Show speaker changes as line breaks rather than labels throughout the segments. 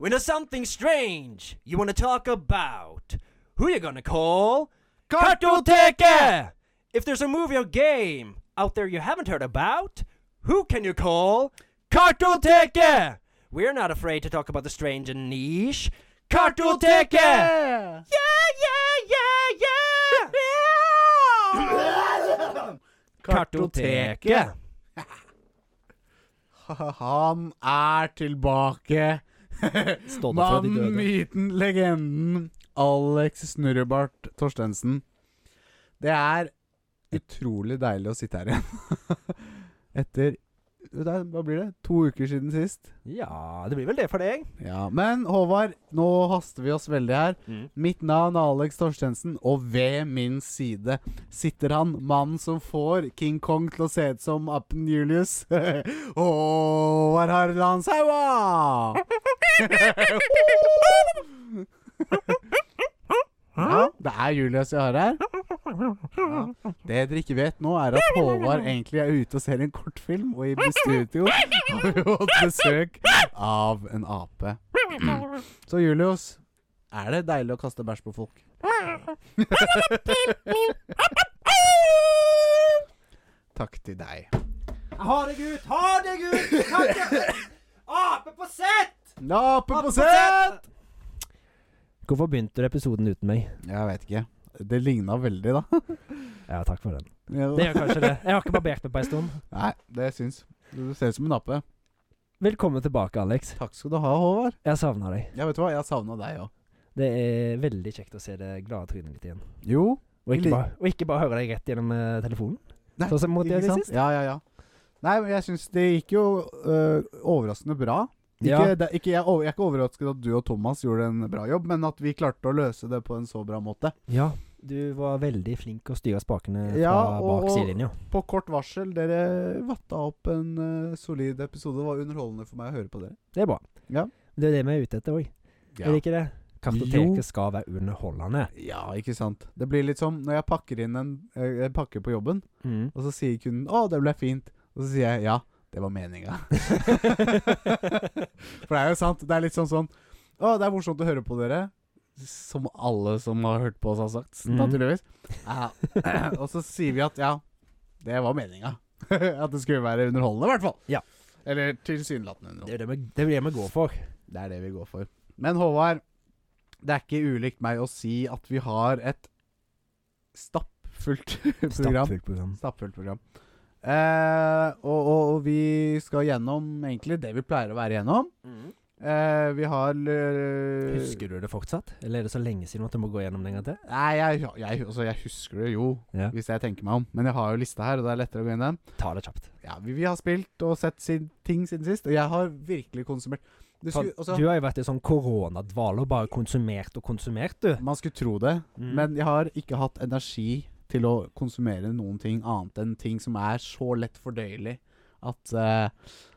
when there's something strange you want to talk about, who you gonna call? Kartoteket! If there's a movie or game out there you haven't heard about, who can you call? Kartoteket! We're not afraid to talk about the strange and niche. Kartoteket! Yeah, yeah, yeah, yeah! Kartoteket.
Han er tilbake.
Stående fra de
Mannen,
døde.
myten, legenden Alex Snurrebart Torstensen. Det er utrolig deilig å sitte her igjen. Etter det er- Hva blir det? To uker siden sist?
Ja, det blir vel det for deg.
Ja, Men Håvard, nå haster vi oss veldig her.
Mm.
Mitt navn er Alex Torstensen, og ved min side sitter han, mannen som får King Kong til å se ut som Appen Julius. Håvard Harland Saua! Ja, det er Julius jeg har her. Ja. Det dere ikke vet nå, er at Håvard egentlig er ute og ser en kortfilm, og i studio har vi fått besøk av en ape. Så Julius, er det deilig å kaste bæsj på folk? Takk til deg.
Ha deg ut! Ha deg ut! Ape på sett!
Ape på sett!
Hvorfor begynte du episoden uten meg?
Jeg veit ikke. Det ligna veldig, da.
Ja, takk for den.
Ja.
Det gjør kanskje det. Jeg har ikke barbert meg på en stund.
Nei, det syns. Du ser ut som en ape.
Velkommen tilbake, Alex.
Takk skal du ha, Håvard.
Jeg savna deg.
Ja, vet du hva, jeg savna deg òg.
Det er veldig kjekt å se det glade trynet ditt igjen.
Jo.
Og ikke,
Veldig.
bare, og ikke bare høre deg rett gjennom eh, telefonen.
Nei,
Sånn som mot det
Ikke sant?
sist.
Ja, ja, ja. Nei, men jeg syns det gikk jo øh, overraskende bra. Ikke,
Ja.
det, ikke jeg, over- jeg er ikke overrasket at du og Thomas gjorde en bra jobb, men at vi klarte å løse det på en så bra måte.
Ja, du var veldig flink å styre spakene fra
Ja, og-
bak
og-
sidelinja.
På kort varsel, dere vatta opp en øh, solid episode. Det var underholdende for meg å høre på dere.
Det er bra.
Ja.
Det er det vi er ute etter òg. Er det ikke det?
Jo.
Kartoteket skal være underholdende.
Ja, ikke sant. Det blir litt som når jeg pakker inn en øh, jeg pakker på jobben,
Mm.
og så sier kunden 'Å, det ble fint', og så sier jeg 'Ja, det var meninga'. For det er jo sant. Det er litt sånn sånn Å, det er morsomt å høre på dere. Som alle som har hørt på oss, har sagt,
Mhm.
naturligvis. Ja. og så sier vi at ja, det var meninga. at det skulle være underholdende, i hvert fall.
Ja.
Eller tilsynelatende underholdende.
Det er det vi, det er det vi går for.
Det er det vi går for. Men Håvard, det er ikke ulikt meg å si at vi har et stappfullt program.
Stappfullt program.
Stappfullt program. Eh, og, og, og vi skal gjennom egentlig det vi pleier å være gjennom. Eh, vi har eh,
Husker du det fortsatt? Eller er det så lenge siden at du må gå gjennom det en gang til?
Nei, jeg, jeg, altså, jeg husker det jo,
Ja.
hvis jeg tenker meg om. Men jeg har jo lista her, og det er lettere å gå inn i den.
Ta det kjapt.
Ja, vi, vi har spilt og sett sin, ting siden sist, og jeg har virkelig konsumert du
For
skulle, altså,
du har jo vært i sånn koronadvale og bare konsumert og konsumert, du.
Man skulle tro det,
Mm.
men jeg har ikke hatt energi til å konsumere noen ting annet enn ting som er så lett fordøyelig at eh,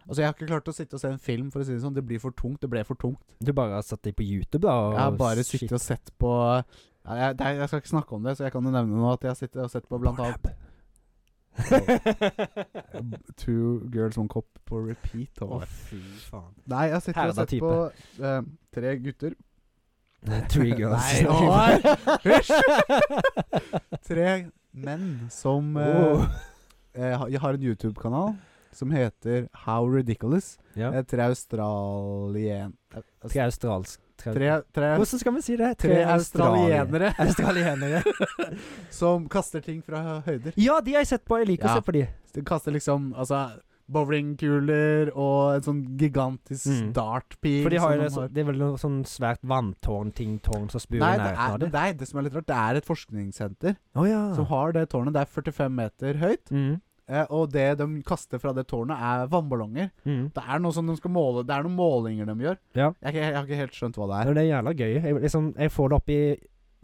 Altså, jeg har ikke klart å sitte og se en film, for å si det sånn. Det blir for tungt. Det ble for tungt.
Du bare har satt deg på YouTube, da. Og
Jeg har bare
shit.
sittet og sett på ja, jeg, det er- jeg skal ikke snakke om det, så jeg kan jo nevne nå at jeg har sittet og sett på blant annet Two Girls One Cop på repeat.
Å,
Håvard.
fy faen.
Nei, jeg har sittet og
Herda
sett
type.
på eh, Tre gutter.
Three girls.
Nei, Håvard! Tre menn som eh,
Wow.
eh, ha- har en YouTube-kanal som heter How Ridiculous.
Ja.
Eh, Tre australien... eh,
Tre australsk... Tre,
Tre, tre,
Hvordan skal vi si det?
tre australienere
australier- Australienere.
som kaster ting fra høyder.
Ja, de har jeg sett på. Jeg liker
Ja.
å se på de.
Så Du kaster liksom altså, bowlingkuler og en sånn gigantisk
Mm.
dartpil.
For de har
som
jo
de
det, så,
har.
det er vel noe sånn svært vanntårn-ting-tårn som spuer i
Nei, det
nærheten
er,
av Ah. dem.
nei, det som er litt rart, det er et forskningssenter
Å ja.
som har det tårnet. Det er 45 meter høyt,
Mm.
eh, og det de kaster fra det tårnet, er vannballonger.
Mm.
Det er noe som de skal måle Det er noen målinger de gjør.
Ja.
Jeg, har ikke- jeg har ikke helt skjønt hva det er.
Men det er jævla gøy. Jeg, liksom, jeg får det opp i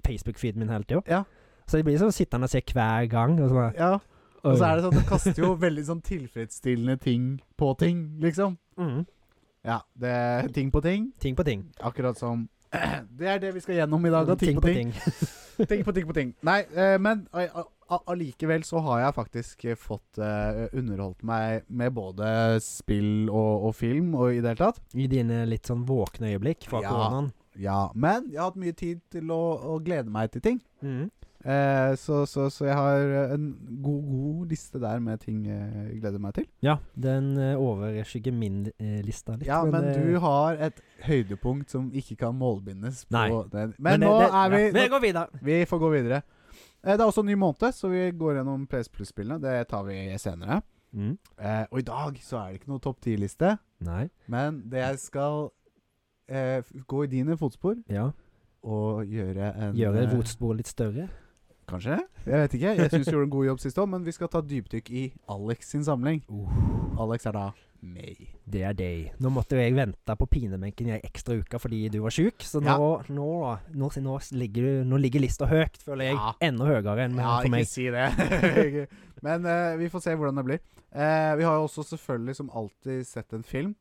Facebook-feeden min hele tida.
Ja.
Så jeg blir sånn sittende og se hver gang. Og så bare,
Ja, Og så er det sånn at de kaster jo veldig sånn tilfredsstillende ting på ting, liksom.
mm,
Ja, det Ting på ting.
Ting på ting.
Akkurat som Det er det vi skal gjennom i dag. da. Ting på ting. Ting på ting på ting. Nei, eh, men a- a- a- allikevel så har jeg faktisk eh, fått eh, underholdt meg med både spill og, og film og i det hele tatt.
I dine litt sånn våkne øyeblikk fra
Ja.
koronaen.
Ja, men jeg har hatt mye tid til å, å glede meg til ting.
Mm.
Eh, så, så, så jeg har eh, en god, god liste der med ting eh, jeg gleder meg til.
Ja, den eh, overskygger min eh, lista litt.
Ja, men
eh,
du har et høydepunkt som ikke kan målbindes. På
Nei.
Den.
men
Men,
det-
nå
det-
er vi
ja. Vi går videre.
Vi får gå videre. Eh, Det er også en ny måned, så vi går gjennom PS Plus-spillene. Det tar vi senere.
Mm.
Eh, og i dag så er det ikke noe topp ti-liste,
Nei.
men det jeg skal eh, f- gå i dine fotspor
Ja.
og gjøre en
Gjøre
eh,
rotsporet litt større.
Kanskje? Jeg vet ikke. Jeg syns du gjorde en god jobb sist òg, men vi skal ta dypdykk i Alex sin samling. Alex er da meg.
Det er deg. Nå måtte jo jeg vente på pinebenken i ei ekstra uke fordi du var sjuk, så nå, nå, nå, nå, ligger, du, nå ligger lista høyt, føler jeg.
Ja.
Enda høyere enn
Ja,
for
ikke
meg.
si det. Men eh, vi får se hvordan det blir. Eh, vi har jo også selvfølgelig som alltid sett en film.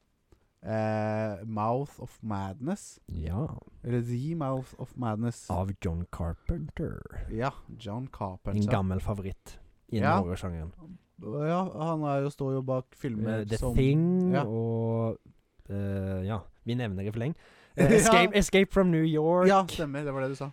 Eh, 'Mouth of Madness'.
Ja.
Eller 'The Mouth of Madness'.
Av John Carpenter.
Ja, John
En
Carpenter.
gammel favoritt innen
Ja.
horrorsjangeren.
Ja, han er jo, står jo bak filmer
Eh, The
som
Thing
ja.
og eh, Ja, vi nevner det for lenge. Eh,
Ja.
Escape, Escape from New York.
Ja, stemmer. Det var det du sa.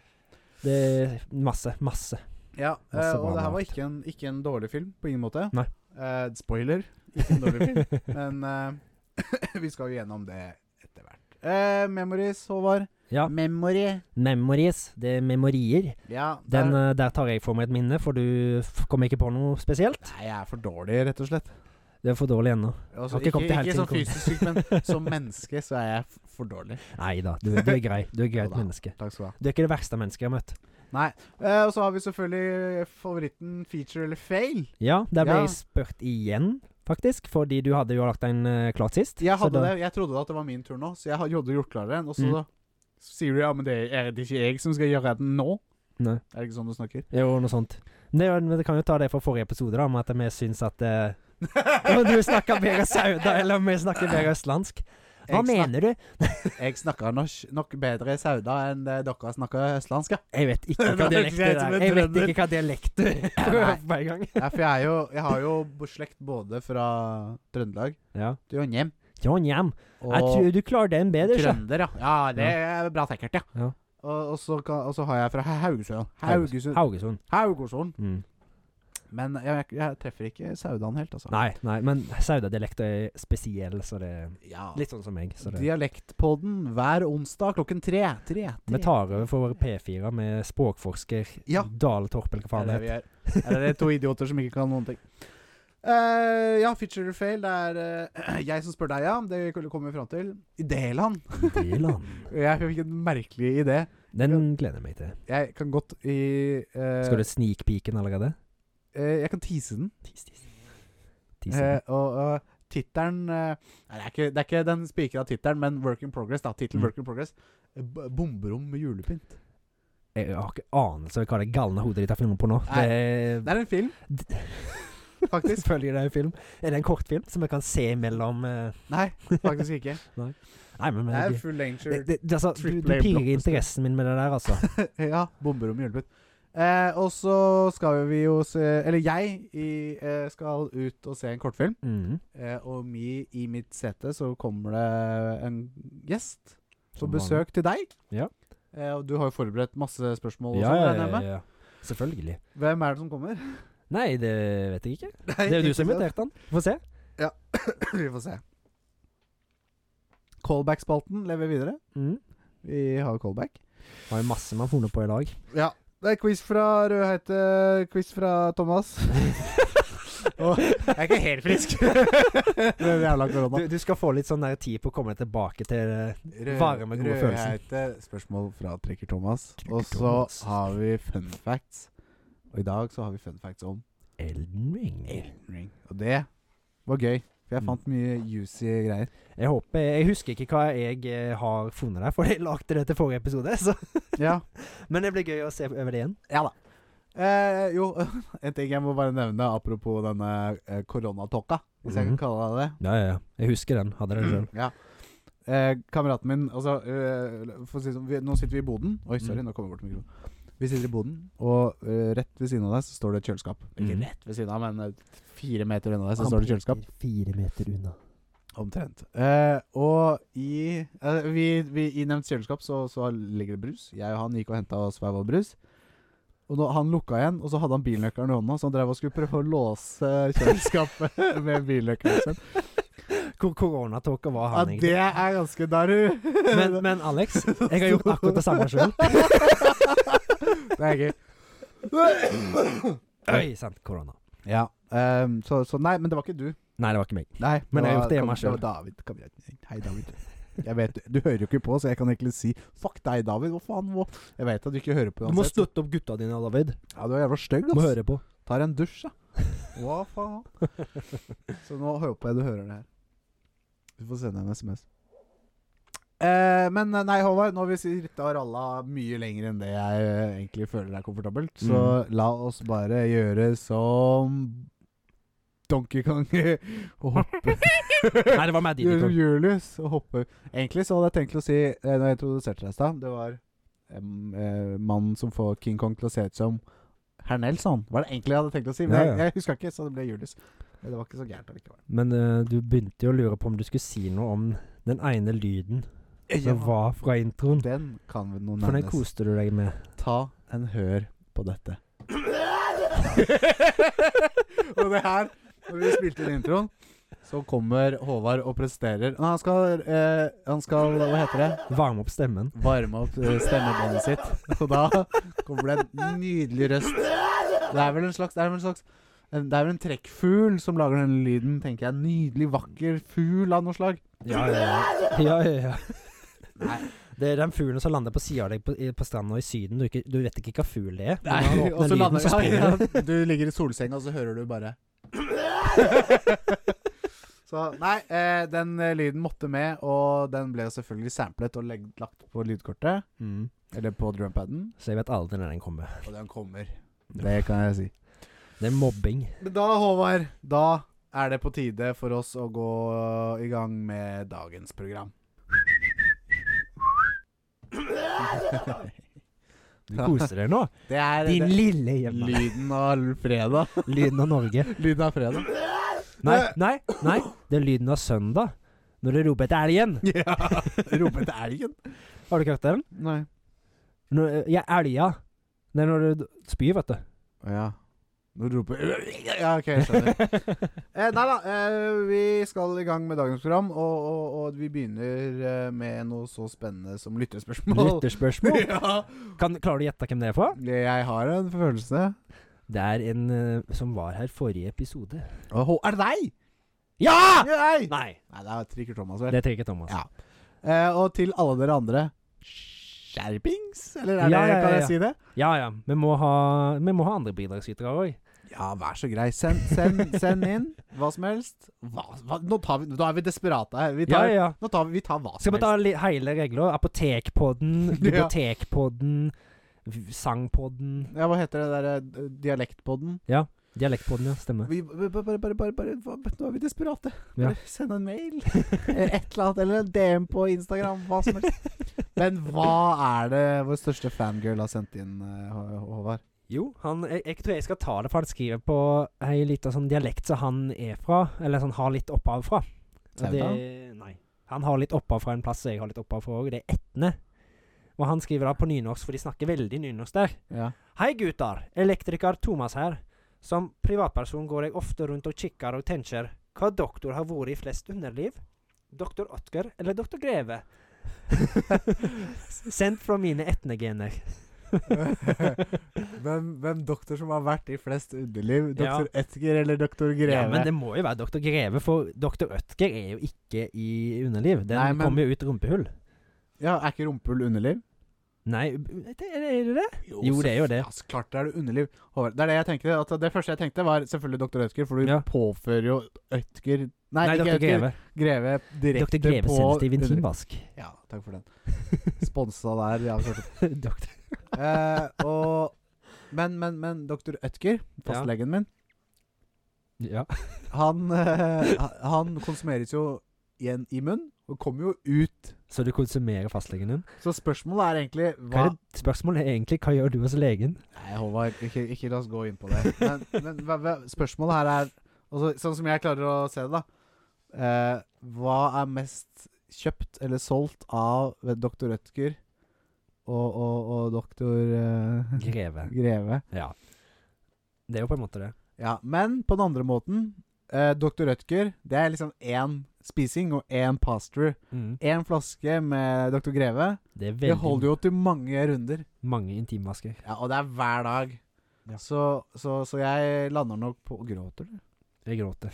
Det er masse, masse.
Ja,
Masse
eh, og
bra
det her var
mat.
ikke en, ikke en dårlig film, på ingen måte.
Nei.
Eh, spoiler, ikke en dårlig film. Men eh, vi skal jo gjennom det etter hvert. Eh, memories, Håvard.
Ja.
Memory.
Memories. Det er memorier.
Ja,
Den,
der-
eh, der tar jeg for meg et minne, for du f- kom ikke på noe spesielt.
Nei, jeg er for dårlig, rett og slett.
Det er for dårlig ennå.
Altså,
Har ikke
ikke
kommet til
ikke,
helt
som
til
fysisk syk, men som menneske så er jeg f- for dårlig.
Nei da, du, du er grei. Du er greit
Jo da.
menneske.
Takk skal du ha.
Du er ikke det verste mennesket jeg har møtt.
Nei. Eh, og så har vi selvfølgelig eh, favoritten feature eller fail.
Ja, der ble
Ja.
jeg spurt igjen, faktisk, fordi du hadde jo lagt en eh, klart sist.
Jeg,
så
hadde
da-
det, jeg trodde at det var min tur nå, så jeg hadde gjort klar den. Og så
Mm.
sier du ja, men det er, det er ikke jeg som skal gjøre den nå.
Nei.
Er det ikke sånn du snakker?
Jo, noe sånt. Men Det, er jo- men det kan jo ta det fra forrige episode, da, om at vi syns at eh, om du snakker bedre sauda, eller om vi snakker bedre østlandsk. Hva
Jeg
mener du?
snak- Jeg snakker nok, nok bedre sauda enn det dere snakker østlandsk, ja.
Jeg vet ikke hva
Det er
dialekt
ikke
det
som
er.
en
Jeg vet
trønder.
ikke hva dialekt du prøver på en gang.
ja for jeg, er jo, jeg har jo bo- slekt både fra Trøndelag
Ja.
til Trondheim
Trondheim. Jeg
og
tror du klarer den bedre, sjø.
trønder, ja. Ja, det er bra sikkert, ja.
Ja.
Og, og, så kan, og så har jeg fra Ha- Haugesund. Haugesund.
Haugesund.
Haugesund.
Mm.
Men jeg, jeg, jeg treffer ikke saudaen helt, altså.
Nei, nei, men saudadialekt er spesiell, så det er
Ja.
litt sånn som meg. Så det.
Dialektpodden hver onsdag klokken tre. tre,
Vi
tre.
tar over for P4 med språkforsker
Ja.
Dale Torp, eller hva faen
det
det
er
heter.
vi er. Eller det er to idioter som ikke kan noen ting. Eh, ja, feature or fail. Det er eh, jeg som spør deg, ja. Det kommer vi fram til. Idéland.
Dylan.
Jeg fikk en merkelig idé.
Den gleder jeg meg til.
Jeg kan godt i eh,
Skal du snikpike den allerede?
eh, Jeg kan tease den.
Tis, tis. Tis, ja.
Eh, og og tittelen eh, Nei, det er, ikke, det er ikke den spikra tittelen, men Work in Progress. da Tittelen
Mm.
Work in Progress. Eh, b- Bomberom med julepynt.
Jeg har ikke anelse om hva det galne hodet ditt har funnet på nå.
Nei,
Det
Det er en film,
er
faktisk.
selvfølgelig det er en film. Er det en kortfilm som vi kan se mellom eh,
nei, faktisk ikke.
Nei, men
Det er
men-
full
det,
danger.
det, det, altså, du, du
Triple A
pirrer
blockbuster.
interessen min med det der, altså.
Ja, bomber om julepynt. Eh, og så skal vi jo se Eller jeg i, eh, skal ut og se en kortfilm.
Mhm.
Eh, og mi, i mitt sete så kommer det en gjest på
Som
besøk til deg.
Ja.
Eh, og du har jo forberedt masse spørsmål. Og
Ja,
sånn,
ja,
regner jeg
ja,
med.
ja. Selvfølgelig.
Hvem er det som kommer?
Nei, det vet jeg ikke. Det er jo du som inviterte han. Få se.
vi får se. Callback-spalten lever videre.
Mm.
Vi har callback.
Har jo masse man har funnet på i dag.
Ja. Det er quiz fra Rødheite, quiz fra Thomas. Åh, jeg er ikke helt frisk. Den jævla korona.
Du, du skal få litt sånn der tid på å komme tilbake til eh, Varme, gode følelsen.
Rødheite, spørsmål fra Trekker Thomas.
Trekker
Og så
Thomas.
har vi fun facts. Og i dag så har vi fun facts om
Elden Ring.
Elden Ring. Og det var gøy. For jeg
Mm.
fant mye juicy greier.
Jeg håper Jeg husker ikke hva jeg eh, har funnet der, for jeg lagde det til forrige episode. Så.
Ja,
Men det blir gøy å se over det igjen.
ja da. Eh, jo, en ting jeg må bare nevne apropos denne eh, koronatåka, hvis jeg
Mhm.
kan kalle det det.
Mm. Ja, ja, ja. Jeg husker den. Hadde den sjøl.
Ja. eh, kameraten min altså, eh, for å si det sånn, vi, Nå sitter vi i boden. Oi, sorry,
Mm.
nå kommer jeg bort til mikrofonen. Vi sitter i boden, og eh, rett ved siden av deg så står det et kjøleskap. Ikke
Mhm.
rett ved siden av, men eh, fire meter unna deg
Altså,
så står det kjøleskap.
Fire meter unna.
Omtrent. Eh, og i, eh, vi, vi, i nevnt kjøleskap så, så ligger det brus. Jeg og han gikk og henta oss hver vår brus. Og nå, Han lukka igjen, og så hadde han bilnøkkelen i hånda, så han drev og skulle prøve å låse kjøleskapet med bilnøkkelen sin.
Hvor koronatåka var
Ja,
han, egentlig.
det er ganske daru.
Men, men Alex, jeg har gjort akkurat det samme sjøl.
Det er gøy.
Oi sant, korona.
Ja. ehm, så, så nei, men det var ikke du.
Nei, det var ikke meg.
Nei,
Men jeg har
var-
gjort det
kom-
meg selv.
Det var David. Kom igjen. Hei, David. Jeg vet, du hører jo ikke på, så jeg kan egentlig si 'fuck deg, David'. Hva faen? Hva? Jeg vet at du ikke hører på
Du må
uansett.
støtte opp gutta dine, David.
Ja, du er jævla stygg,
Må
ass.
høre på.
Tar en dusj, da. Hva faen? Så nå håper jeg du hører det her. Du får sende en SMS. Eh, men eh, nei, Håvard, nå har vi sittet og ralla mye lenger enn det jeg eh, egentlig føler er komfortabelt. Så la oss bare gjøre som Donkey Kong og hoppe
Nei, det var Mad
Gjøre
Eater.
som Julius og hoppe Egentlig så hadde jeg tenkt å si eh, Når jeg introduserte deg i stad, det var em, eh, mannen som får King Kong til å se ut som herr Nelson. Var det egentlig jeg hadde tenkt å si, men
Ja,
jeg,
ja.
jeg huska ikke, så det ble Julius. Men Det var ikke så gærent allikevel.
Men eh, du begynte jo å lure på om du skulle si noe om den ene lyden som var fra introen.
Den kan vi nå
For den
nevnes.
koste du deg med.
Ta en hør på dette. og det her, når vi spilte inn introen, så kommer Håvard og presterer Nei, Han skal, eh, han skal Hva heter det?
Varme opp stemmen.
varme opp eh, stemmebåndet sitt. Og da kommer det en nydelig røst. Det er vel en slags Det er vel en slags en- Det er vel en trekkfugl som lager den lyden, tenker jeg. Nydelig, vakker fugl av noe slag.
Ja, ja, ja. ja, ja, ja.
Nei.
Det er den fuglen som lander på sida av deg på, i- på stranda i Syden. Du, ikke, du vet ikke hva fugl det er. men når han åpner
og så
lyden,
lander
så springer du.
ja, Du ligger i solsenga, og så hører du bare Så nei, eh, den eh, lyden måtte med, og den ble jo selvfølgelig samplet og legg- lagt på lydkortet.
Mm.
Eller på drumpaden.
Så jeg vet aldri når den kommer.
Og den kommer. Det kan jeg si.
Det er mobbing.
Men da, Håvard, da er det på tide for oss å gå øh, i gang med dagens program.
Du koser deg nå.
Det er
Din lille hjemme.
lyden av fredag.
Lyden av Norge.
Lyden av fredag.
Nei, nei, nei. Det er lyden av søndag. Når det roper etter elgen.
Ja. Rope til elgen.
Har du ikke hørt den?
Nei.
Når, ja, elga. Det er når du spyr, vet du.
Å ja. Nå roper Ja, OK, jeg skjønner. Eh, nei da, eh, vi skal i gang med dagens program, og, og, og vi begynner eh, med noe så spennende som lyttespørsmål.
Lytterspørsmål.
Ja.
Kan, klarer du å gjette hvem det er fra?
Jeg har en følelse.
Det er en eh, som var her forrige episode.
Åh, er det deg?
Ja!
Nei!
Ah. Nei,
Nei, det er Trikker Thomas, vel.
det trenger ikke Thomas.
Ja. Eh, og til alle dere andre Skjerpings? Eller er det,
Ja, ja, ja,
kan jeg
ja.
si det?
Ja ja, vi må ha, vi må ha andre bidragsytere òg.
Ja, vær så grei. Send, send, send inn hva som helst. Hva, hva, nå, tar vi, nå er vi desperate her. Vi
Ja,
tar,
ja.
Nå tar vi, vi tar hva
Skal
som
vi ta
helst.
li- hele regla? Apotekpodden,
Ja.
bibliotekpodden, v- sangpodden
Ja, hva heter det derre dialektpodden?
Dialektpodden, ja. Stemmer.
Vi, bare, bare, bare, bare, bare, hva- nå er vi desperate.
Ja.
Bare Send en mail. Eh, Et eller annet. Eller en DM på Instagram. Hva som helst. Men hva er det vår største fangirl har sendt inn, eh, Hå- Håvard?
Jo, han, jeg, jeg tror jeg skal ta det, for han skriver på ei lita sånn dialekt som han er fra, eller sånn har litt opphav fra. Og det, nei. Han har litt opphav fra en plass som jeg har litt opphav fra òg, det er Etne. Og han skriver da på nynorsk, for de snakker veldig nynorsk der.
Ja.
Hei gutter, elektriker Thomas her. Som privatperson går jeg ofte rundt og kikker og tenker hva doktor har vært i flest underliv? Doktor Otker eller doktor Greve? Sendt fra mine etnegener.
hvem, hvem doktor som har vært i flest underliv?
Ja.
Doktor Etger eller doktor Greve?
Ja, men det må jo være Dr. Greve, for Dr. Ødger er jo ikke i underliv. Den
Nei, men-
kommer jo ut rumpehull.
Ja, Er ikke rumpehull underliv?
Nei, det- er det er det? det? Jo, det er jo det.
Ja, så klart det er det underliv. Håvard, Det er det jeg tenkte. At det første jeg tenkte, var selvfølgelig doktor Ødger, for du
Ja.
påfører jo Ødger Nei,
Nei,
ikke
Dr.
Ødger.
Greve.
Greve direkte
Dr. Greve
på
sendes til
under-
intimvask.
Ja, takk for den. Sponsa der, ja. kanskje.
Dr.
Eh, og Men, men, men doktor Ødger, fastlegen min,
Ja.
han, eh, han konsumeres jo i, en, i munn, Og kommer jo ut.
Så du konsumerer fastlegen din?
Så spørsmålet er egentlig
Hva
hva
er det, spørsmålet er egentlig hva gjør du hos legen?
Nei, Håvard, ikke, ikke la oss gå inn på det. Men, men hva, hva, spørsmålet her er altså, Sånn som jeg klarer å se det, da. Eh, hva er mest kjøpt eller solgt av doktor Rødtger og, og, og doktor eh,
Greve.
Greve?
Ja. Det er jo på en måte det.
Ja, men på den andre måten eh, Dr. Rødtger, det er liksom én spising og én pasture.
Mm.
Én flaske med Dr. Greve.
Det er
Det holder
veldig
jo til mange runder.
mange intimvasker.
Ja, Og det er hver dag.
Ja.
Så, så, så jeg lander nok på Gråter du?
Jeg gråter.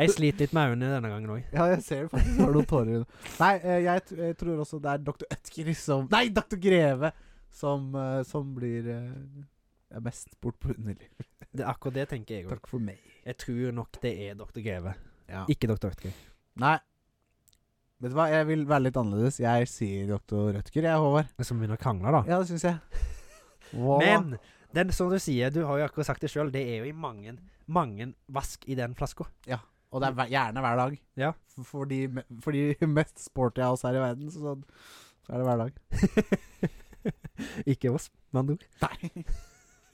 Jeg sliter litt med øynene denne gangen òg.
Ja, jeg ser det faktisk. Har noen tårer i øynene. Nei, eh, jeg, t jeg tror også det er Dr. Ødker som Nei, Dr. Greve som, eh, som blir eh, mest bort på underlig.
Akkurat det tenker jeg òg.
Takk for meg.
Jeg tror nok det er Dr. Greve,
Ja.
ikke Dr. Ødker.
Nei. Vet du hva, jeg vil være litt annerledes. Jeg sier Dr. Rødtger, jeg, Håvard.
Som begynner å krangle, da.
Ja, det syns jeg. Hva-
Men den, som du sier, du har jo akkurat sagt det sjøl, det er jo i mange, mange vask i den flaska.
Og det er hver- gjerne hver dag.
Ja.
For, for, de, me- for de mest sporty av oss her i verden, så, sånn- så er det hver dag.
ikke oss, med andre ord.
Nei.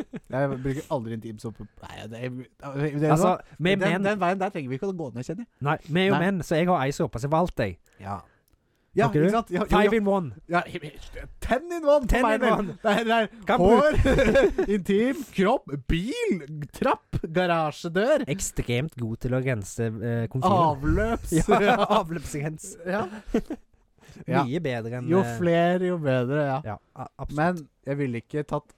Jeg bruker aldri intimsåpe Nei, det, det, det
Altså, vi er
den, den,
menn.
veien der trenger vi ikke å gå ned, kjenner jeg.
Nei, vi er jo
Nei.
menn, så jeg har ei såpe som valgte jeg.
Ja. Ja,
Snakker
ikke
du?
sant? Ja, jo,
Five
jo.
in one.
Ja, he- ten in one! for
Ten in
meg del.
one.
Det er, det er
Kan
hår, intim, kropp, bil, trapp, garasjedør,
Ekstremt god til å rense eh, komfyren.
avløps
Ja, avløpsrens.
Ja. Ja.
Mye bedre enn
Jo
eh,
flere, jo bedre, ja.
Ja, a- absolutt.
Men jeg ville ikke tatt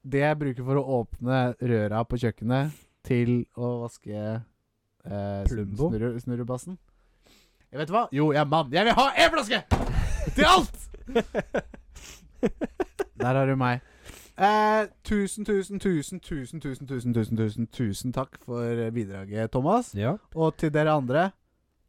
det jeg bruker for å åpne røra på kjøkkenet, til å vaske eh,
Plumbo?
snurre, snurrebassen. Jeg vet hva? Jo, jeg er mann. Jeg vil ha én flaske! Til alt! Der har du meg. Eh, tusen, tusen, tusen, tusen, tusen, tusen, tusen, tusen, tusen takk for eh, bidraget, Thomas.
ja.
Og til dere andre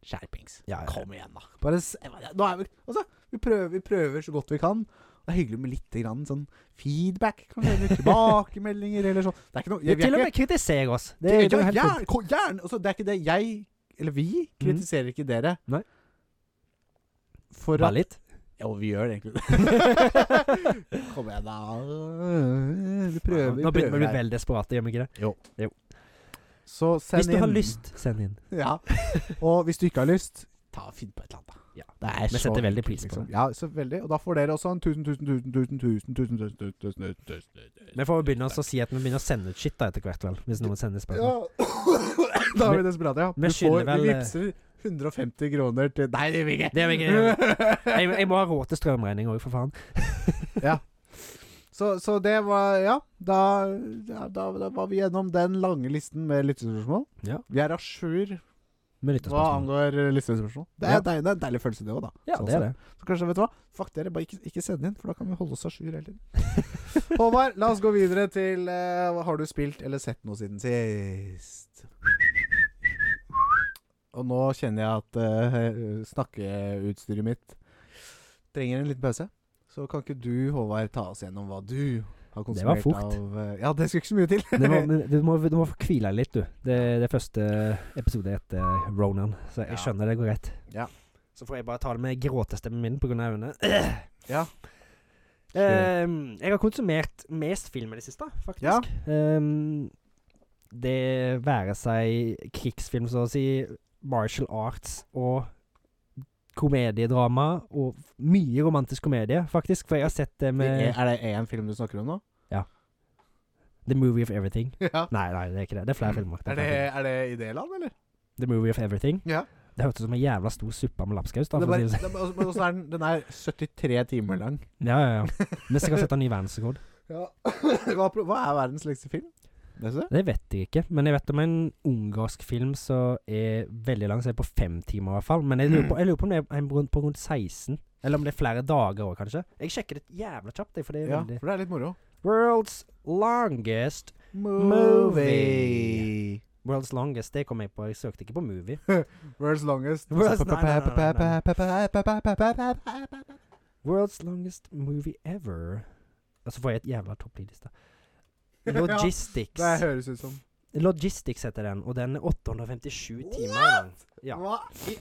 skjerpings.
Ja, ja.
Kom igjen, da. Bare s nå er vi, altså, vi, prøver, vi prøver så godt vi kan. Det er hyggelig med litt grann, sånn feedback, kanskje, eller tilbakemeldinger eller sånn. Det er ikke noe
Du
vi er
til og
ikke-
med kritiserer oss. Det,
det,
er jo helt
ja,
fullt.
ko- gjerne. Altså, det er ikke det jeg, eller vi, kritiserer ikke dere.
Nei.
For
Bare
at
litt.
Jo, vi gjør det egentlig. Kom igjen, da. Vi prøver.
Nå begynner vi å bli
her.
veldig desperate, gjør vi ikke det?
Så send
Hvis du har
inn.
lyst, send inn.
Ja. Og hvis du ikke har lyst, ta og finn på et eller annet. da.
Ja.
Det er
Vi
så liksom.
setter veldig
enkelt,
pris på det.
Ja, så veldig. Og da får dere også en tusen, tusen, tusen, tusen, tusen, tusen, tusen, tusen, tusen, tusen, tusen, tusen.
Vi får jo begynne å si at vi begynner å sende ut shit da etter hvert, vel. Hvis noen sender spørsmål.
Ja. da er vi desperate, ja.
vi
Du
skylder
får,
vel,
du
eh,
vipser 150 kroner til Nei, det vil vi ikke.
Det vil vi
ikke.
Jeg, jeg må ha råd til strømregning òg, for faen.
så, så det var Ja, da, ja, da, da var vi gjennom den lange listen med lyttespørsmål.
Ja.
Vi er à jour
Med
hva
lyttespørsmål.
angår eh, lyttespørsmål. Det er,
Ja.
det er en deilig følelse, det òg, da.
Ja,
Sånn
det
sett.
er det.
Så kanskje, vet du hva? Fuck dere, bare ikke, ikke send inn, for da kan vi holde oss à jour hele tiden. Håvard, la oss gå videre til eh, hva Har du spilt eller sett noe siden sist? Og nå kjenner jeg at eh, snakkeutstyret mitt trenger en liten pause. Så kan ikke du, Håvard, ta oss gjennom hva du har
Det var
konsumert
fort.
av eh, Ja, det skulle ikke så mye til.
Det må, men du, må, du må få hvile deg litt, du. Det, det første episode heter Ronan, så jeg
Ja.
skjønner det går greit.
Ja.
Så får jeg bare ta det med gråtestemmen min pga. øynene.
Ja.
Ehm, jeg har konsumert mest film i det siste, faktisk.
Ja.
Ehm, det være seg krigsfilm, så å si, martial arts og komediedrama, og f- mye romantisk komedie, faktisk. For jeg har sett det med
Er det én film du snakker om nå?
The Movie of Everything.
Ja.
Nei, nei, det er ikke det. Det er flere filmer.
Mm. Er det, er det Idéland, eller?
The Movie of Everything.
Ja.
Det hørtes ut som en jævla stor suppe med lapskaus. da,
Det
for å
er bare,
si det sånn.
det er bare, men også er den, den er 73 timer lang.
Ja, ja, ja. Vi skal sette en ny verdensrekord.
Ja. hva, pro- hva er verdens lengste film? Vet du det?
Det vet jeg ikke, men jeg vet om en ungarsk film som er veldig lang, så er på fem timer i hvert fall. Men jeg lurer på, jeg lurer på om det er en rundt, på rundt 16. Eller om det er flere dager òg, kanskje. Jeg sjekker det jævla kjapt, jeg, for det er
Ja,
veldig
for det er litt moro.
World's longest Movie. World's longest, det kom jeg på. Jeg søkte ikke på movie.
World's longest
World's- nei, nei, nei, nei, World's longest movie ever. Og så får jeg et jævla topplidliste. Logistics.
Det høres ut som
Logistics heter den, og den er 857 timer lang. Ja.
Hva i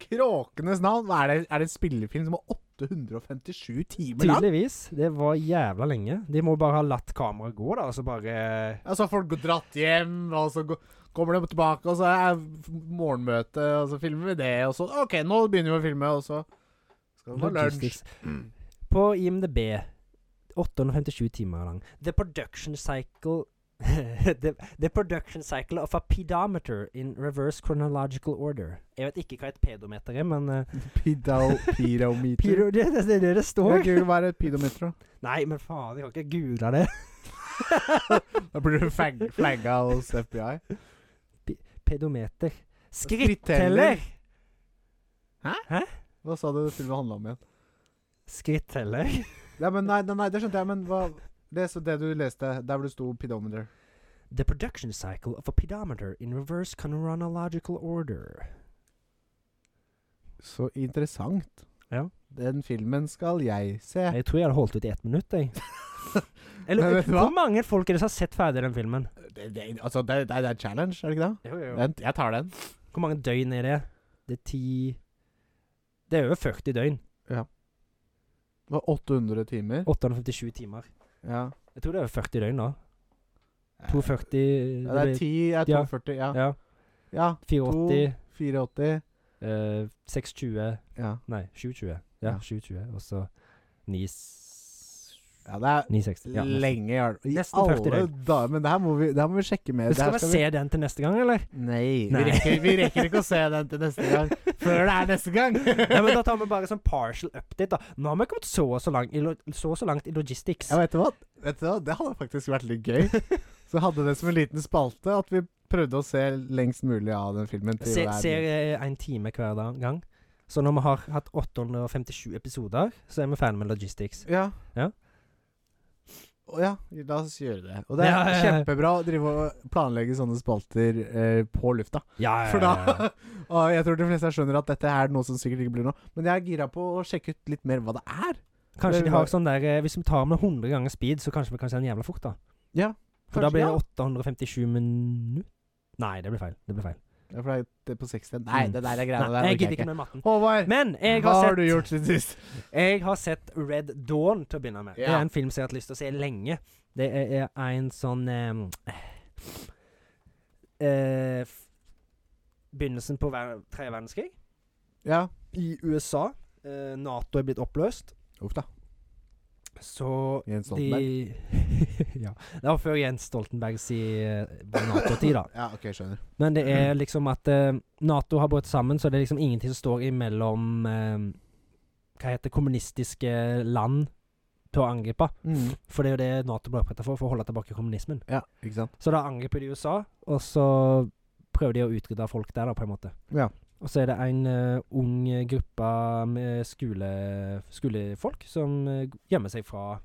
kråkenes navn! Hva Er det, er det en spillefilm som har 857 timer lang?
Tydeligvis. Det var jævla lenge. De må bare ha latt kameraet gå, da, og så bare
Ja, så har Altså, folk gått dratt hjem, og så gå- kommer de tilbake, og så er f- morgenmøte, og så filmer vi det, og så OK, nå begynner vi å filme, og så skal vi ha lunsj. Mm.
Logistics. På IMDb 857 timer lang. The production cycle the, the production cycle of a pedometer in reverse chronological order. Jeg vet ikke hva et pedometer er, men eh,
Pidal, pirometer.
pedo, det, det, det er det det
Det
står.
er kult å være pedometer, da.
Nei, men faen, jeg kan ikke google det.
Da blir du flag- flagga hos FBI.
Pedometer.
Skritteller.
Skritteller!
Hva sa du filmen handla om igjen?
Skritteller.
Ja, men nei, nei, nei, det skjønte jeg, men hva Les det du leste, der hvor det sto pedometer.
The production cycle of a pedometer in reverse chronological order.
Så interessant.
Ja.
Den filmen skal jeg se.
Jeg tror jeg hadde holdt ut i ett minutt, jeg.
Men
Eller,
vet du hva?
hvor mange folk er det som har sett ferdig den filmen?
Det, det, altså, det, det, det er challenge, er det ikke det? Den, jeg tar den.
Hvor mange døgn er det? Det er ti Det er over 40 døgn.
Det var 800 timer.
857 timer.
Ja.
Jeg tror det er over 40 døgn, da.
Ja,
240
det er 10 er
Ja.
240, ja.
Ja.
Ja.
480
480.
eh, 620
Ja.
Nei, 720. Ja,
Ja.
720. Og så 9
ja, det er
960. Ja, nesten.
lenge i al- i
Nesten 40
alle dager. Men det her må vi, det her må vi sjekke med. Det
Skal
her
vi se den til neste gang, eller?
Nei.
Nei.
Vi, rekker, vi rekker ikke å se den til neste gang. Før det er neste gang.
Nei, men Da tar vi bare sånn partial update, da. Nå har vi kommet så og så langt i, lo så og så langt i logistics.
Ja, vet du hva? Vet du hva? Det hadde faktisk vært litt gøy. Så hadde det som en liten spalte at vi prøvde å se lengst mulig av den filmen. Til
Se,
hver-
ser eh, en time hver da- gang. Så når vi har hatt 857 episoder, så er vi ferdig med logistics.
Ja.
Ja.
Og ja, la oss gjøre det. Og det er
Ja, ja, ja.
kjempebra å drive og planlegge sånne spalter eh, på lufta.
Ja,
For da Og jeg tror de fleste skjønner at dette er noe som sikkert ikke blir noe. Men jeg er gira på å sjekke ut litt mer hva det er.
Kanskje
Det
de har
var-
sånn der eh, Hvis vi tar med 100 ganger speed, så kanskje vi kan se den jævla fort, da.
Ja.
For da blir
Kanskje- ja.
det 857 minutter Nei, det blir feil. Det blir feil.
Ja, for det er det er på 60. Nei,
Mm.
det der er
Nei,
greiene
jeg
der. orker
gidder
jeg
ikke
ikke.
med matten.
Håvard,
Men jeg
hva
har,
har du
sett,
gjort siden sist?
jeg har sett Red Dawn til å begynne med. Det
Ja.
er en film som jeg har hatt lyst til å se lenge. Det er, er en sånn eh, eh, f- Begynnelsen på ver tredje verdenskrig
Ja.
i USA. Eh, Nato er blitt oppløst.
Uff da.
Så
Jens Stoltenberg.
de Ja. Det var før Jens Stoltenberg si eh, Nato-tid, da.
Ja, OK, skjønner.
Men det er liksom at eh, Nato har brutt sammen, så det er liksom ingenting som står imellom eh, Hva heter det, kommunistiske land til å angripe.
Mm.
For det er jo det Nato ble oppretta for, for å holde tilbake kommunismen.
Ja, ikke sant.
Så da angriper de USA, og så prøver de å utrydde folk der, da, på en måte.
Ja.
Og så er det en eh, ung gruppe med skole, skolefolk som eh, gjemmer seg fra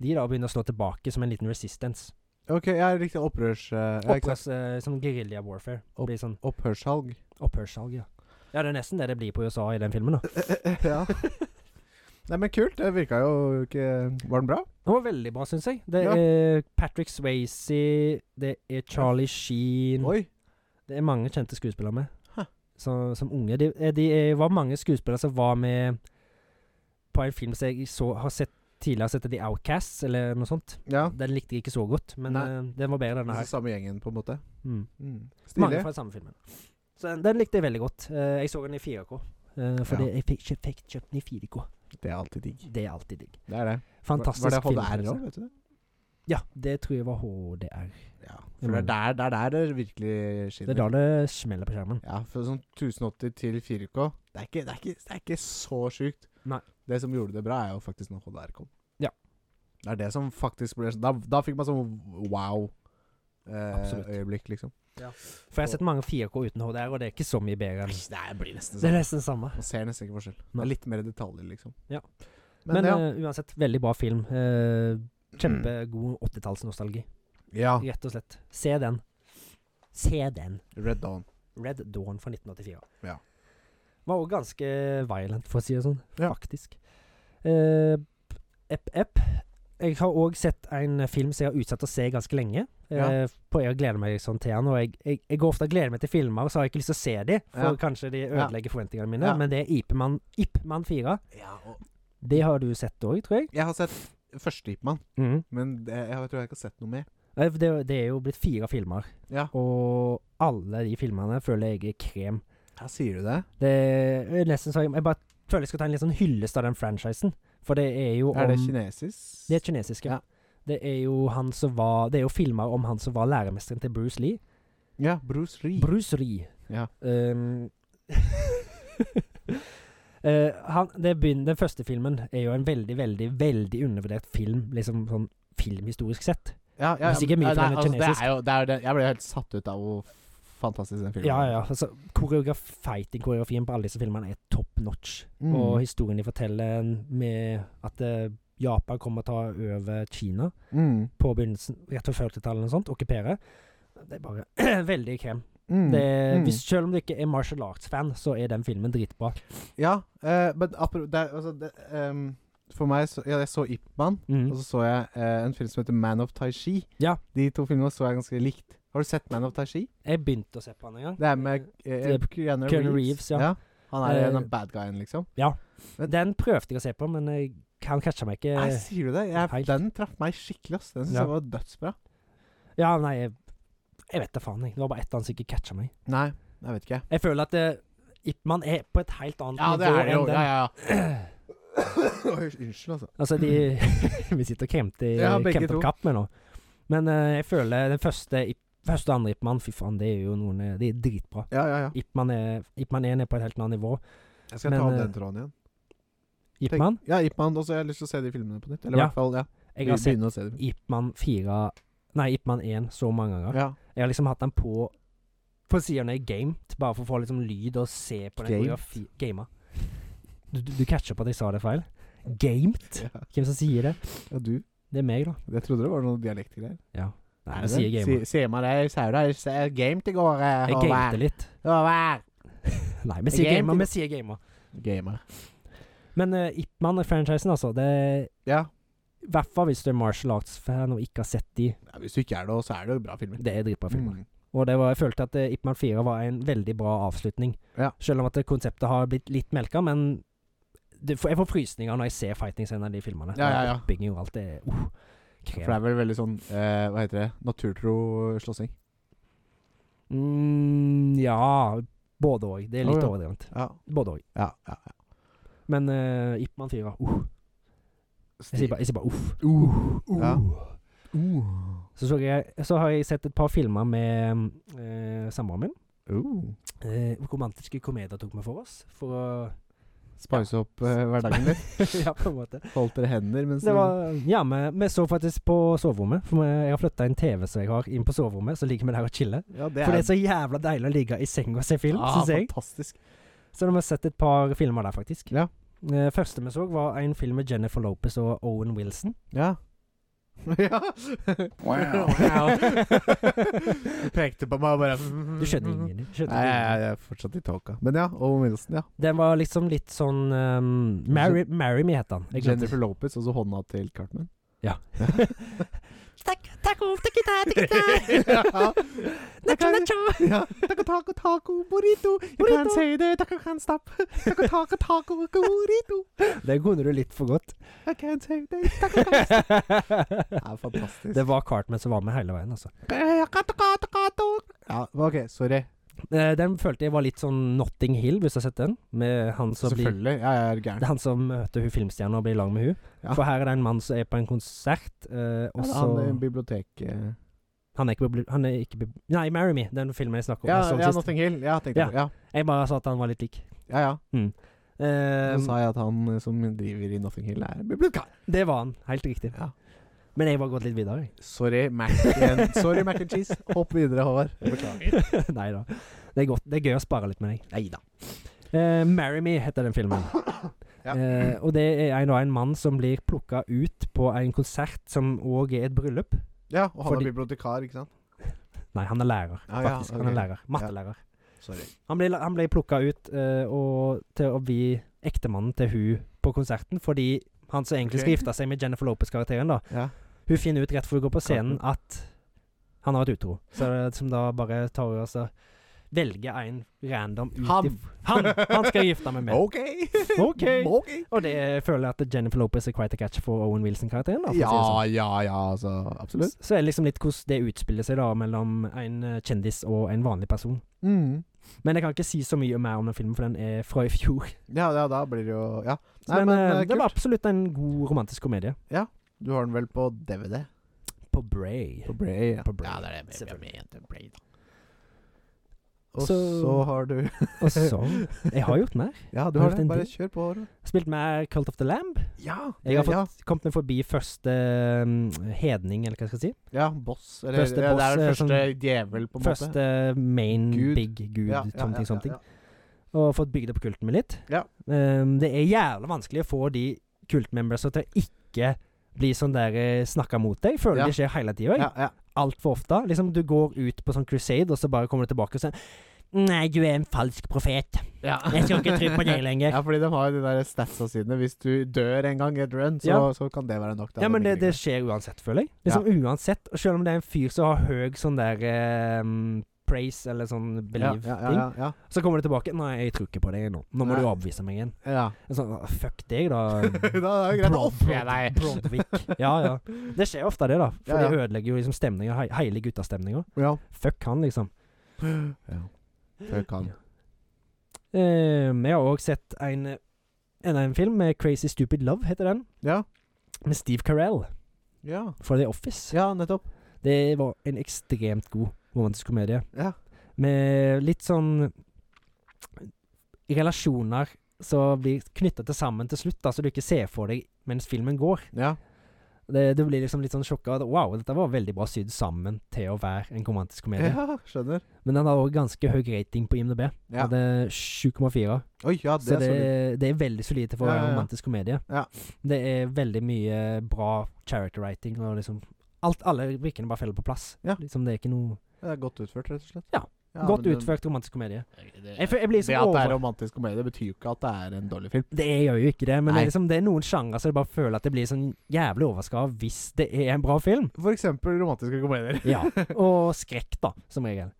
de da, og begynner å slå tilbake som en liten resistance.
OK, jeg er riktig opprørs... eh, ja, ikke
Opprørs,
sant?
eh, som guerrilla warfare.
Opp-
Blir sånn
Opphørssalg.
opphørssalg, ja. Ja, det er nesten det det blir på USA i den filmen. da.
ja. Nei, men kult. Det virka jo ikke Var den bra?
Det var veldig bra, syns jeg. Det
Ja.
er Patrick Swayze, det er Charlie Sheen
Oi.
Det er mange kjente skuespillere med.
Hæ.
Så, som unge. Det de, er- var mange skuespillere som var med på en film som jeg så, har sett tidligere, sett The Outcasts, eller noe sånt.
Ja.
Den likte jeg ikke så godt, men
Nei.
eh, den var bedre, denne
Altså
her.
samme gjengen, på en måte.
Mm.
Mm.
Mange
Stilig.
fra samme filmen. Så den, den likte jeg veldig godt. Eh, jeg så den i 4K. eh, fordi jeg fikk, ikke- fikk kjøpt den i 4K.
Det er alltid digg.
Det er alltid digg.
Det er det.
Fantastisk
Var det HDR
filmopplevelse.
òg, vet du det?
Ja, det tror jeg var HDR.
Ja. For det er der det, er der det virkelig
Mm. Det er
skinner.
da det smeller på skjermen.
Ja, for sånn 1080 til 4K Det er ikke, det er ikke, det er ikke så sjukt.
Nei.
Det som gjorde det bra, er jo faktisk når HDR kom.
Ja.
Det er det som faktisk ble Da, da fikk man sånn
Absolutt.
wow-øyeblikk, liksom.
For jeg har sett mange 4K uten HDR, og det er ikke så mye bedre. enn
Det er- blir nesten
Det er
sånn.
nesten det samme.
Man ser nesten ikke forskjell. Det
Nei.
er litt mer detaljer, liksom.
Ja.
Men,
Men,
ja.
eh, uansett, veldig bra film. Eh, kjempegod 80-tallsnostalgi,
Mm. ja.
rett og slett. Se den. Se den.
Red Dawn.
Red Dawn fra 1984.
Ja.
Var òg ganske violent, for å si det sånn.
Ja.
Faktisk. Eh, Epp, epp. Jeg har òg sett en film som jeg har utsatt å se ganske lenge.
Ja.
Eh, på Jeg gleder meg sånn til den. Og jeg, jeg, jeg går ofte og gleder meg til filmer, og så har jeg ikke lyst til å se dem, for
Ja.
kanskje de ødelegger forventningene mine.
Ja.
Men det er Ipemann Ip Man 4.
Ja, og
Det har du sett òg, tror jeg.
jeg har sett første Ipman, men det, jeg tror jeg ikke har sett noe mer.
Eh, Det, det er jo blitt fire filmer,
Ja,
og alle de filmene føler jeg er krem.
ja sier du det?
Det er nesten så jeg, jeg bare føler jeg skal ta en litt sånn hyllest av den franchisen, for det er jo
Er det
om-
kinesisk?
Det er kinesiske.
Ja.
Det er jo han som var Det er jo filmer om han som var læremesteren til Bruce Lee.
Ja, Bruce Lee.
Bruce Lee.
Ja.
Um, eh, han, det begyn- den første filmen er jo en veldig, veldig veldig undervurdert film, liksom sånn filmhistorisk sett.
ja, ja,
Hvis ikke mye
ja,
for
nei,
den er
altså, det
kinesisk.
er jo, det er jo det. Jeg ble helt satt ut av hvor fantastisk den filmen
Ja, ja. Altså, koreograf, Fighting-koreografien på alle disse filmene er top notch.
Mm.
Og historien de forteller med at eh, Japan kommer til å ta over Kina.
Mm.
på begynnelsen, rett før 40-tallet eller noe sånt, okkupere. Det er bare veldig krem.
Mm.
Det,
mm.
hvis, selv om du ikke er martial arts-fan, så er den filmen dritbra.
Ja, eh, men apro- det, er- altså, det, ehm, For meg så, ja, Jeg så Ip Man,
Mm.
og så så jeg eh, en film som heter Man of Tai Chi.
Ja.
De to filmene så jeg ganske likt. Har du sett Man of Tai Chi?
Jeg begynte å se på den en gang.
Det er med eh,
Det er
Keanu Reeves.
Keanu Reeves, ja.
Han er
Eh,
den bad guyen, liksom.
Den prøvde jeg å se på, men jeg, han catcha meg ikke.
Nei, sier du det? Jeg,
eh, helt.
den traff meg skikkelig, ass. Den synes
Ja.
jeg var dødsbra.
Ja, nei, jeg, jeg vet da faen. Jeg. Det var bare ett han som ikke catcha meg.
Nei, jeg vet ikke.
Jeg føler at eh, Ip Man er på et helt annet
Ja, det
nivå
er det jo.
enn den.
Ja, ja, ja. Oi, Unnskyld, altså.
Altså, de Vi sitter og kremter
Ja, begge
kremter
to.
opp kapp med nå. Men eh, jeg føler den første, Ip- første og andre Ip Man, fy faen, det er jo noen eh, Det er dritbra.
Ja, ja, ja.
Ipman er, Ipman 1 er på et helt annet nivå.
Jeg skal
Men,
ta opp
eh,
den tråden igjen. Tenk-
Ipman?
Ja, Ip Man. Og så har jeg lyst til å se de filmene på nytt. Eller i
Ja.
hvert fall, ja.
Jeg har sett
Begynne å se dem.
Ipman 4 Nei, Ipman 1 så mange ganger.
Ja.
Jeg har liksom hatt den på På siden jeg gamet, bare for å få liksom lyd og se på den
Gamet?
koreografi... Gama. Du, du, du catcher på at jeg sa det feil? Gamet?
ja.
Hvem som sier det?
Ja, du.
Det er meg, da.
Jeg trodde det var noen dialektgreier.
Ja. Nei, du sier gama.
Sier man det? Sier du det? Jeg gamet i går. eh,
Jeg
Håvard.
gamete litt.
Håvard.
Nei, vi sier
Gamet.
gama. Vi sier gama.
Gamer.
Men uh, Ipman-franchisen, altså. Det
Ja.
I hvert fall hvis du er martial arts-fan og ikke har sett de.
ja. Hvis du ikke er det, så er det jo bra filmer.
Det er dritbra filmer.
Mm.
Og det var, jeg følte at eh, Ip Man 4 var en veldig bra avslutning.
Ja.
Selv om at det konseptet har blitt litt melka, men det, jeg får frysninger når jeg ser fighting-scener i de filmene.
Ja, ja, ja.
Oppbygging og alt det er uh,
For det
krem.
er vel veldig sånn eh, Hva heter det? Naturtro slåssing.
Mm, ja, både òg. Det er litt
Å, ja.
overdrevent.
Ja.
Både òg.
Ja, ja, ja.
Men uh, Ip Man 4 uh, Jeg sier bare, jeg sier bare uff.
Uh, Ja. uh.
Så, så, jeg, så har jeg sett et par filmer med eh, samboeren min.
Uh.
Eh, romantiske komedier tok vi for oss. For å
Spice opp eh, hverdagen din.
Ja, på en måte.
Holdt dere hender mens
Det var, ja, vi, vi så faktisk på soverommet. For vi- jeg har flytta en TV som jeg har, inn på soverommet. Så ligger vi der og chiller.
Ja, det
For det er så jævla deilig å ligge i seng og se film,
ah,
synes jeg.
fantastisk.
Så vi har sett et par filmer der, faktisk.
Ja.
Eh, første vi så, var en film med Jennifer Lopez og Owen Wilson.
Ja. ja.
Wow.
Du pekte på meg og bare
Du skjønner
Mm-hmm.
ingen. Du skjønner ingen.
Nei, jeg, jeg er fortsatt i tåka. Men ja, Owen Wilson, ja.
Den var liksom litt sånn um, Marry, Marry Me het den. Jeg glemte-
Jennifer Lopez, og så hånda til Cartman.
Takk, takk, takk, takk, takk,
ja.
Nacho, nacho.
ja. Taco, taco, taco, burrito. You
Burrito.
can't say that, I can't stop. Taco, taco, taco, burrito.
Den kunne du litt for godt.
I can't say that. Taco, taco. Det er fantastisk. Eh,
Det var Cartman som var med hele veien, altså.
Taco, taco, taco. Ja, OK, sorry.
Eh, Den følte jeg var litt sånn Notting Hill, hvis du har sett den. Med han som, blir,
Selvfølgelig. Ja, jeg er gæren.
det er han som møter hun filmstjerna og blir lang med hun
Ja.
For her er det en mann som er på en konsert, eh, og
Ja,
så
Han er i bibliotek... eh.
Han er ikke bibli- Han er ikke bibli- Nei, Marry Me, den filmen jeg snakker om.
Ja,
jeg, så
ja
sist.
Notting Hill. altså, Ja, tenkte jeg på. Ja.
jeg bare sa at han var litt lik.
ja, ja.
Eh,
Så sa jeg at han eh, som driver i Notting Hill, er en bibliotekar.
det var han, helt riktig.
Ja.
Men jeg var gått litt videre, jeg.
Sorry, mac and, sorry, mac and cheese. Hopp videre, Håvard.
Nei da. Det er, godt, det er gøy å spare litt med deg.
Nei da.
Eh, 'Marry Me' heter den filmen.
Ja.
Eh, og det er en, da en mann som blir plukka ut på en konsert som òg er et bryllup.
Ja, og han
Fordi-
er bibliotekar, ikke sant?
Nei, han er lærer,
Ah, ja,
faktisk. Han
ok.
er lærer. Mattelærer.
Sorry.
Han ble, han ble plukka ut eh, og, til å bli ektemannen til hun på konserten fordi Han som egentlig
Ok.
skal gifte seg med Jennifer Lopez-karakteren, da.
Ja.
Hun finner ut rett før hun går på scenen at han har vært utro. Så det, som da bare tar hun og så velger en random ut
Han.
i- han! Han skal gifte meg med.
OK!
Ok.
Ok.
Og det føler jeg at Jennifer Lopez er quite a catch for Owen Wilson-karakteren. da, for å si det
Ja,
sånn.
ja, ja, altså. Absolutt.
Så er det liksom litt hvordan det utspiller seg da mellom en eh, kjendis og en vanlig person.
Mm.
Men jeg kan ikke si så mye mer om den filmen, for den er fra i fjor.
Ja, ja, da blir det jo Ja.
Så
Nei,
den,
men,
eh,
eh,
det
kult.
var absolutt en god romantisk komedie.
Du har den vel på DVD?
På Bray.
På Bray, ja.
På Bray.
Ja, det er det.
Selvfølgelig.
Selvfølgelig. På Bray, da. Og så,
Så-
har du
Og så Jeg har gjort mer.
Ja, du
Har
har
du
det.
en
Bare
til?
kjør på. Aron.
Spilt mer Cult of the Lamb.
Ja.
Jeg har
det- ja.
fått, kommet meg forbi første eh, hedning, eller hva jeg skal si.
ja, boss. Eller,
Første
ja, det
boss,
er
eh,
den første
sånn-
djevel, på en måte.
Første main
Gud.
big gud,
Ja, ja,
sånne ting,
ja,
sånne ting.
ja, ja.
Og fått bygd opp kulten min litt.
Ja.
Ehm, det er jævla vanskelig å få de kultmembersa til å ikke bli sånn der eh, snakka mot deg. Føler
Ja.
det skjer hele tida.
Ja, ja.
Altfor ofte. Liksom, du går ut på sånn crusade, og så bare kommer du tilbake og sier Nei, du er en falsk profet. Jeg skal ikke tro på deg lenger.
Ja, fordi de har jo de der statsa sine. Hvis du dør en gang i et run, så,
Ja.
så kan det være nok. til
Ja,
at
men det,
blir
det
greit.
skjer uansett, føler jeg. Liksom uansett, og Selv om det er en fyr som har høy sånn der ehm, praise eller sånn
ja,
believe-ting,
ja, ja, ja,
så kommer det tilbake Nei, jeg tror ikke på deg nå. Nå må
Nei.
du avvise meg igjen.
ja. ja.
Sånn, fuck deg, da.
da er det greit å ofre deg.
Brodvik. Ja, ja. Det skjer ofte, det, da. For
Ja, ja.
det ødelegger jo liksom stemninga. He hele guttastemninga.
Ja.
Fuck han, liksom.
ja. Fuck han.
Eh, jeg har òg sett en, enda en film med Crazy Stupid Love, heter den.
Ja.
Med Steve Carell
Ja.
fra The Office.
ja, nettopp.
Det var en ekstremt god romantisk komedie.
Ja.
Med litt sånn relasjoner som blir knytta til sammen til slutt, da, så du ikke ser for deg mens filmen går.
Ja.
Det, du blir liksom litt sånn sjokka. at, Wow, dette var veldig bra sydd sammen til å være en romantisk komedie.
ja, skjønner.
Men den har òg ganske høy rating på IMDb.
Ja.
Den er 7,4.
Oi, ja, det
Så
er
det,
så lurt.
det er veldig solid for å
Ja,
være
ja,
en
ja.
romantisk komedie.
Ja.
Det er veldig mye bra character writing og liksom alt, Alle brikkene bare faller på plass.
Ja.
Liksom Det er ikke noe
Det er godt utført, rett og slett. um,
Ja, godt utført romantisk komedie. Jeg, føler- jeg blir
Det
liksom
at det er
over...
romantisk komedie, betyr jo ikke at det er en dårlig film.
Det gjør jo ikke det, men det
Nei.
er, liksom, det er noen sjangre så jeg bare føler at det blir sånn jævlig overraska hvis det er en bra film.
For eksempel romantiske komedier.
Ja. Og skrekk, da, som regel.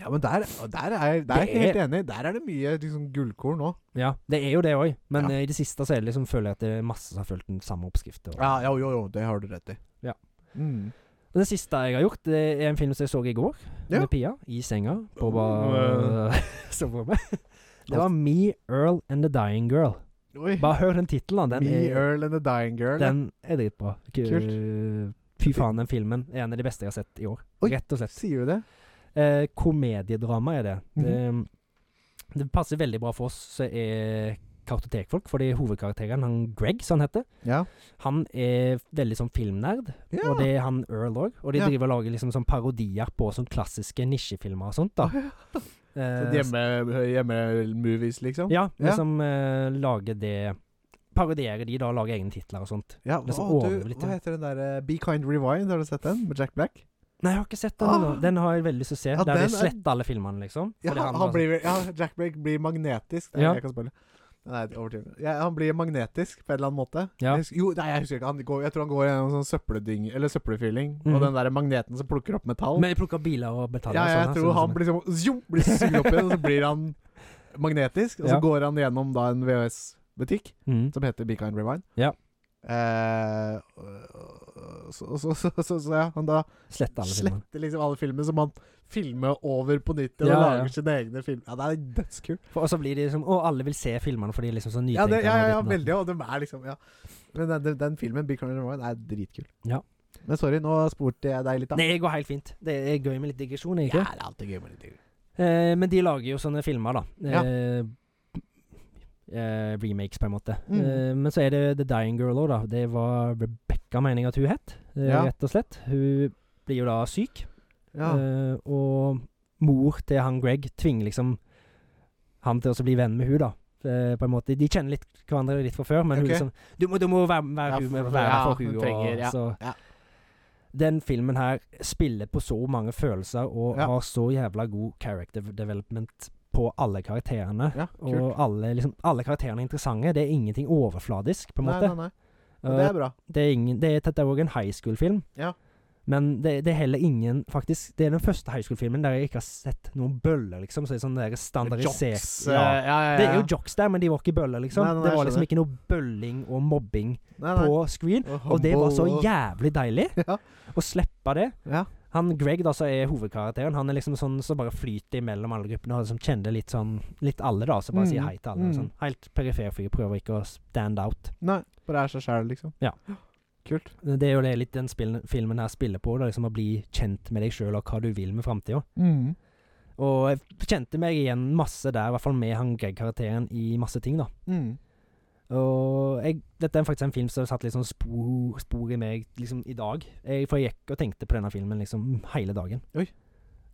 Ja, men der, og der er jeg der er jeg ikke
Det
helt enig. Der er det mye liksom, gullkorn òg.
Ja, det er jo det òg, men
Ja.
eh, i det siste så er det liksom føler jeg at det er masse som har fulgt den samme oppskriften. og-
Ja, ja, jo, jo, det har du rett i.
Ja.
Mm.
Og Det siste jeg har gjort, det er en film som jeg så i går.
Ja.
Med Pia. I senga. På
Oh,
ba... soverommet. Det var Me, Earl and the Dying Girl.
Oi.
Bare hør den tittelen. da. Den,
Me,
er-
Earl and the Dying Girl.
den er dritbra. K- Fy faen, den filmen er en av de beste jeg har sett i år.
Oi.
Rett og slett.
Sier du det?
Eh, komediedrama er det.
Mhm.
mm, det. Det passer veldig bra for oss som er kartotekfolk, fordi hovedkarakteren, han Greg, som han heter,
Ja.
han er veldig sånn filmnerd.
ja.
Og det er han Earl òg. Og de
Ja.
driver og lager liksom sånn parodier på sånn klassiske nisjefilmer og sånt. da
Sånn
eh,
hjemme, hjemmemovies, liksom?
Ja,
Ja.
liksom eh, lager det Parodierer de, da, og lager egne titler og sånt.
Ja,
Det er så
å, du,
overdrivet,
hva
ja.
heter den der eh, Be Kind Rewind? Har du sett den? Med Jack Black?
Nei, jeg har ikke sett den. ennå.
Ah.
Den har jeg veldig lyst til å se. der
Ja,
de
den er-
sletter alle filmene, liksom.
Ja,
Fordi
han,
var sånn-
blir, ja Jack Black blir magnetisk. Nei,
Ja.
Jeg kan spoile. Nei, overdriv. Ja, han blir magnetisk på en eller annen måte.
sånn- Ja.
Jeg husker, jo, nei, jeg husker ikke. Han går, jeg tror han går gjennom sånn søppelding, eller søppelfylling,
Mhm.
og den der magneten som plukker opp metall.
Men de plukker biler og betaler.
ja,
og
jeg
sånn,
tror
sånn,
han
sånn.
blir, sånn, zoom, blir sugd opp igjen, og så blir han magnetisk. Og så
Ja.
går han gjennom da en VHS-butikk
Mm.
som heter Be Kind Rewind.
Ja.
Eh, så, så, så, så, så ja, han da
Sletter alle filmene.
sletter liksom alle filmer som han filmer over på nytt igjen,
Ja,
og
ja.
lager sine egne filmer. Ja, det er dødskult.
For- Og så blir de liksom Å, alle vil se filmene fordi de er altså. liksom så
Ja,
nytenkende.
det, ja, ja, ja,
og ditt og datt.
veldig. Og de er liksom, ja. Men den, den, den filmen, Big Corner Rewind, er dritkul.
Ja.
Men sorry, nå spurte jeg deg litt, da.
Nei, det går helt fint. Det er gøy med litt digresjon, er det ikke?
Ja, det er alltid gøy med litt digg.
Eh, men de lager jo sånne filmer, da.
Ja.
Eh, eh, remakes, på en måte.
Mm.
Eh, men så er det The Dying Girl òg, da. Det var Rebecca, mener jeg at hun het. eh,
Ja.
Rett og slett. Hun blir jo da syk.
Ja.
Eh, og mor til han Greg tvinger liksom han til å bli venn med hun da. Eh, på en måte. De kjenner litt hverandre litt fra før, men
Ok.
hun liksom Du må, du må være, være,
Ja,
hun,
for-
være der
ja,
for hun,
hun
og
trenger- ja,
så
ja.
Den filmen her spiller på så mange følelser og
Ja.
har så jævla god character development på alle karakterene.
ja, kult.
Og alle, liksom, alle karakterene er interessante. Det er ingenting overfladisk, på en måte.
Nei, nei, nei. Og det er bra.
Det er ingen, det, er- dette er òg en high school-film.
Ja.
Men det, det er heller ingen Faktisk, det er den første high school-filmen der jeg ikke har sett noen bøller, liksom. Så det er sånn der standardisert
Jocks, eh,
ja.
ja, ja, ja.
Det er jo jocks der, men de var ikke bøller, liksom.
Nei, nei,
det
jeg
var liksom
skjønner.
ikke noe bølling og mobbing
Nei, nei.
på screen. Og det var så jævlig deilig
Ja.
å slippe det.
Ja.
Han Greg, da, som er hovedkarakteren, han er liksom sånn som bare flyter imellom alle gruppene, og som kjenner litt sånn Litt alle, da, som bare
Mm.
sier hei til alle. og
Mm.
Sånn. Helt perifer fyr, prøver ikke å stand out.
Nei, bare er seg sjæl, liksom.
Ja.
Kult.
Det er jo det litt den spillen, filmen her spiller på, da, liksom å bli kjent med deg sjøl og hva du vil med framtida. Og jeg kjente meg igjen masse der, i hvert fall med han Greg-karakteren i masse ting, da.
Mm.
Og jeg, dette er faktisk en film som har satt litt sånn spor, spor i meg liksom, i dag. Jeg, for jeg gikk og tenkte på denne filmen liksom hele dagen.
Oi.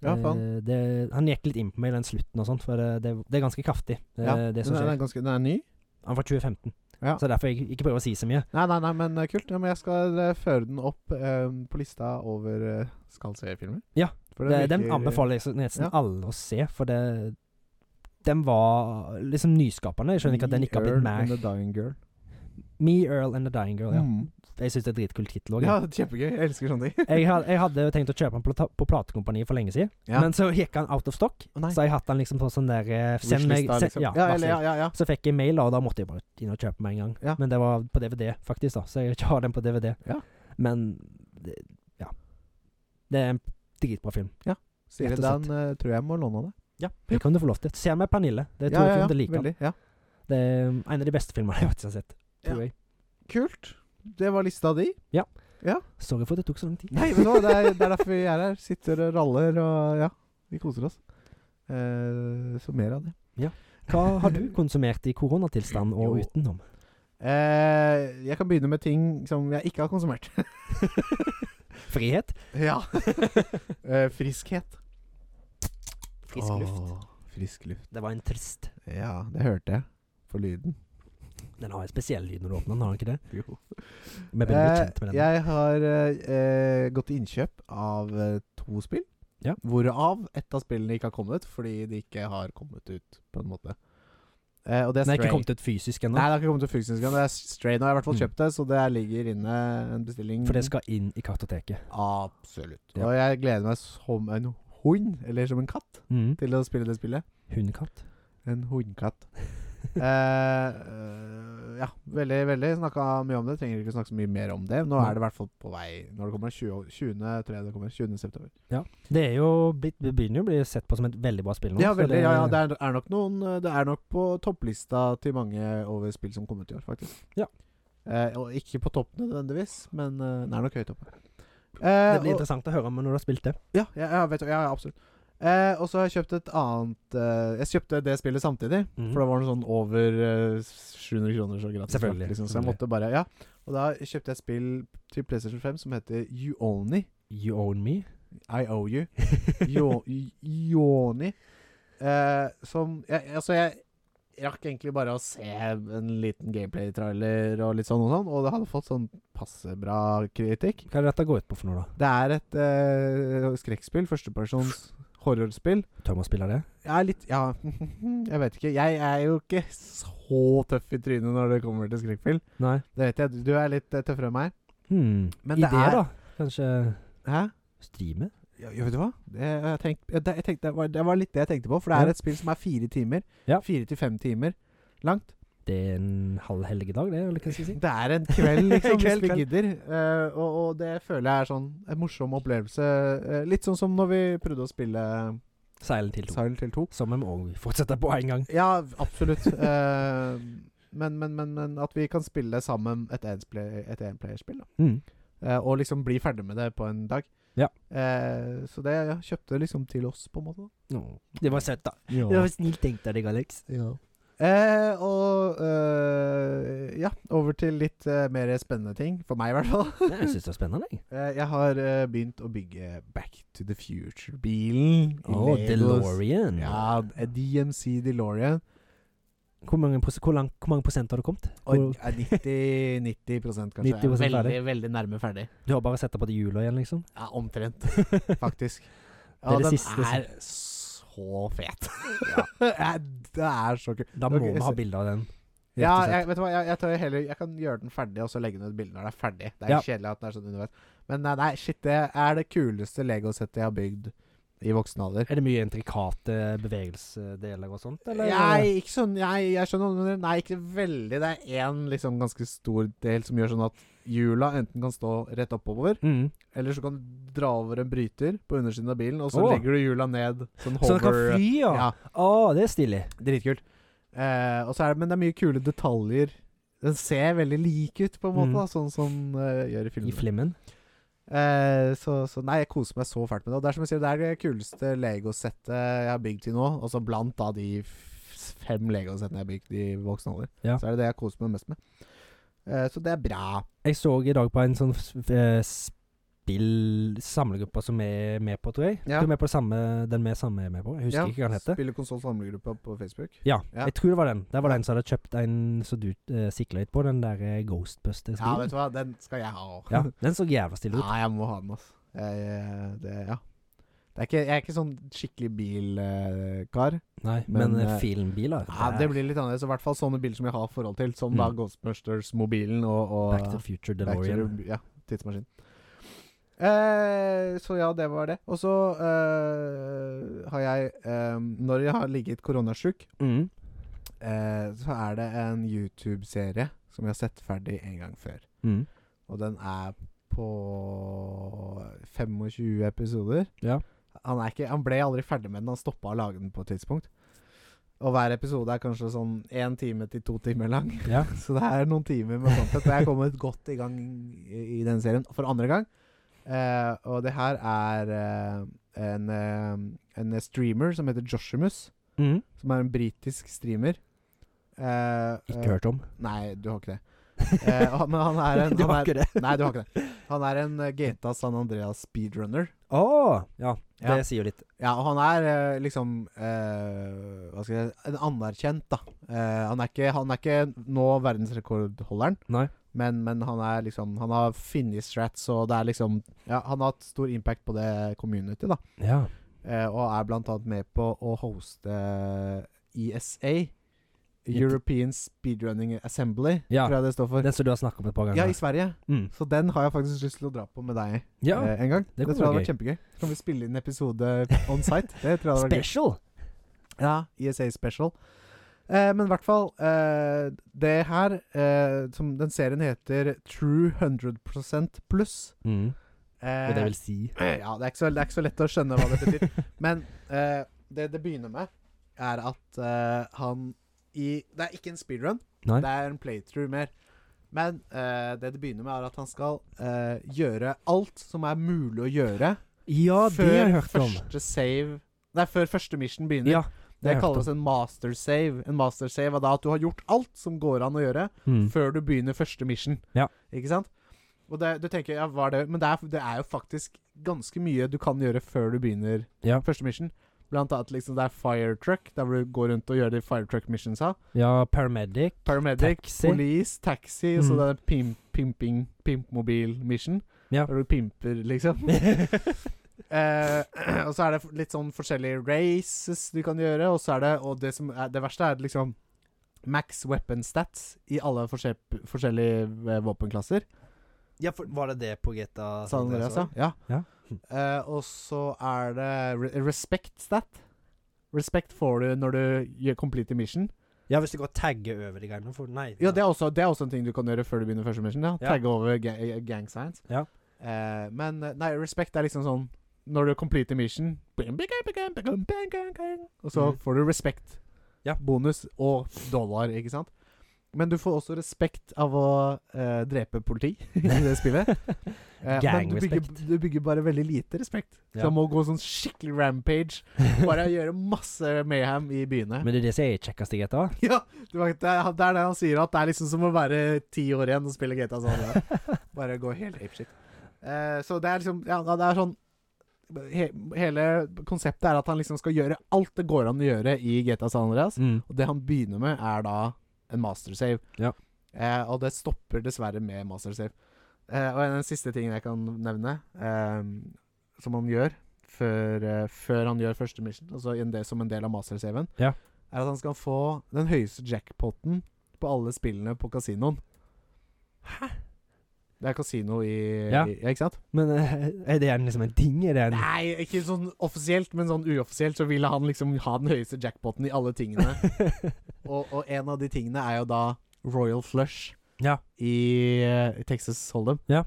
Ja, faen.
Eh, det, han gikk litt inn på meg i den slutten og sånt, for det, det, det er ganske kraftig, eh,
Ja.
det som
den, er- den, er
skjer.
ganske, den er ny?
Han er fra 2015,
Ja.
så derfor jeg ikke prøver å si så mye.
Nei, nei, nei, men eh, kult. Ja, men jeg skal eh, føre den opp eh, på lista over eh, skal se-filmer.
Ja,
For
Den, den
virker-
anbefaler jeg så- nesten
Ja.
alle å se, for det den var liksom nyskapende. Jeg skjønner ikke at den ikke har blitt
Me, Earl and
mer.
the Dying Girl.
Me, Earl and the Dying Girl. Ja.
Mm.
Jeg syns det er et dritkul tittel òg.
Ja, kjempegøy. Jeg elsker sånne ting.
Jeg, had- jeg hadde jo tenkt å kjøpe den på, ta- på platekompaniet for lenge siden.
Ja.
Men så gikk han out of stock,
Å, nei.
så jeg hatt han liksom på sånn der eh, Send meg
Wishlista,
se-
liksom.
ja,
ja, eller, ja,
varsel.
ja, ja.
Så fikk jeg mail, da, og da måtte jeg bare inn og kjøpe meg en gang.
Ja.
Men det var på DVD, faktisk, da, så jeg ikke har den på DVD.
Ja.
Men det, ja. Det er en dritbra film.
Siri,
Rett og slett.
den eh, tror jeg må låne av deg.
Det kan du få lov til. Se med Pernille. Det tror jeg du liker.
veldig, ja.
Det er um, en av de beste filmene jeg faktisk har sett. Tror jeg.
Kult. Det var lista di.
Sorry for at det tok så lang tid.
Nei, men nå, det, er, det er derfor vi er her. Sitter og raller og ja. Vi koser oss. Eh, så mer av det.
Hva har du konsumert i koronatilstand og
Jo.
utenom?
Eh, jeg kan begynne med ting som jeg ikke har konsumert.
Frihet?
ja. Eh, friskhet.
Frisk luft?
Åh, frisk luft.
Det var en trist.
Ja, det hørte jeg. For lyden.
Den har en spesiell lyd når du åpner den, har den ikke det?
Jo.
Vi begynner å bli kjent med den.
Eh, jeg har eh, eh, gått til innkjøp av eh, to spill.
Ja.
Hvorav ett av spillene ikke har kommet, fordi de ikke har kommet ut, på en måte. Eh, og det er
Den er
Stray.
ikke kommet ut fysisk ennå,
Nei, det har ikke kommet ut fysisk ennå. Det er Stray. Nå har jeg i hvert fall
Mm.
kjøpt det, så det ligger inne en bestilling.
for det skal inn i kartoteket.
Absolutt.
Ja.
Og jeg gleder meg som en hund, eller som en katt,
Mm.
til å spille det spillet.
Hundekatt.
En hundkatt. eh, eh, ja, veldig, veldig. Snakka mye om det. Trenger ikke snakke så mye mer om det. Nå
Nei.
er det i hvert fall på vei. Når det kommer 20, 20, tror jeg det kommer, 20. september.
Det er jo blitt, det begynner jo å bli sett på som et veldig bra spill nå.
Ja,
så
veldig, ja, ja, det er, er nok noen eh, Det er nok på topplista til mange over spill som kom ut i år, faktisk.
Ja.
Eh, og ikke på topp nødvendigvis, men eh, den er nok høyt oppe.
det
Eh,
blir
og-
interessant å høre om når du har spilt det.
Ja, ja, ja, vet du, ja, ja absolutt. Eh, og så har jeg kjøpt et annet eh, Jeg kjøpte det spillet samtidig,
Mhm.
for det var noe sånn over eh, 700 kroner så gratis.
Selvfølgelig,
Liksom, så jeg måtte bare Ja. Og da kjøpte jeg et spill til PlayStation 5 som heter You Only.
You Own Me.
I owe you. Yo- y- Yoni. Eh, som jeg, Altså, jeg rakk egentlig bare å se en liten gameplay-trailer og litt sånn og sånn, og det hadde fått sånn passe bra kritikk.
Hva er det dette går ut på for noe, da?
Det er et eh, skrekkspill. Førstepersons horrorspill.
Tør man spille det?
Jeg er litt Ja, jeg vet ikke. Jeg er jo ikke så tøff i trynet når det kommer til skrekkspill.
Nei.
Det vet jeg. Du er litt eh, tøffere enn meg.
Hmm.
Men det
Ideer,
er-
da? Kanskje
Hæ?
streame?
Ja, ja, vet du hva? Det, jeg tenkt, ja, det, jeg tenkte, det, var, det var litt det jeg tenkte på. For det
Ja.
er et spill som er fire timer.
Ja.
Fire til fem timer langt.
Det er en halv helgedag, det, eller hva skal jeg si?
Det er en kveld, liksom,
Kveld,
hvis vi
kveld.
gidder. Eh, og, og det føler jeg er sånn en morsom opplevelse. Eh, litt sånn som når vi prøvde å spille
Silent Hill 2.
Silent Hill 2.
Som vi må fortsette på en gang.
Ja, absolutt. Eh, men, men, men, men at vi kan spille sammen et enplay- et enplayerspill. da.
Mm.
Eh, og liksom bli ferdig med det på en dag.
Ja.
Eh, så det ja, kjøpte liksom til oss, på en måte. da.
Nå. Det var søtt, da. Det var snilt tenkt av deg, Alex.
Eh, og eh, ja, over til litt eh, mer spennende ting. For meg, i hvert fall.
Jeg syns det var spennende, jeg.
Eh, jeg har eh, begynt å bygge Back to the Future-bilen. i
Oh,
Legos.
DeLorean.
Ja, eh, DMC DeLorean.
Hvor mange, pros- hvor, lang, hvor mange prosent har du kommet?
Og
Hvor,
ja, 90, 90 kanskje.
90%
veldig,
ferdig.
veldig nærme ferdig.
du har bare sett deg på de hjula igjen, liksom?
Ja, omtrent, faktisk.
Det
Ja,
er det
den
siste som-
er så fet. ja. det er så kult.
Da må
Ok,
vi ha
så-
bilde av den. rett
Ja,
og slett.
jeg, vet du hva, jeg, jeg, tar jo heller, jeg kan gjøre den ferdig, og så legge den ut bilde når den er ferdig. Det er
Ja.
kjedelig at den er sånn underveis. Men nei, nei, shit, det er det kuleste legosettet jeg har bygd i voksen alder.
Er det mye intrikate bevegelsesdeler og sånt, eller?
Jeg, ikke sånn, jeg, jeg skjønner hva du mener. Nei, ikke veldig. Det er én liksom, ganske stor del som gjør sånn at hjula enten kan stå rett oppover,
Mm.
eller så kan du dra over en bryter på undersiden av bilen, og så
Åh.
legger du hjula ned. Sånn
Så den kan
hover
fly, ja.
Ja,
Å, Ah, det er stilig.
Dritkult. Eh, og så er det, men det er mye kule detaljer. Den ser veldig lik ut, på en måte,
Mm.
da, sånn som eh, gjør i
I
filmen.
flimmen.
Eh, så, så nei, jeg koser meg så fælt med det. Og det er som jeg sier, det er det kuleste legosettet jeg har bygd til nå. Også blant da de f- fem legosettene jeg har bygd i voksen alder.
Ja.
Så er det det jeg koser meg mest med. Eh, så det er bra.
Jeg så i dag på en sånn s- f- eh, spill Samlegruppe som er med på, tror jeg.
Ja.
Du er med på det samme, den vi samme er med på. Jeg husker ikke hva den heter.
Spiller konsol samlegruppa på Facebook.
Ja,
Ja.
jeg tror det var den. Der var det en som hadde kjøpt en som du uh, sikla litt på, den der eh,
Ja,
Ghostbusters-bilen.
vet du hva, den skal jeg ha.
Ja, den så jævla stille ut.
Ja, jeg må ha den, altså. Jeg, eh, det, ja. det er ikke, jeg er ikke sånn skikkelig bilkar.
Nei,
men,
men, eh,
eh,
filmbiler
Ja,
der,
det blir litt annerledes. I hvert fall sånne biler som jeg har forhold til, som da
Mm.
Ghostbusters-mobilen og, og
Back to the Future
Back to the-
DeLorean.
Ja, tidsmaskin. Eh, så ja, det var det. Og så eh, har jeg eh, Når jeg har ligget koronasjuk,
Mm.
eh, så er det en YouTube-serie som jeg har sett ferdig en gang før.
Mm.
Og den er på 25 episoder.
Ja.
Han, er ikke, han ble aldri ferdig med den. Han stoppa å lage den på et tidspunkt. Og hver episode er kanskje sånn én time til to timer lang.
Ja.
Så det er noen timer med content. Og jeg er kommet godt i gang i i den serien for andre gang. Eh, og det her er eh, en, eh, en streamer som heter Joshimus.
Mm.
Som er en britisk streamer. Eh,
Ikke
eh,
hørt om.
Nei, du har ikke det. Eh, han- men han er en
du
han
har
er,
ikke det?
Nei, du har ikke det. Han er en eh, GTA San Andreas speedrunner.
Å! ja, det
Ja.
sier jo litt.
Ja, og han er eh, liksom eh, Hva skal jeg si En anerkjent, da. Eh, han, er ikke, han er ikke nå verdensrekordholderen,
Nei.
men, men han er liksom Han har funnet strats, og det er liksom Ja, han har hatt stor impact på det community, da.
Ja.
Eh, og er blant annet med på å hoste ESA. European Speedrunning Assembly,
Ja.
tror jeg det står for.
Den som du har snakka om et par
Ja, i
ganger.
Sverige.
Mm.
Så den har jeg faktisk lyst til å dra på med deg
Ja.
eh, en gang.
det
Det,
kunne
tror jeg hadde
vært
vært kjempegøy. Så kan vi spille inn episode on site. Det tror jeg hadde vært gøy.
Special!
Ja, ESA Special. Eh, men i hvert fall eh, Det her, eh, som den serien heter True 100 pluss.
Mm.
Eh,
Og det vil si
ja, det er, ikke så, det er ikke så lett å skjønne hva det betyr. Men eh, det det begynner med, er at eh, han i Det er ikke en speedrun,
Nei.
det er en playthrough mer. Men eh, det det begynner med, er at han skal eh, gjøre alt som er mulig å gjøre
Ja, det har jeg
før
hørt om.
første save Nei, før første mission begynner.
Ja, har jeg
det
hørt
kalles en master save. En master save er da at du har gjort alt som går an å gjøre,
Mm.
før du begynner første mission.
Ja.
Ikke sant? Og det, du tenker, ja, hva er det? Men det er, det er jo faktisk ganske mye du kan gjøre før du begynner
Ja.
første mission. Blant annet liksom det er fire truck, der hvor du går rundt og gjør de fire truck missionsa.
ja, paramedic.
Paramedic,
Taxi.
police, taxi, og så
Mm.
det er pimp, pimping, pimpmobil mission.
Ja.
Der du pimper, liksom. Eh, og så er det litt sånn forskjellige races du kan gjøre, og så er det Og det som er det verste, er liksom max weapon stats i alle forskjell, forskjellige eh, våpenklasser.
ja, for, var det det på GTA?
San Andreas, ja. ja.
Ja.
Eh, og så er det re respect stat. Respect får du når du gjør complete mission.
Ja, hvis du går og tagger over de greiene. For nei.
Ja, det er, også, det er også en ting du kan gjøre før du begynner første mission. Ja.
Ja.
Tagge over ga gang signs.
Ja.
Eh, men eh, nei, respect er liksom sånn Når du completer mission bing, bing, bing, bing, bing, bing, bing, bing, Og så
Mhm.
får du respect.
Ja.
Bonus og dollar, ikke sant? Men du får også respekt av å eh, drepe politi i det spillet. Eh, men du bygger,
Gang-respekt.
du bygger bare veldig lite respekt. Så
Ja.
du må gå sånn skikkelig rampage. Bare gjøre masse mayhem i byene.
Men det er det som er kjekkest i GTA.
Ja, du vet, det er det er det han sier, at det er liksom som å være ti år igjen og spille GTA sånn. Ja. Bare gå helt apeshit. Eh, så det er liksom Ja, det er sånn he, Hele konseptet er at han liksom skal gjøre alt det går an å gjøre i GTA San Andreas.
Mm.
Og det han begynner med, er da en mastersave.
Ja.
Eh, og det stopper dessverre med mastersave. Eh, og en av de siste tingene jeg kan nevne, eh, som han gjør før, eh, før han gjør første mission, altså en del, som en del av mastersaven,
Ja.
er at han skal få den høyeste jackpoten på alle spillene på kasinoen. Det er kasino i
Ja.
i- ja ikke sant?
Men eh, er det en, liksom en ting? Er det en
Nei, ikke sånn offisielt, men sånn uoffisielt så ville han liksom ha den høyeste jackpoten i alle tingene. og, og en av de tingene er jo da Royal Flush
Ja.
i eh, Texas Hold'em.
Ja.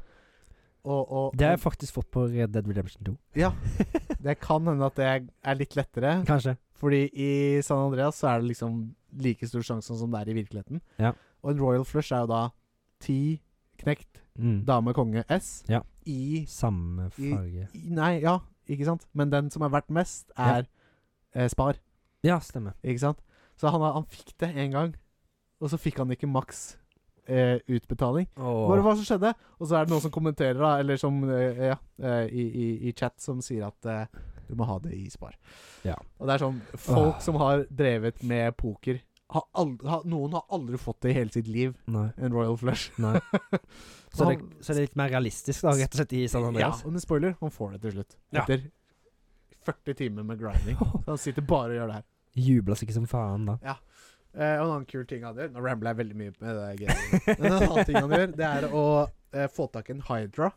Og, og
Det har jeg faktisk fått på Red Dead Redemption 2.
det kan hende at det er litt lettere,
Kanskje.
fordi i San Andreas så er det liksom like stor sjanse som det er i virkeligheten.
Ja.
Og en Royal Flush er jo da ti knekt
Mm.
dame konge S
Ja.
i
Samme farge.
i- Nei, ja, ikke sant? Men den som er verdt mest, er eh, Spar.
Ja, stemmer.
Ikke sant? Så han, han fikk det én gang, og så fikk han ikke maks eh, utbetaling. Hva var det hva som skjedde? Og så er det noen som kommenterer, da, eller som eh, ja, eh, i, i, i chat, som sier at eh, du må ha det i Spar.
Ja. Ah.
Og det er sånn Folk som har drevet med poker har aldri, har, Noen har aldri fått det i hele sitt liv,
Nei.
en Royal Flush.
Nei. Så, det,
han-
så det er litt mer realistisk, da, rett og slett, i San Andreas?
Ja, og med spoiler, han får det til slutt.
altså. Ja.
Etter 40 timer med grinding. Så han sitter bare og gjør det her.
Jubler seg ikke som faen, da.
Eh, og en annen kul ting han gjør Nå rambler jeg veldig mye med det greiene. Men en annen ting han gjør, det er å eh, få tak i en Hydra.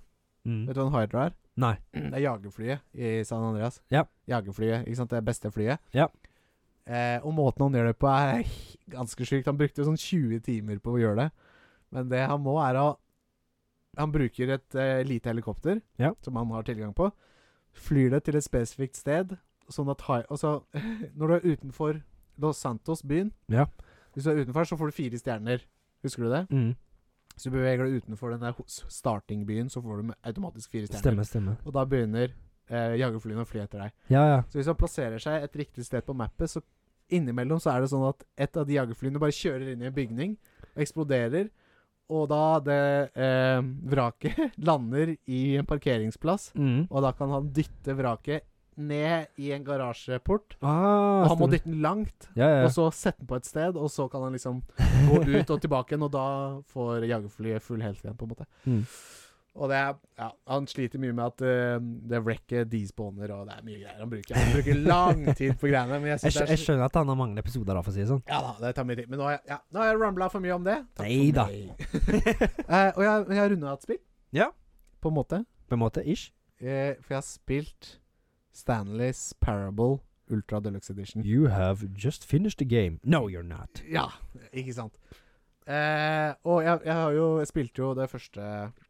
Mm.
Vet du hva en Hydra er?
Nei.
Det er jagerflyet i San Andreas.
Ja.
Jagerflyet, ikke sant? Det beste flyet.
Ja.
Eh, og måten han gjør det på, er ganske sjukt. Han brukte sånn 20 timer på å gjøre det. Men det han må, er å Han bruker et eh, lite helikopter
Ja.
som han har tilgang på. Flyr det til et spesifikt sted, sånn at hi- Og så, når du er utenfor Los Santos, byen
Ja.
Hvis du er utenfor, så får du fire stjerner. Husker du det?
Mm.
Hvis du beveger deg utenfor den der ho- startingbyen, så får du med- automatisk fire stjerner.
Stemmer, stemmer.
Og da begynner eh, jagerflyene å fly etter deg.
Ja, ja.
Så hvis han plasserer seg et riktig sted på mappet, så innimellom så er det sånn at et av de jagerflyene bare kjører inn i en bygning, eksploderer, og da det eh, vraket lander i en parkeringsplass,
Mm.
og da kan han dytte vraket ned i en garasjeport.
Ah,
Og han må
stemmer.
dytte den langt,
Ja, ja.
og så sette den på et sted, og så kan han liksom gå ut og tilbake igjen, og da får jagerflyet full health igjen, på en måte.
Mm.
Og det er, ja, han sliter mye med at eh, det wrecket despawner, og det er mye greier han bruker. Han bruker lang tid på greiene, men jeg
Jeg,
synes
skjø- jeg
det er så-
skjønner at han har mange episoder, da, for å si det sånn.
Ja da, det tar mye tid. Men nå har jeg, ja, nå har jeg rambla for mye om det. Takk for
Neida.
meg. Eh, og jeg, men jeg har runda et spill.
Ja.
På en måte.
På en måte, ish.
Eh, for jeg har spilt Stanleys Parable Ultra Deluxe Edition.
You have just finished the game. No, you're not.
Ja, ikke sant. Eh, og jeg, jeg har jo Jeg spilte jo det første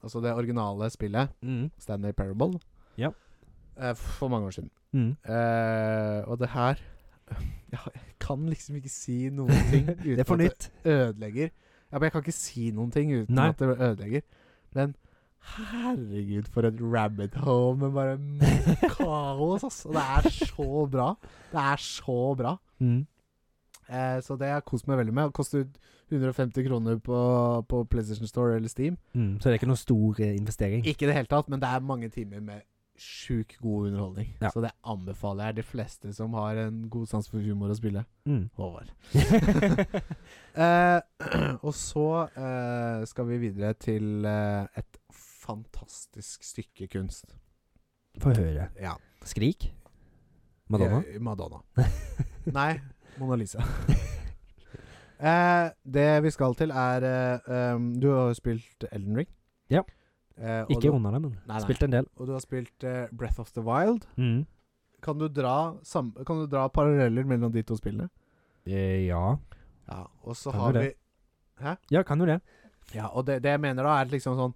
Altså det originale spillet,
Mm.
Stanley Parable,
Ja.
eh, for mange år siden.
Mm.
Eh, og det her jeg, har- jeg kan liksom ikke si noen ting uten
Det er for
at
nytt.
det ødelegger. Ja, men jeg kan ikke si noen ting uten
Nei.
at det ødelegger. Men herregud, for et rabbit hole med bare kaos, ass. Og det er så bra. Det er så bra.
Mm.
Eh, så det har jeg kost meg veldig med. Det koster 150 kroner på, på PlayStation Store eller Steam.
Mm. Så det er ikke noen stor eh, investering.
Ikke i det hele tatt, men det er mange timer med sjukt god underholdning.
Ja.
Så det anbefaler jeg de fleste som har en god sans for humor å spille.
Mm.
Håvard. eh, og så eh, skal vi videre til eh, et fantastisk stykke kunst.
Få høre.
Ja.
Skrik? Madonna?
Eh, Madonna. Nei, Mona Lisa. eh, det vi skal til, er eh, um, Du har jo spilt Elden Ring.
Ja.
Eh, og
Ikke
du,
runda det, men
Nei, nei.
spilte en del.
og du har spilt eh, Breath of the Wild.
Mm.
Kan du dra, sam kan du dra paralleller mellom de to spillene?
Eh, ja.
Ja, og så
Kan
har
du
vi
det? ja, kan jo det.
Ja, og det, det jeg mener da, er liksom sånn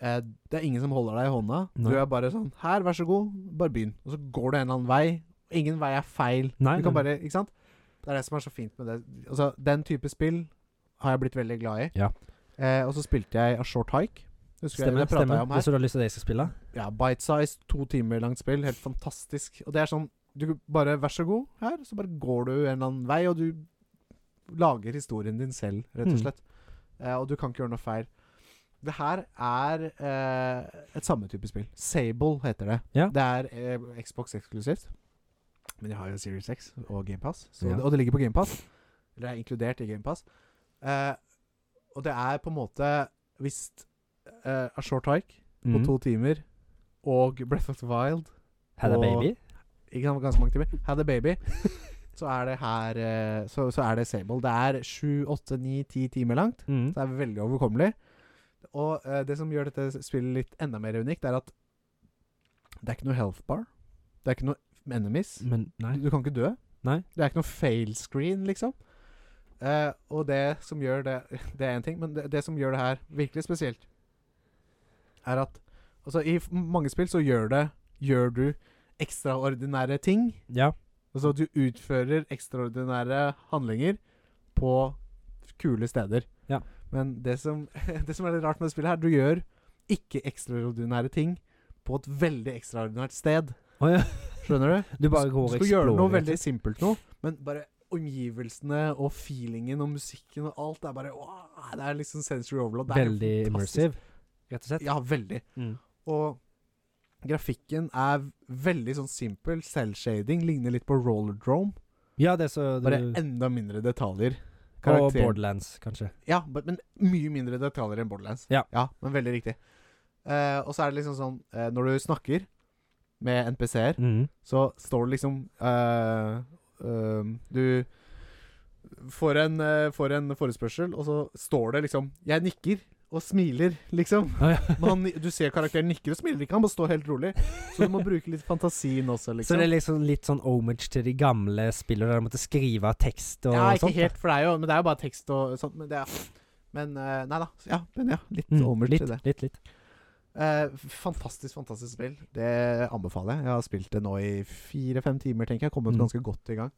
eh, Det er ingen som holder deg i hånda.
Nei.
Du er bare sånn Her, vær så god, bare begynn. Og så går du en eller annen vei. Ingen vei er feil.
Nei,
du kan
nei.
bare Ikke sant? Det er det som er så fint med det. Altså, den type spill har jeg blitt veldig glad i.
Ja.
Eh, og så spilte jeg A Short Hike. Husker
Stemmer.
jeg, det pratet
stemmer.
jeg om
Det er
her.
så du har lyst til det jeg skal spille?
Ja, Bite-size, to timer langt spill. Helt fantastisk. Og det er sånn Du bare Vær så god, her. Så bare går du en eller annen vei, og du lager historien din selv, rett og
Mm.
slett. Eh, og du kan ikke gjøre noe feil. Det her er eh, et samme type spill. Sable heter det.
Ja.
Det er eh, Xbox eksklusivt. Men jeg har jo Series X og GamePass,
Ja.
og det ligger på GamePass. Eller er inkludert i GamePass. Eh, og det er på en måte Hvis eh, A Short Hike på
Mm.
to timer og Breath of the Wild
Had a
og-
baby?
ikke sant, ganske mange timer. Had a baby. så er det her eh, så, så er det Sable. Det er sju, åtte, ni, ti timer langt.
Mm.
Så det er veldig overkommelig. Og eh, det som gjør dette spillet litt enda mer unikt, er at det er ikke noe health bar. Det er ikke noe enemies.
Men nei.
Du kan ikke dø.
Nei.
Det er ikke noe fail screen, liksom. Eh, og det som gjør det Det er én ting, men det, det som gjør det her virkelig spesielt, er at Altså, i f- mange spill så gjør det Gjør du ekstraordinære ting.
Ja.
Altså du utfører ekstraordinære handlinger på kule steder.
Ja.
Men det som, det som er litt rart med det spillet her, du gjør ikke ekstraordinære ting på et veldig ekstraordinært sted.
Å ja.
Skjønner du?
Du bare
Du
går og
skal gjøre noe
eksplorer.
veldig simpelt nå, men bare omgivelsene og feelingen og musikken og alt det er bare åh, Det er liksom sensory overload. Det er helt
Veldig
fantastisk.
immersive, rett og slett.
Ja, veldig.
Mm.
Og grafikken er veldig sånn simpel. Selvshading ligner litt på roller drome.
Ja, det er så du,
Bare enda mindre detaljer.
Og
Karakteren-
Borderlands, kanskje.
Ja, but, men mye mindre detaljer enn Borderlands.
Ja.
men veldig riktig. Eh, og så er det liksom sånn eh, Når du snakker med NPC-er,
Mm.
så står det liksom eh, ehm, Du får en, eh, får en forespørsel, og så står det liksom 'Jeg nikker og smiler', liksom.
Å ja.
Men han, du ser karakteren nikker og smiler ikke, han bare står helt rolig. Så du må bruke litt fantasien også,
Så
liksom.
det er liksom litt sånn homage til de gamle spillene der de måtte skrive tekst og
Ja, ikke
sånt? da.
helt, for det er jo Men det er jo bare tekst og sånt. Men det er Men eh, nei da. Så Ja, men ja, litt
Mm,
omert
litt,
til det.
litt, litt.
Eh, fantastisk, fantastisk spill. Det anbefaler jeg. Jeg har spilt det nå i fire-fem timer, tenker jeg. Kommet
Mm.
ganske godt i gang.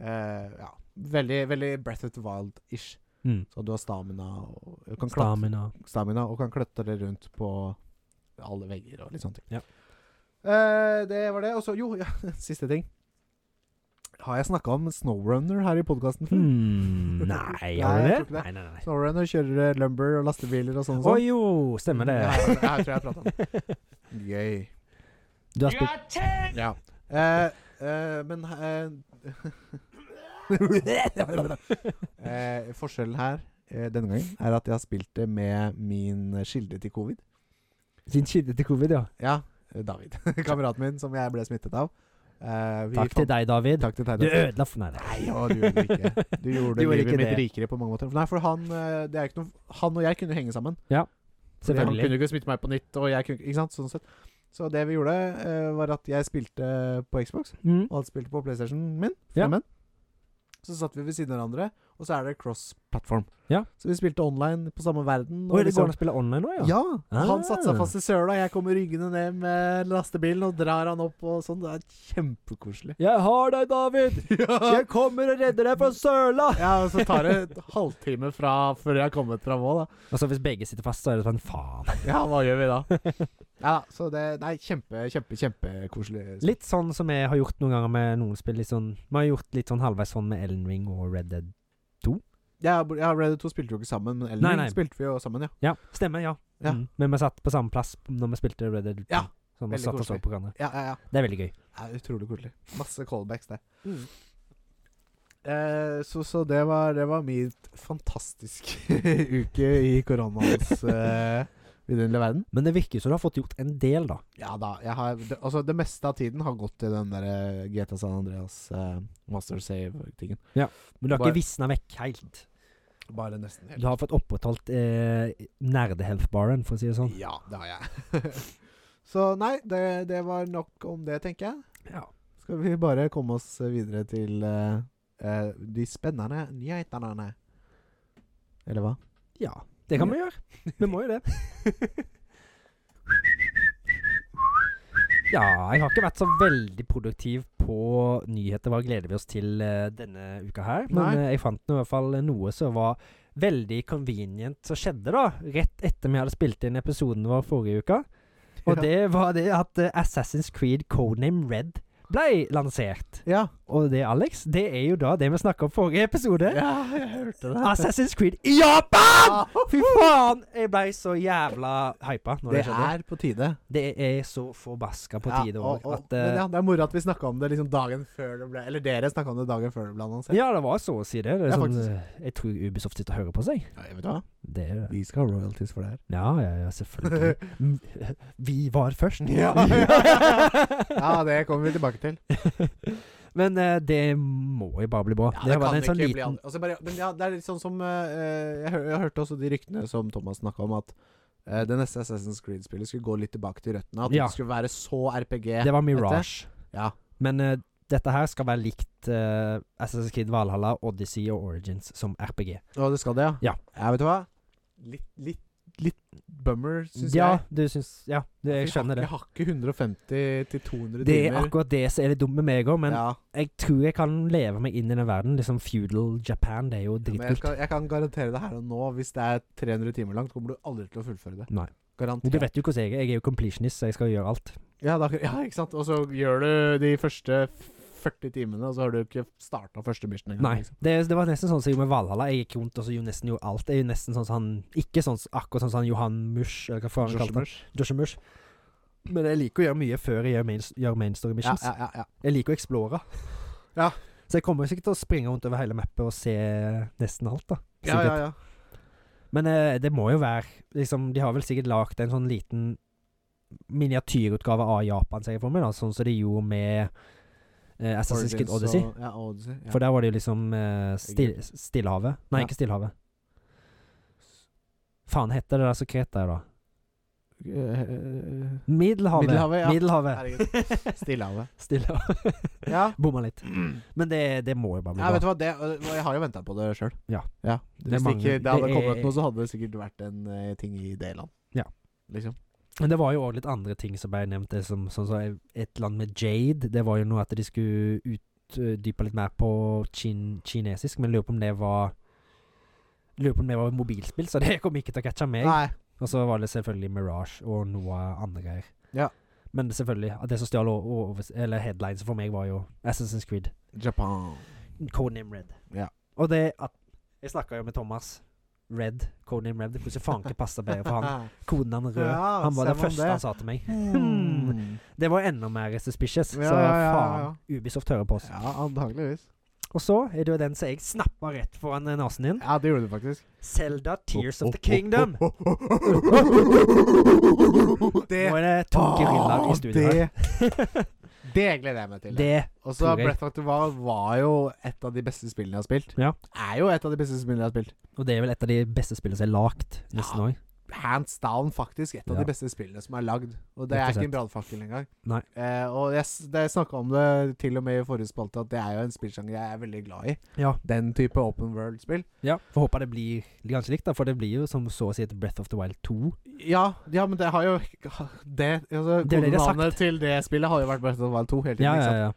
Eh, ja. Veldig veldig Breath of the Wild-ish.
Mm.
Så du har stamina og, du kan klatre,
Stamina.
stamina og kan kløtte det rundt på alle vegger og litt sånne ting.
Ja.
Eh, det var det. Og så, jo, ja, siste ting. Har jeg snakka om Snowrunner her i podkasten før?
Hmm, nei, har du
Nei,
det?
jeg tror ikke det.
Nei, nei, nei.
Snowrunner kjører eh, lumber og lastebiler og sånn.
Å jo, stemmer det.
Ja, jeg tror jeg pratet om Gøy.
Du har spilt
Ja. Eh, eh, men eh, eh, Forskjellen her eh, denne gangen er at jeg har spilt det med min kilde til covid.
sin kilde til covid, ja.
Ja, eh, David. Kameraten min som jeg ble smittet av. Eh, vi
Takk til
fant-
deg, David.
Takk til deg.
Du ødela for Nei, nei.
Nei, å, du gjorde det ikke. Du
Du
gjorde,
gjorde
livet
ikke
mitt
det.
rikere på mange måter. Nei, for han, eh, det er ikke noe, han og jeg kunne jo henge sammen. Fordi Han
Selvfølgelig.
kunne ikke smitte meg på nytt, og jeg kunne ikke- ikke sant? Sånn sett. Så det vi gjorde, eh, var at jeg spilte på Xbox,
Mm.
og han spilte på PlayStation min.
Ja.
Fremmen. Så satt vi ved siden av hverandre, og så er det cross-platform.
Ja.
Så vi spilte online på samme verden.
Oi, det
liksom-
går an å spille online nå, ja?
ja. Han
Ah.
satte seg fast i søla, jeg kommer ryggende ned med lastebilen og drar han opp og sånn. Det er kjempekoselig.
Jeg har deg, David!
Ja.
Jeg kommer og redder deg fra søla!
ja, og så tar det halvtime fra før jeg har kommet fram òg, da.
Altså, hvis begge sitter fast, så er det sånn faen.
Ja, hva gjør vi da? Ja da, så det Nei, kjempe, kjempe, kjempekoselig.
Litt sånn som jeg har gjort noen ganger med noen spill. Litt sånn, vi har gjort litt sånn halvveis sånn med Ellen Ring og Red Dead.
Ja, Br- ja Red Dead 2 spilte jo ikke sammen, men Elden
Nei,
Ring
nei.
spilte vi jo sammen, ja.
Ja, stemmer, ja.
Ja.
Mm. Men vi satt på samme plass når vi spilte Red Dead. 2,
Ja,
Sånn,
veldig
og satt og så
koselig.
på hverandre.
Ja, ja, ja.
Det er veldig gøy.
ja utrolig koselig. Masse callbacks der.
Mm.
Eh, så så det, var, det var mitt fantastiske uke i koronaens eh, vidunderlige verden.
Men det virker jo som du har fått gjort en del, da.
Ja da. Jeg har, det, altså, det meste av tiden har gått til den der eh, GTA San Andreas eh, master save-tingen.
Men du har ikke
Bare-
visna vekk helt.
Bare nesten
Du har fått opprettholdt eh, nerdehealth-baren, for å si det sånn.
Ja, det har jeg. så nei, det, det var nok om det, tenker jeg.
Ja.
Skal vi bare komme oss videre til eh, eh, de spennende nyhetene? Eller hva?
ja. Det kan vi gjøre. Vi må jo det. Ja, jeg har ikke vært så veldig produktiv på nyheter. Hva gleder vi oss til eh, denne uka her? Men
Nei.
eh, jeg fant nå i hvert fall noe som var veldig convenient som skjedde, da. Rett etter vi hadde spilt inn episoden vår forrige uke. Og
Ja.
det var det at eh, Assassin's Creed Codename Red ble lansert.
Ja.
Og det, Alex, det er jo da det vi snakka om forrige episode.
ja, jeg hørte det.
Assassin's Creed i Japan! Fy faen! Jeg ble så jævla hypa når det,
Ah, Det
skjedde.
er på tide.
Det er så forbaska på tide
ja, og-
òg at
og-
eh,
men ja, det er moro at vi snakka om det liksom dagen før det ble Eller dere snakka om det dagen før det ble annonsert.
ja, det var så å si det. det er
Ja,
sånn,
faktisk.
eh, jeg tror Ubisoft sitter og hører på seg.
Ja, jeg vet hva?
Det er det.
Vi skal ha royalties for det her.
Ja, ja, ja, selvfølgelig. Mm, Vi var først.
Ja. Ja, det kommer vi tilbake til.
Men eh, det må jo bare bli bra.
Ja,
det,
det
var
kan
en sånn
ikke bli
liten
an- altså bare, men ja, Det er litt sånn som eh, eh, jeg, hør, jeg hørte også de ryktene som Thomas snakka om, at eh, det neste Assassin's Creed-spillet skulle gå litt tilbake til røttene. At
Ja.
det skulle være så RPG.
Det var Mirage.
Ja.
Men eh, dette her skal være likt eh, Assassin's Creed Valhalla, Odyssey og Origins som RPG.
Og det skal det,
Ja.
ja vet du hva? Litt, litt, litt bummer, syns
ja,
jeg.
du syns Ja, du, jeg skjønner
Vi
det.
har ikke 150 til 200
Det er
timer.
akkurat det som er litt dumt med meg òg, men
ja.
jeg tror jeg kan leve meg inn i den verden. Liksom feudal Japan, det er jo
Men jeg,
dritkult.
skal, jeg kan garantere det her og nå, hvis det er 300 timer langt, kommer du aldri til å fullføre det.
Nei. Men Du
Garantert.
vet jo hvordan jeg er. Jeg er jo completionist, så jeg skal gjøre alt.
Ja, da, ja, ikke sant? Og så gjør du de første 40 timene, og så har du ikke starta første mission engang.
Nei.
liksom.
Det, det var nesten sånn som jeg gjorde med Valhalla. Jeg gikk rundt og så gjorde nesten gjorde alt. Jeg er jo nesten sånn som han Ikke sånn som- akkurat sånn som han Johan Mush, eller hva faen han
Josh
kalte han.
Mush.
Joshua Mush. Men jeg liker å gjøre mye før jeg gjør main, gjør main story
Ja,
missions.
ja, ja, ja.
Jeg liker å explore.
Ja.
Så jeg kommer sikkert til å springe rundt over hele mappet og se nesten alt, da.
ja, ja,
Sikkert.
ja.
Men eh, det må jo være liksom, De har vel sikkert lagd en sånn liten miniatyrutgave av Japan, ser jeg for meg, da. Sånn som de gjorde med eh, Assassin's Creed
Origins
Odyssey.
og- Ja, Odyssey. Ja.
For der var det jo liksom eh, still,
Egypt.
Stillehavet. Nei,
Ja.
ikke Stillehavet. Faen heter det der så kret der, da?
Eh,
Middelhavet.
Middelhavet, ja.
Middelhavet.
Herregud. Stillehavet.
Stillehavet.
Ja.
Bomma litt. Men det, det må jo bare bli
ja,
bra.
vet du hva, det, øh, jeg har jo venta på det sjøl.
Ja. Det
Hvis det
mangler-
ikke det hadde
det er-
kommet noe, så hadde det sikkert vært en eh, ting i det land.
Ja.
Liksom.
Men det var jo òg litt andre ting som ble nevnt. Det som, sånn som et land med Jade. Det var jo noe at de skulle utdype litt mer på kin kinesisk, men lurer på om det var Lurer på om det var mobilspill, så det kom ikke til å catche meg.
Nei.
Og så var det selvfølgelig Mirage og noe andre greier.
Ja.
Men selvfølgelig, at det som stjal o- overs- Eller headlines for meg, var jo Assassin's Creed.
Japan.
Codename Red.
Ja.
Og det at Jeg snakka jo med Thomas. Red. Codename Red. Hvordan faen ikke passer bedre for han? Koden han rød.
Ja,
han var
ser
det
man
første
det.
han sa til meg.
Hmm.
Det var enda mer suspicious.
Ja,
så
ja, ja, ja,
faen, Ubisoft hører på oss.
Ja, antageligvis.
Og så er det jo den som jeg snappa rett foran eh, nesen din.
Ja, det gjorde du faktisk.
Selda Tears of the Kingdom. oh,
Det
Nå er det to gorillaer i
Åh,
studio her.
det, det gleder jeg meg til.
Det
Og så
tror jeg.
Breath of the Wild var jo et av de beste spillene jeg har spilt.
Ja.
Er jo et av de beste spillene jeg har spilt.
Og det er vel et av de beste spillene som er lagd, nesten
Ja.
òg.
Hands down, faktisk. Et av
Ja.
de beste spillene som er lagd. Og det
Rett og
er ikke
slett.
en brannfakkel engang.
Nei.
Eh, og jeg, s- det jeg snakka om det til og med i forrige spalte, at det er jo en spillsjanger jeg er veldig glad i.
Ja.
Den type open world-spill.
ja. Får håpe det blir ganske likt, da, for det blir jo som så å si et Breath of the Wild 2.
Ja, ja, men det har jo Det, altså,
Det er det de har
kodenavnet til det spillet har jo vært Breath of the Wild 2 hele tiden.
Ja,
ikke
ja,
sant?
ja.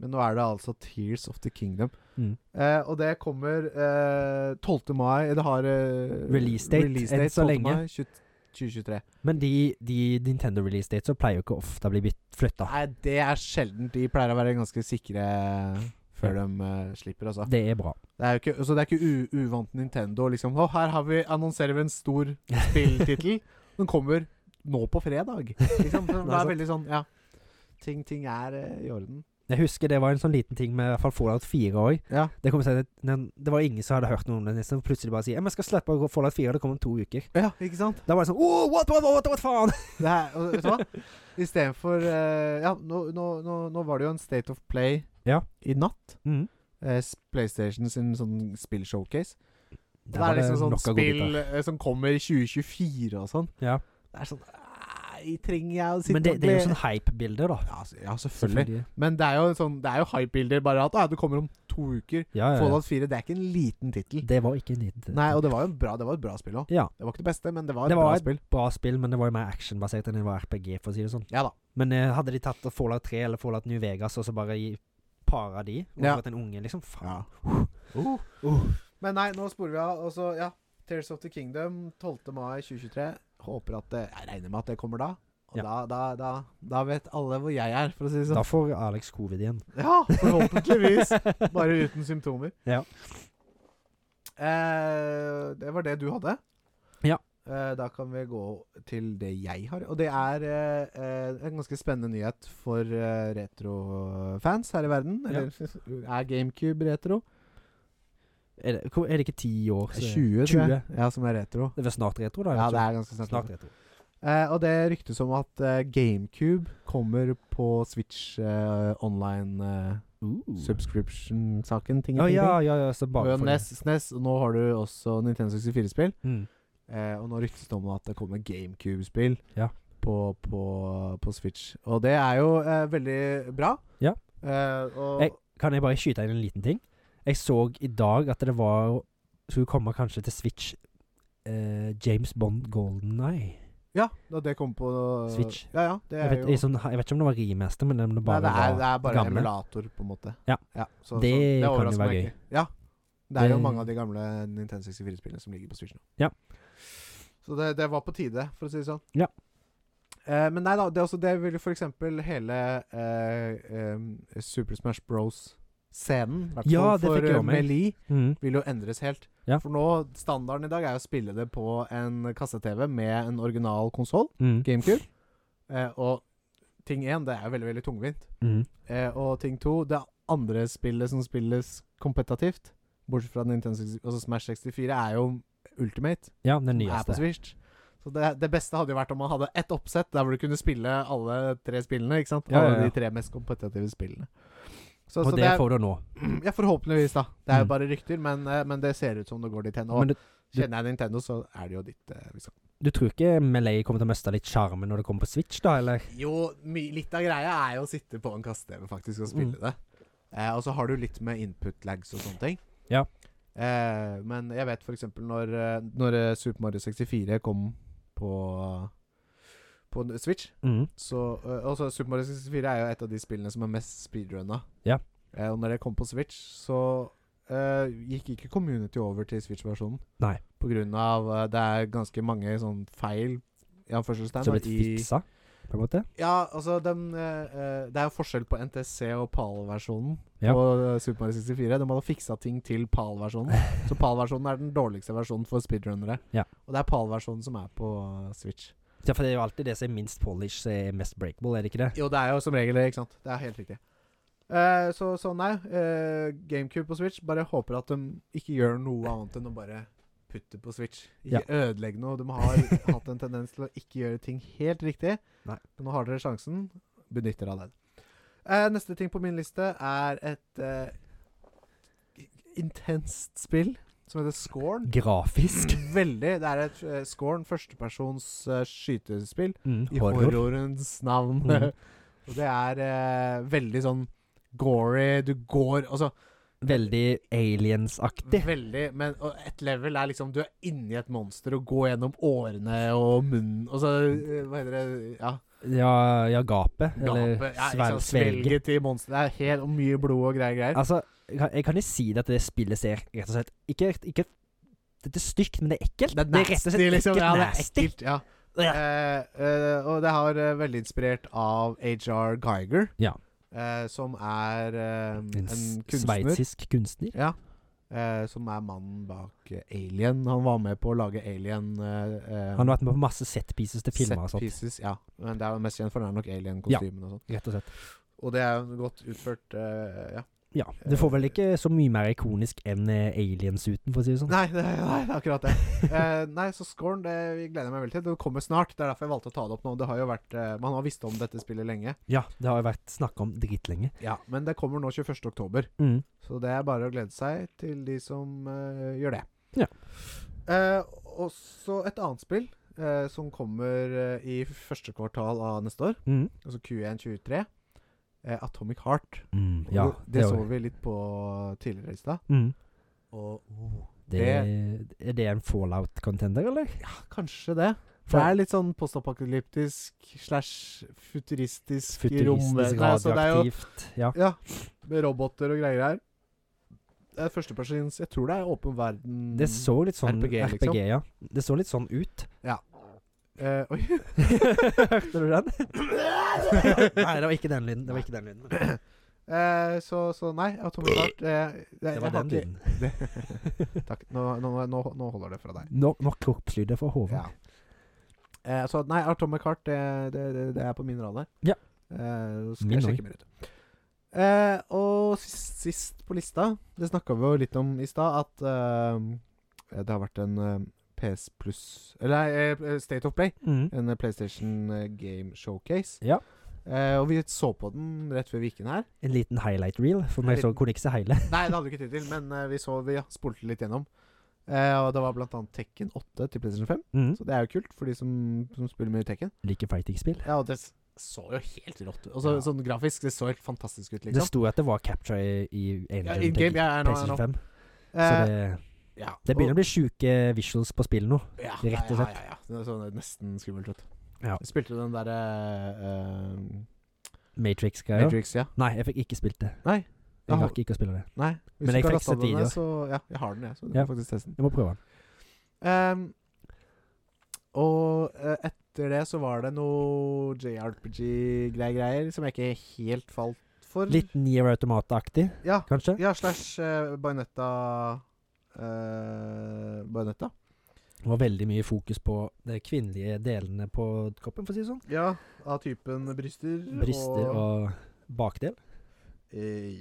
Men nå er det altså Tears of the Kingdom.
Mm.
Eh, og det kommer eh, 12. mai Det har eh,
Release date, enn så
12.
lenge.
Mai, 20, 2023.
Men de, de Nintendo release dates så pleier jo ikke ofte å bli flytta.
Nei, det er sjelden. De pleier å være ganske sikre før de eh, slipper, altså.
Det er bra.
Det er jo ikke, så det er ikke u uvant Nintendo. Liksom. Å, her har vi, annonserer vi en stor spilltittel. Den kommer nå på fredag. Liksom. Så Det
Nei,
er veldig sånn, ja. Ting, ting er eh, i orden.
Jeg husker det var en sånn liten ting med i hvert fall Fallout 4 òg.
Ja.
Det, kom seg, den, det var ingen som hadde hørt noe om det. Nissen. Plutselig bare sier «Ja, men 'Jeg skal slippe å gå Fallout 4', det kommer om to uker'.
ja, ikke sant?
Da var det sånn oh, what, what, what, what, faen?
Det er, og, vet du hva? Istedenfor uh, Ja, nå, nå, nå, nå var det jo en State of Play
Ja.
i natt.
Mm.
Eh, s- PlayStation sin sånn spillshowcase.
Der
Det
var
er liksom sånn
nok av godbiter.
spill eh, som kommer i 2024 og sånn.
Ja.
Det er sånn Nei, trenger jeg å sitte
Men det,
og
det er jo
glede-
sånn hype-bilder, da.
ja, s- ja, selvfølgelig. Men det er jo, en sånn, det er jo hype-bilder, bare at ah, det kommer om to uker.
Ja, ja, ja.
Fallout 4 det er ikke en liten tittel.
Det var ikke nydelig.
Nei, og det var jo en bra, det var et bra spill òg.
Ja.
Det var ikke det beste, men det var et
Det var
bra
et-
spill.
Bra spill, men det var jo mer actionbasert enn det var RPG, for å si det sånn.
Ja da.
Men eh, hadde de tatt Fallout 3 eller Fallout New Vegas og så bare i- para de, og
Ja.
fått en unge, liksom Faen.
Uh. Men nei, nå sporer vi av. Og så, ja. Tears of the Kingdom 12. mai 2023. Håper at det, Jeg regner med at det kommer da. Og
Ja.
da, da, da, da vet alle hvor jeg er, for å si det sånn.
Da får Alex covid igjen.
Ja, forhåpentligvis. Bare uten symptomer.
Ja.
Eh, det var det du hadde.
Ja.
Eh, da kan vi gå til det jeg har. Og det er eh, eh, en ganske spennende nyhet for eh, retrofans her i verden.
Ja.
Eller er GameCube retro?
Er det, hvor- er det ikke ti år? så-
20, tror jeg. Ja, som er retro.
Det er vel snart retro, da?
Ja,
vet du.
det er ganske snart.
snart retro.
Eh, og det ryktes om at eh, GameCube kommer på Switch eh, online eh, subscription-saken. ting
Oh. Å
og ting,
ja,
ting.
ja, ja, så
Og
bare for det.
NES, SNES, og nå har du også Nintendo 64-spill.
Mm.
Eh, og nå ryktes det om at det kommer GameCube-spill
Ja.
på, på, på Switch. Og det er jo eh, veldig bra.
Ja.
Eh, og
Jeg- Kan jeg bare skyte inn en liten ting? Jeg så i dag at det var Skulle komme kanskje til Switch eh, James Bond Golden Eye.
ja, da det kommer på
Switch.
Ja, ja. Det
Jeg
er
vet,
jo
i sånn, jeg vet ikke om det var remaster, men om det bare
Nei, det er,
var
det er bare en
gamle.
emulator, på en måte.
Ja. Det
så, så
kan jo
overrasker
være
meg
gøy.
ikke. Ja. Det er jo
Det-
mange av de gamle Nintendo 64-spillene som ligger på Switch nå.
Ja.
Så det, det var på tide, for å si det sånn.
Ja.
Eh, men nei da, det, er også, det vil jo for eksempel hele eh, em, Super Smash Bros-scenen, i hvert
Ja, det
fall
fikk
for
jeg
eh,
med meg.
Melee,
Mm.
vil jo endres helt.
Ja.
For nå, standarden i dag er jo å spille det på en kasse-TV med en original konsoll,
Mm.
GameCube. Eh, og ting én, det er jo veldig, veldig tungvint.
Mm.
Eh, og ting to, det andre spillet som spilles kompetativt, bortsett fra Nintendo 64, altså Smash 64, er jo Ultimate.
Ja, den
som Er på
nyeste.
Switch. Så det, det beste hadde jo vært om man hadde ett oppsett der hvor du kunne spille alle tre spillene. ikke sant?
Ja, ja,
Alle
ja.
de tre mest kompetative spillene. Så,
Og
så det,
det
er,
får du nå.
ja, forhåpentligvis, da. Det er
Mm.
jo bare rykter, men, eh, men det ser ut som det går dit hen. Og
Men du,
kjenner jeg Nintendo, så er det jo ditt. eh, liksom.
du tror ikke Melee kommer til å miste litt sjarmen når det kommer på Switch, da? Eller?
Jo, my, litt av greia er jo å sitte på en kasse-TV faktisk og spille
Mm.
det. Eh, og så har du litt med input lags og sånne ting.
Ja.
Eh, men jeg vet f.eks. når, eh, når eh, Super Mario 64 kom på På en Switch
Mm.
så, eh, Og så Super Mario 64 er jo et av de spillene som er mest speedrunna.
Ja.
Eh, og når det kom på Switch, så eh, gikk ikke community over til Switch-versjonen.
Nei.
På grunn av eh, det er ganske mange sånn feil i anførselstegn
Som
da,
blitt
i-
fiksa, på en måte?
ja, altså den, eh, eh, Det er jo forskjell på NTC og PAL-versjonen
Ja.
på eh, Super Mario 64. De hadde fiksa ting til PAL-versjonen. Så PAL-versjonen er den dårligste versjonen for speedrunnere.
Ja.
Og det er PAL-versjonen som er på eh, Switch.
Ja, for det er jo alltid det som er minst polish, som er mest breakable, er det ikke det?
Jo, det er jo som regel det, ikke sant? Det er helt riktig. Eh, så, så nei, eh, GameCube på Switch. Bare håper at de ikke gjør noe annet enn å bare putte på Switch.
Ja.
Ikke ødelegge noe. De har hatt en tendens til å ikke gjøre ting helt riktig.
Nei.
Men nå har dere sjansen. Benytt dere av den. Eh, neste ting på min liste er et eh, intenst spill som heter Scorn.
Grafisk.
Veldig. Det er et eh, Scorn førstepersons eh, skytespill
Mm.
i
Horror.
horrorens navn.
Mm.
og det er eh, veldig sånn gory. Du går Altså
Veldig aliens-aktig.
veldig Men og et level er liksom Du er inni et monster og går gjennom årene og munnen Og så eh, Hva heter det? Ja.
Ja, ja gapet. Eller
Gapet. Ja, ikke
svel,
sant,
svelget.
svelget til monsteret. Det er helt og mye blod og greier. greier.
Altså, jeg kan- jeg kan jo si det at det spillet ser rett og slett Ikke, ikke Dette er stygt, men det er ekkelt.
Det er nasty,
rett og slett
liksom.
ekkelt
Ja, det er
nasty.
ekkelt. Ja.
Ja.
Eh, eh, og det har eh, veldig inspirert av HR Geiger,
Ja.
eh, som er eh,
En
en
s-
kunstner.
sveitsisk kunstner.
Ja. Eh, som er mannen bak eh, Alien. Han var med på å lage Alien eh, eh,
Han har vært med på masse setpieces til filmer og
set
sånt.
pieces, ja. Men det er jo mest kjent for det er nok Alien-kostymene og sånn.
Rett og slett.
Og det er jo godt utført eh, ja.
Ja. Det får vel ikke så mye mer ikonisk enn eh, aliens-uten, for å si det sånn.
Nei, det, nei, det er akkurat det. Eh, nei, så Scorn det gleder jeg meg veldig til. Det kommer snart. Det er derfor jeg valgte å ta det opp nå. Det har jo vært eh, Man har visst om dette spillet lenge.
Ja, det har jo vært snakka om dritlenge.
Ja, Men det kommer nå 21. oktober.
Mm.
Så det er bare å glede seg til de som eh, gjør det.
Ja.
Eh, også et annet spill eh, som kommer eh, i første kvartal av neste år,
Mm.
altså Q1 23. eh, Atomic Heart.
Mm. Ja,
Og det, det så
var-
vi litt på tidligere i stad.
Mm.
Og
Det, er det en fallout-contender, eller?
kanskje det. For det er litt sånn postapokalyptisk slash futuristisk, i rommet.
Futuristisk,
Nei, så det er jo
radioaktivt. Ja.
Ja, med roboter og greier her. Det er førstepersons Jeg tror det er åpen verden.
Det så litt sånn
RPG,
RPG,
liksom.
ja. Det så litt sånn ut.
Eh, oi.
Hørte du den? Nei, det var ikke den lyden. Det var ikke den lyden. men
Eh, så, så nei, Atomic Heart eh, det,
Det
jeg
var
har
den
ikke-
lyden.
Takk. Nå, nå, nå, nå holder det fra deg.
Nok no, kroppslyder fra hodet.
Ja. Eh, så nei, Atomic Heart, det, det, det, det er på min radar.
Ja.
Eh, så skal
Min
jeg sjekke mer ut. Eh, og sist, sist på lista, det snakka vi jo litt om i stad, at eh, det har vært en eh, PS Plus Eller nei, eh, State of Play.
Mm.
En eh, PlayStation eh, Game Showcase.
Ja.
Eh, og vi så på den rett før vi gikk inn her.
En liten highlight reel, for meg så kunne ikke se hele.
Nei, det hadde vi ikke tid til, men eh, vi så vi ja, spolte litt gjennom. Eh, og det var blant annet Tekken 8 til PlayStation 5.
Mm.
Så det er jo kult for de som, som spiller mye Tekken.
Liker fighting-spill.
Ja, og det s- så jo helt rått ut. Og så-
Ja.
Sånn grafisk, det så helt fantastisk ut,
Det
liksom.
sto at det var capture i, i
Ja,
engine
in
til
game, ja, ja, nå, ja,
PlayStation
nå.
5. Så
Eh,
det,
ja,
det begynner å
og-
bli sjuke visuals på spillet nå.
ja,
bli rett og
ja,
slett.
Ja, ja, ja. Det så nesten skummelt ut.
Ja.
Jeg spilte den derre eh, eh,
Matrix-greier.
Matrix, ja.
Nei, jeg fikk ikke spilt det.
Nei. Jeg
Jeg
har-
rakk ikke å spille det.
Nei. Hvis
Men
du
jeg
ikke har
fikk sett
lastet den ned,
videoer.
Så, ja, jeg har den, jeg. Så du
Ja.
får faktisk teste den.
Jeg må prøve den.
Ehm, og eh, etter det så var det noe JRPG-greier som jeg ikke helt falt for.
Litt Nier Automata-aktig,
Ja,
kanskje?
ja slash uh, Bajonetta eh, Bajonetta.
Det var veldig mye fokus på de kvinnelige delene på kroppen, for å si det sånn.
Ja, av typen bryster.
Bryster og bakdel.
Eh,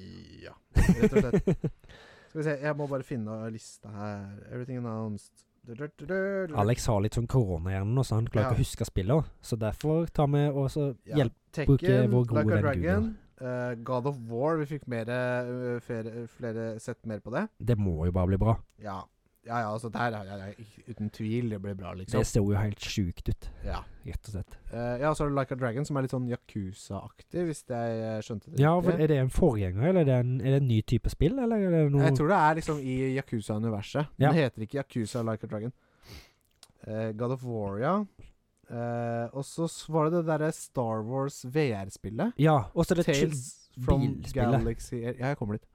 Ja, rett og slett. Skal vi se, jeg må bare finne lista her. Everything announced Du, du, du, du, du.
Alex har litt sånn koronahjerne nå, så han klarer ikke
Ja.
å huske spillet. også. Så derfor tar vi og så
Ja.
hjelp.
Tekken,
Bruke vår gode
Like a
venn
Dragon, eh, God of War. Vi fikk mere, eh, flere, flere sett mer på det.
Det må jo bare bli bra.
Ja, ja, ja altså der er jeg ikke- uten tvil det blir bra, liksom.
Det ser jo helt sjukt ut,
Ja.
rett og slett.
Eh, ja, så er det Like a Dragon, som er litt sånn Yakuza-aktig, hvis jeg eh, skjønte det
Ja,
riktig.
vel, Er det en forgjenger, eller er det en, er det en ny type spill? Eller er det noe
Jeg tror det er liksom i Yakuza-universet.
Ja.
Men det heter ikke Yakuza Like a Dragon. Eh, God of War, ja. Eh, og så s- var det det derre Star Wars VR-spillet.
Ja, og så er det
Tales from
bilspillet.
Galaxy Ja, jeg kommer dit.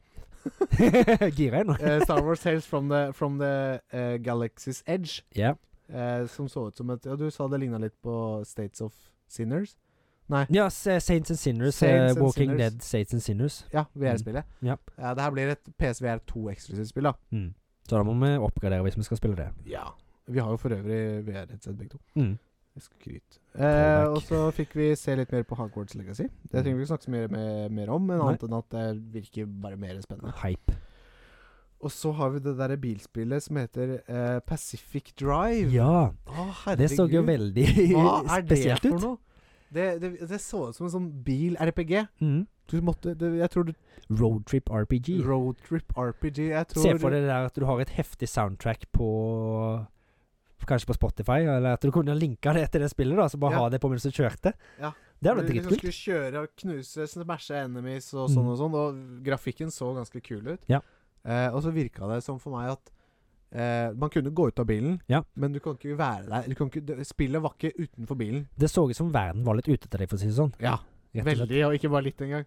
Gira jeg nå?
Eh, Star Wars Tales from the, from the eh, Galaxy's Edge.
Ja.
Eh, som så ut som et Ja, du sa det ligna litt på States of Sinners.
ja, S- Saints and Sinners. eh,
Saints and
Walking
Sinners.
Dead, Saints and Sinners.
Ja, VR-spillet.
Ja.
det her blir et PSVR 2 eksklusivt spill, da.
Mm. Så da må vi oppgradere hvis vi skal spille det.
Ja. Vi har jo for øvrig VR-headset, begge to.
Mm.
Skryt. Eh, og så fikk vi se litt mer på Hogwarts Legacy. Det trenger vi ikke snakke så mye mer, mer om, men
Nei.
annet enn at det virker bare mer spennende.
Hype.
Og så har vi det derre bilspillet som heter eh, Pacific Drive.
Ja,
Å,
det så jo
herregud.
veldig
Hva er det
spesielt
for
ut.
noe? Det, det, det så ut som en sånn bil-RPG.
Mm.
Du måtte det, Jeg tror du
Roadtrip RPG.
Roadtrip RPG. Jeg tror
Se for deg det der at du har et heftig soundtrack på Kanskje på Spotify, eller at du kunne linka det til det spillet, da, så bare
Ja.
ha det på mens du kjørte.
Ja.
Det hadde
du
vært
liksom
dritkult. Mm.
skulle kjøre og knuse, smashe enemies og sånn og sånn. Og grafikken så ganske kul ut.
Ja.
Eh, og så virka det som for meg at eh, man kunne gå ut av bilen,
Ja.
men du kan ikke være der. Du kan ikke, det- spillet var ikke utenfor bilen.
Det så ut som verden var litt ute etter deg, for å si det sånn.
Ja,
Rett og slett.
Veldig, og ikke bare litt engang.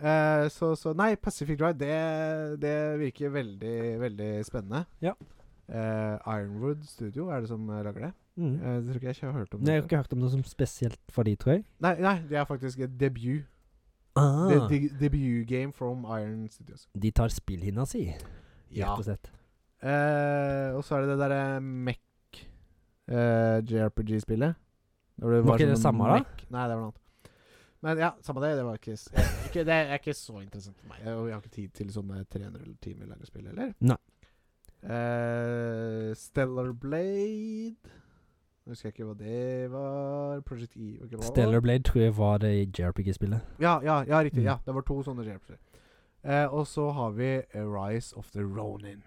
Eh, så, så nei, Pacific Drive, det, det virker veldig, veldig spennende.
Ja.
Eh, Ironwood Studio er det som eh, lager det.
Mm.
Eh, jeg tror ikke jeg ikke har hørt om
Nei, Jeg har
det.
ikke hørt om noe som spesielt for de, tror jeg.
Nei, nei, det er faktisk et debut.
Ah, de,
De, de, debut game from Iron Studios.
tar spillhinna si,
Ja.
rett og slett.
Eh, og så er det det derre Mech eh, JRPG-spillet. Var, sånn
Var ikke det samme, da?
Nei, det var noe annet. Men ja, samme det. Det var ikke, s- eh, ikke Det er ikke så interessant for meg. Jeg, og jeg har ikke tid til sånne 300 timer lange spill heller.
Nei.
Eh, Stellar Blade Nå husker jeg ikke hva det var. Project E var ikke hva det var.
Stellar Blade tror jeg var det i JRPG-spillet.
Ja, ja, ja, riktig.
Mm.
Ja, det var to sånne JRPG. Eh, og så har vi eh, Rise of the Ronin.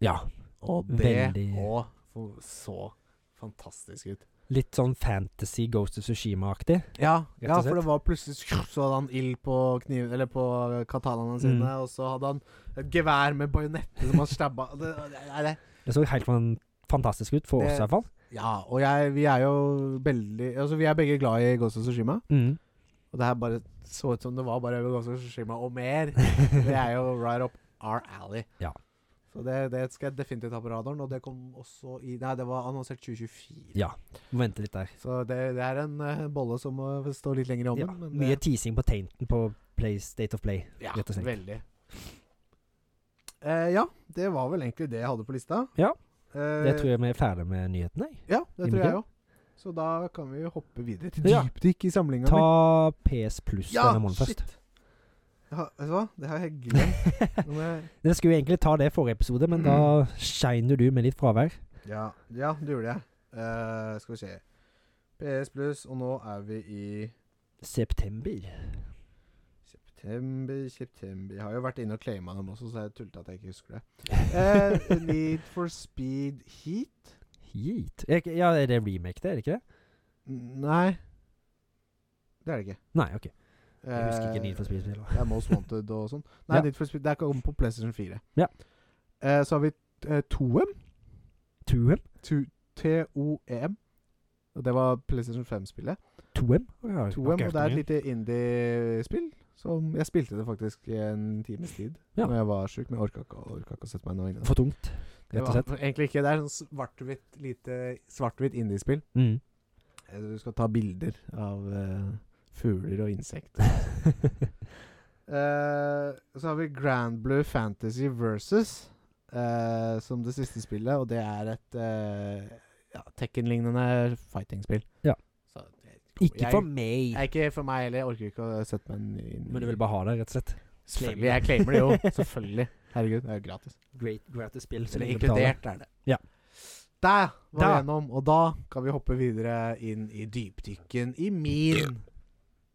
Ja.
Og det
Veldig-
og f- så fantastisk ut.
Litt sånn fantasy Ghost of Sushima-aktig.
Ja,
Rett og
ja, for
slett.
det var plutselig skruff, Så hadde han ild på kniven Eller på katanaene sine,
Mm.
og så hadde han et gevær med bajonette som han stabba det, det, det, det.
Det så helt fan- fantastisk ut, for
Det-
oss i hvert fall.
Ja, og jeg, vi er jo veldig Altså, vi er begge glad i Ghost of Tsushima
Mm.
Og det her bare så ut som det var bare Ghost of Tsushima og mer. Det er jo right up our alley.
Ja.
Så det, det skal jeg definitivt ha på radaren, og det kom også i Nei, det var annonsert 2024.
Ja. Må vente litt der.
Så det, det er en eh, bolle som må stå litt lenger i
Ja.
ovnen. men eh,
Mye
det-
teasing på tainten på play, State of Play.
ja,
rett og slett.
Veldig. Eh, ja, det var vel egentlig det jeg hadde på lista.
Ja.
Eh,
Det tror jeg vi er ferdig med nyhetene. jeg.
Ja, det
Vi
tror
må
jeg
det.
òg. Så da kan vi jo hoppe videre til
Ja.
dypdykk i samlinga mi.
Ta PS Pluss denne måneden først.
Jeg har- Vet du hva, det har jeg glemt. Nå må jeg- Mm.
Dere skulle jo egentlig ta det i forrige episode, men da shiner du med litt fravær.
Ja, ja det gjorde jeg. Eh, skal vi se. PS pluss, og nå er vi i
September.
september, september Jeg har jo vært inne og claima dem også, så jeg tullete at jeg ikke husker det. Eh, Need for speed heat?
Heat? Er ikke- Ja, er det remake, det? Er det ikke det?
N- Nei. Det er det ikke.
Nei, OK. Jeg husker
Eh,
ikke Need for Speed. heller.
Det er Most Wanted og sånn. Nei,
Ja.
Need for Speed, det er ikke om på PlayStation 4.
Ja.
Eh, så har vi eh, Toem.
Toem?
Tu- T-O-E-M. Og det var PlayStation 5-spillet.
Toem? Ja,
Toem, og
ok.
det er et lite indie-spill. Som jeg spilte det faktisk i en times tid
Ja.
Når jeg var sjuk, men jeg orka ikke, orka ikke å sette meg noe inn i det.
For tungt, rett
Det
og
var
slett.
Egentlig ikke. Det er sånn svart-hvitt lite svart-hvitt indiespill.
Mm.
Eh, Du skal ta bilder av eh, fugler og insekter.
Mm.
Eh, så har vi Grand Blue Fantasy Versus eh, som det siste spillet, og det er et eh, ja, Tekken-lignende fighting-spill.
Ja.
Så det-
Ikke
jeg,
for meg.
jeg, Ikke for meg heller. Jeg orker ikke å sette meg inn i
Men du vil bare ha det, rett og slett?
Selvfølgelig. Jeg claimer det jo. Selvfølgelig. Herregud, det er jo gratis.
Great, gratis spill.
Eller inkludert er det.
Ja.
Der var vi
Da.
gjennom, og da kan vi hoppe videre inn i dypdykken i min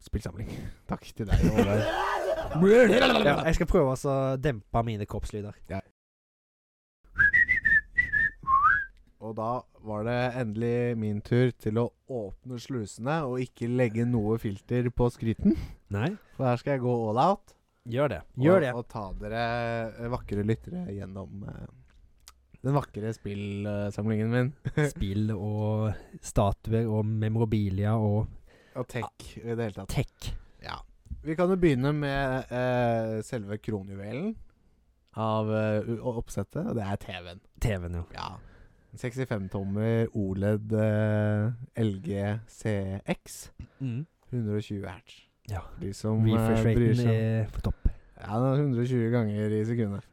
spillsamling. Takk til deg, Olaug.
Ja, jeg skal prøve altså å dempe mine kroppslyder.
Og da var det endelig min tur til å åpne slusene og ikke legge noe filter på skryten.
Nei,
For her skal jeg gå all out
gjør det.
og,
Gjør det.
og ta dere eh, vakre lyttere gjennom eh, den vakre spillsamlingen min.
Spill og statuer og memorabilia og
Og tech i det hele tatt.
tech.
Ja. Vi kan jo begynne med eh, selve kronjuvelen av eh, u- oppsettet, og det er TV-en.
TV-en, jo.
Ja. 65-tommer OLED E eh, LG CX.
Mm.
120 hertz.
Ja.
For De som eh, bryr
Refresh-raten
seg om-
er på topp.
Ja, det er 120 ganger i sekundet.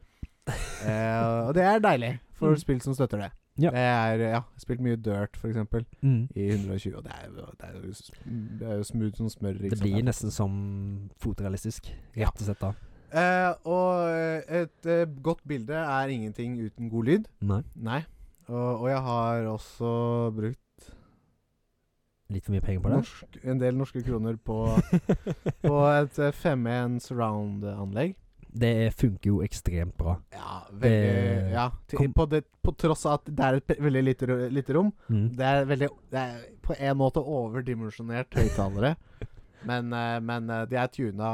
eh, og det er deilig for
Mm.
spill som støtter det.
Ja.
Det er, ja, spilt mye dirt, for eksempel,
Mm.
i 120, og det er, jo- det er, jo, s- det er jo smooth som smør. ikke
Det
sant?
blir nesten som fotorealistisk,
Ja.
rett og slett da.
eh, Og eh, et eh, godt bilde er ingenting uten god lyd.
Nei,
Nei. Og, og jeg har også brukt
litt for mye penger på det.
norsk, en del norske kroner på, på et eh, 5.1 surround-anlegg.
Det funker jo ekstremt bra.
Ja, veldig,
Det-
ja til,
kom-
på, det, på tross av at det er et pe- veldig lite, ro- lite rom.
Mm.
Det er, veldig, det er på en måte overdimensjonert høyttalere. men, eh, men eh, de er tuna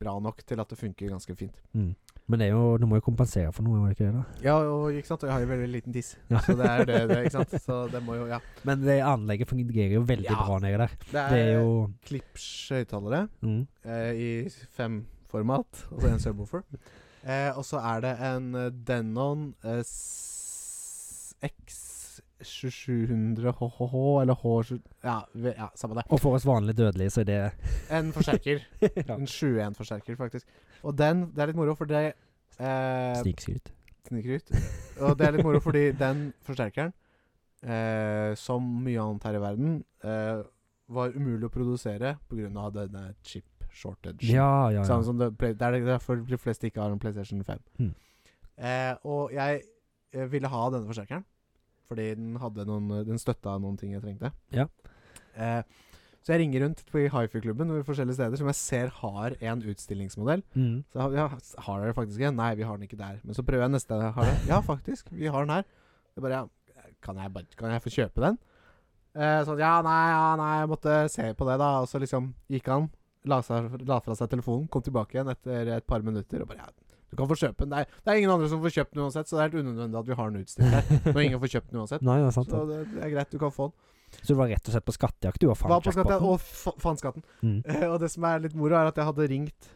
bra nok til at det funker ganske fint.
Mm. Men det er jo, du må jo kompensere for noe, må du ikke det? da?
Ja, og, ikke sant? og jeg har jo veldig liten tiss,
Ja.
så det er det, det ikke sant? Så det må jo Ja.
Men det anlegget fungerer jo veldig
Ja. Eh,
bra nede der.
Det
Det er jo
Klipsch høyttalere
mm.
eh, i fem-format, og så en subwoofer. Eh, og så er det en eh, Denon eh, s- X2700 HHH, eller H7 Ja, vi- ja samme det.
Og for oss vanlig dødelige, så er det
En forsterker.
ja.
En 71-forsterker, faktisk. Og den Det er litt moro, for det eh,
Snikskryt.
Sniker ut. Eh, Og det er litt moro, fordi den forsterkeren, eh, som mye annet her i verden, eh, var umulig å produsere pga. denne chip shortage.
Ja, ja, ja.
Samme sånn som det, Play- det er derfor de fleste ikke har en PlayStation 5.
Mm.
Eh, og jeg eh, ville ha denne forsterkeren, fordi den, hadde noen, den støtta noen ting jeg trengte.
Ja.
Eh, så jeg ringer rundt på- i hifi-klubben og i forskjellige steder som jeg ser har en utstillingsmodell.
Mm.
Så har, ja, har dere faktisk en? Nei, vi har den ikke der. Men så prøver jeg neste. Har dere? Ja, faktisk. Vi har den her. Det er bare, ja, kan, jeg bare, kan jeg få kjøpe den? Eh, sånn, ja, nei, ja, nei, jeg måtte se på det, da. Og så liksom gikk han, la, seg, la fra seg telefonen, kom tilbake igjen etter et par minutter og bare ja, du kan få kjøpe den. Det er, det er ingen andre som får kjøpt den uansett, så det er helt unødvendig at vi har den utstilt her. Når ingen får kjøpt den uansett.
Nei, det er sant.
Så
det.
det, det er greit, du kan få den.
Så du var rett og slett på skattejakt, du, og
Var
fant
på skatten,
jackpoten?
og fa- fant skatten.
Mm.
Eh, og det som er litt moro, er at jeg hadde ringt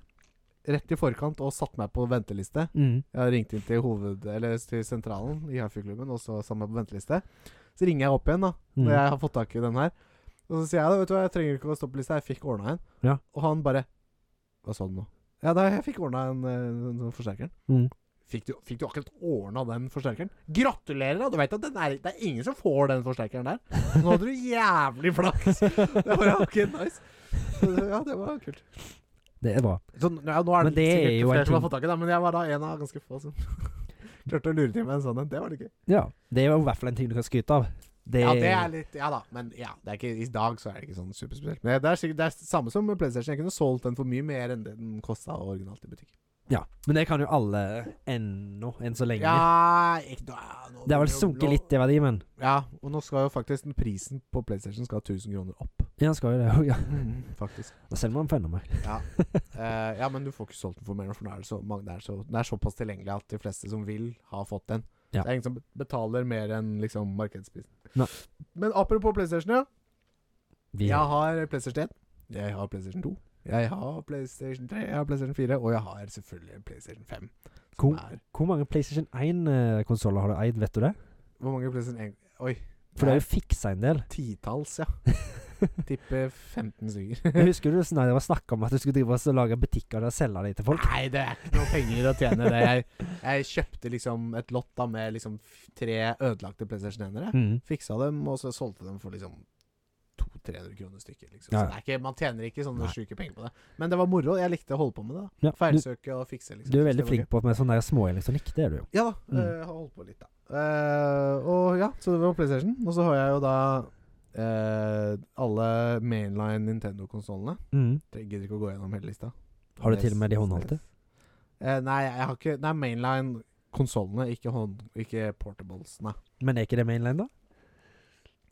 rett i forkant og satt meg på venteliste.
Mm.
Jeg ringte inn til, hoved, eller til sentralen i Haifu-klubben, og så satt meg på venteliste. Så ringer jeg opp igjen, da,
Mm.
når jeg har fått tak i den her. Og så sier jeg da, vet du hva, jeg trenger ikke å stå på lista, jeg fikk ordna en.
Ja.
Og han bare Hva sa du nå? Ja, da, jeg fikk ordna en, eh, den den forsterkeren.
Mm.
Fikk du, fikk du akkurat ordna den forsterkeren? Gratulerer, da! Du vet at den er, det er ingen som får den forsterkeren der. Nå hadde du jævlig flaks! Det var ja, ok, nice. Så, ja, det var kult.
Det er bra.
Så, ja, nå er
Men
det,
det er
sikkert
jo en
flere som har
ting-
fått tak i den, men jeg var da en av ganske få som Klarte å lure til meg en sånn en. Det var litt gøy.
Ja. Det er jo i hvert fall en ting du kan skryte av. Det,
Ja, det er litt Ja da, men ja, det er ikke, i dag så er det ikke sånn superspesielt. Men det er sikkert det er samme som med PlayStation. Jeg kunne solgt den for mye mer enn det den kosta originalt i butikk.
ja. Men det kan jo alle ennå, enn så lenge.
Ja, ikke, nå, nå,
Det har vel
nå-
sunket
nå-
litt i verdi, men
Ja, og nå skal jo faktisk den prisen på PlayStation skal 1000 kroner opp.
Ja, skal jo det òg, ja.
Faktisk.
Da selger man den for enda mer.
Eh, ja, men du får ikke solgt den for mer, nå, for nå er det, så mange, det, er så, det er såpass tilgjengelig at de fleste som vil, har fått den.
Ja.
Det er ingen som betaler mer enn liksom markedsprisen.
Nei.
Men apropos PlayStation, ja.
Vi-
Jeg har PlayStation 1. Jeg har PlayStation 2. Jeg har PlayStation 3, jeg har PlayStation 4, og jeg har selvfølgelig PlayStation 5. Som
Cool.
er,
Hvor mange PlayStation 1-konsoller har du eid, vet du det?
hvor mange PlayStation 1 Oi,
For det er jo fiksa en del.
titalls, ja. Tipper 15 stykker.
Jeg husker du snakka om at du skulle drive oss og lage butikker og selge dem til folk.
Nei, det er ikke noe penger å tjene. det Jeg, jeg kjøpte liksom et lott da med liksom f- tre ødelagte PlayStation 1-ere.
Mm.
Fiksa dem, og så solgte dem for liksom 200-300 kroner stykket. Liksom.
Ja,
Så
ja.
det er ikke, man tjener ikke sånne
Nei.
sjuke penger på det. Men det var moro. Jeg likte å holde på med det. da
Ja, du,
Feilsøke og fikse. liksom
du er
Så
veldig
det var gøy.
flink på med sånn der småelektronikk, det er du jo.
Ja da.
Mm.
eh, Jeg har holdt på litt, da. Eh, og ja, så det var PlayStation. Og så har jeg jo da eh, alle mainline Nintendo-konsollene.
Mm.
Jeg gidder ikke å gå gjennom hele lista.
Har du til og med de håndholdte?
Eh, nei, jeg har ikke Nei, mainline konsollene, ikke, hånd- ikke portables. Nei.
Men er ikke det mainline, da?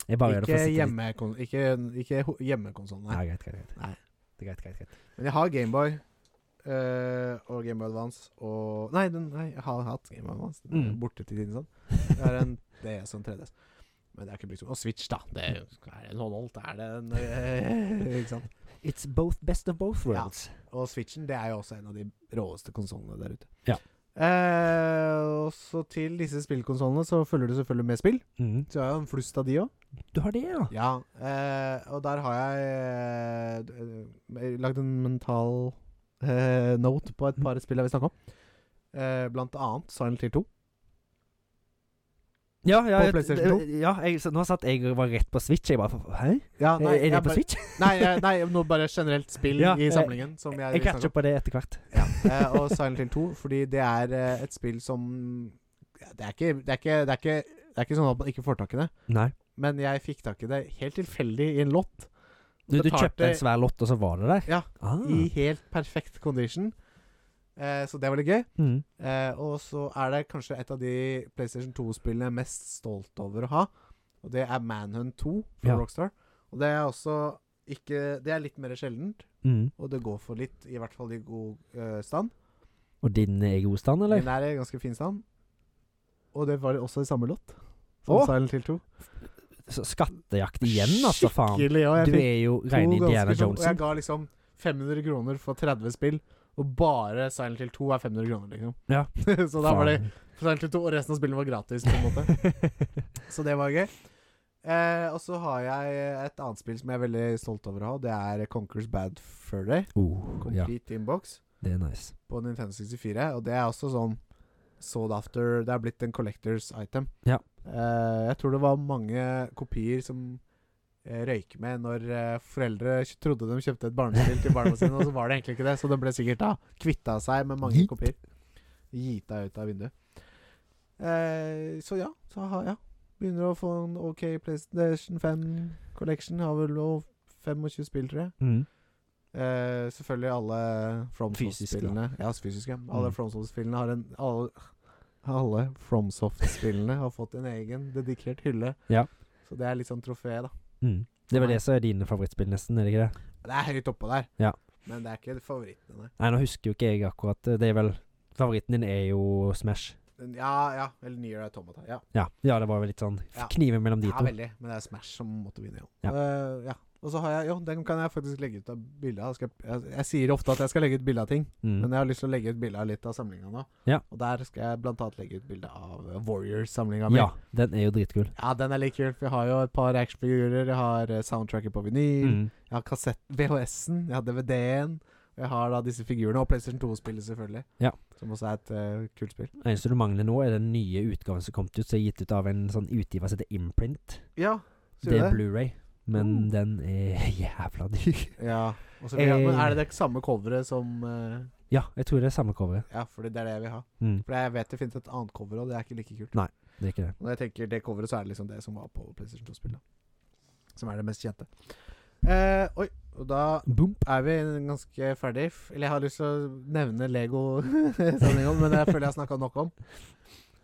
Jeg bare gjør det for
Ikke,
å sitte litt-
hjemme, ikke, ikke ho- hjemmekonsollene.
Nei, greit, greit, greit.
Nei.
Det er greit, greit, greit.
Men jeg har Gameboy. eh, og Gameboy Advance og Nei, den, nei jeg har hatt Gameboy Advance. Den er jo
Mm.
borte til tiden sånn. Det er en DS og en 3DS. Men det er ikke brukt som Og Switch, da. Det er, jo- er det en håndholdt? Er det en eh, Ikke sant?
It's both best of both
Ja.
worlds.
Og Switchen det er jo også en av de råeste konsollene der ute.
Ja.
Eh, og så til disse spillkonsollene så følger det selvfølgelig med spill.
Mm.
Så jeg har jo en flust av de òg.
Du har det, ja?
Ja, eh, og der har jeg eh, d- eh, lagd en mental eh, note på et par spill jeg vil snakke om. Eh, blant annet Silent Hill 2.
Ja, ja,
På
jeg-
PlayStation 2?
Ja, jeg, så nå satt jeg og var rett på Switch. Jeg bare Hæ?
Ja,
Eh, er det
jeg
på
bare-
Switch?
nei, jeg- nei, nå bare generelt spill
Ja,
i
eh,
samlingen. Som jeg,
Jeg
vil snakke
catcher
om.
på det etter hvert.
Eh, og Silent Hill 2, fordi det er eh, et spill som ja, det, er ikke, det, er ikke, det, er ikke, det er ikke sånn at man ikke får tak i det,
Nei.
men jeg fikk tak i det helt tilfeldig i en lott.
Du, du
Betalte-
kjøpte en svær lott, og så var det der?
Ja,
Ah.
I helt perfekt condition. Eh, så det var litt gøy.
mm.
Eh, og så er det kanskje et av de PlayStation 2-spillene jeg er mest stolt over å ha. Og det er Manhunt 2 fra
Ja.
Rockstar. Og det er også ikke Det er litt mer sjeldent,
Mm.
og det går for litt, i hvert fall i god eh, stand.
Og din er i god stand, eller?
Den er i ganske fin stand. Og det var også i samme låt. Som
Å!
Silent Hill 2.
Så skattejakt igjen, altså, faen.
Skikkelig, og jeg
Du
fikk
er jo
to
reine Indiana
ganske sånn- Og
Jonesen.
jeg ga liksom 500 kroner for 30 spill, og bare Silent Hill 2 er 500 kroner, liksom.
Ja.
Så da var det Silent Hill 2, og resten av spillene var gratis, på en måte. Så det var gøy. Eh, og så har jeg et annet spill som jeg er veldig stolt over å ha. Det er Conquers Bad Fur Day.
oh, ja,
Complete Inbox
det er nice.
på Nintendo 64. Og det er også sånn sold after Det er blitt en collectors item.
Ja.
Eh, jeg tror det var mange kopier som eh, røyk med når eh, foreldre kj- trodde de kjøpte et barnespill til barna sine, og så var det egentlig ikke det. Så de ble sikkert da kvitta seg med mange
Gitt.
kopier. Gita ut av vinduet. Eh, så ja, så har ja. Begynner å få en OK PlayStation 5 collection. Har vel nå 25 spill, tror jeg.
Mm.
Eh, selvfølgelig alle FromSoft-spillene. Ja, altså fysiske. Alle
Mm.
FromSoft-spillene har en Alle, alle FromSoft-spillene har fått en egen dedikert hylle.
Ja.
Så det er litt sånn trofé, da.
Mm. Det er vel det som er dine favorittspill, nesten, er det ikke det?
Det er høyt oppå der,
Ja.
men det er ikke favorittene. nei.
Nei, nå husker jo ikke jeg akkurat. eh, Det er vel Favoritten din er jo Smash.
Men Ja, ja. Eller Near Automata. Ja.
Ja, ja det var vel litt sånn
Ja.
kniven mellom de
ja,
to.
veldig. Men det er Smash som måtte vinne, jo.
Ja.
Eh, ja. Og så har jeg Jo, den kan jeg faktisk legge ut av bilde av. Skal Jeg, jeg, jeg sier ofte at jeg skal legge ut bilde av ting,
Mm.
men jeg har lyst til å legge ut bilde av litt av samlinga nå.
Ja.
Og der skal jeg blant annet legge ut bilde av eh, Warriors-samlinga mi.
Ja, den er jo dritkul.
Ja, den er litt kul. for Jeg har jo et par actionfigurer. Jeg har eh, soundtracket på vinyl.
Mm.
Jeg har kassett VHS-en. Jeg har DVD-en. Og jeg har da disse figurene. Og PlayStation 2-spillet, selvfølgelig.
Ja.
Som også er et eh, kult spill.
Eneste du mangler nå, er den nye utgaven som kom ut, som er gitt ut av en sånn utgiver som heter Imprint.
Ja,
Det er Blu-ray, men
Mm.
den er jævla dyr.
Ja. Og så,
Eh.
men er det det samme coveret som eh,
Ja, jeg tror det er samme coveret.
Ja, for det er det jeg vil ha.
Mm,
For jeg vet det finnes et annet cover, og det er ikke like kult.
det er ikke det.
Og Når jeg tenker det coveret, så er det liksom det som var på PlayStation 2-spillet. Som er det mest kjente. Eh, oi, og da
Boom.
er vi ganske ferdig. F- Eller jeg har lyst til å nevne Lego-sendinga, men jeg føler jeg har snakka nok om.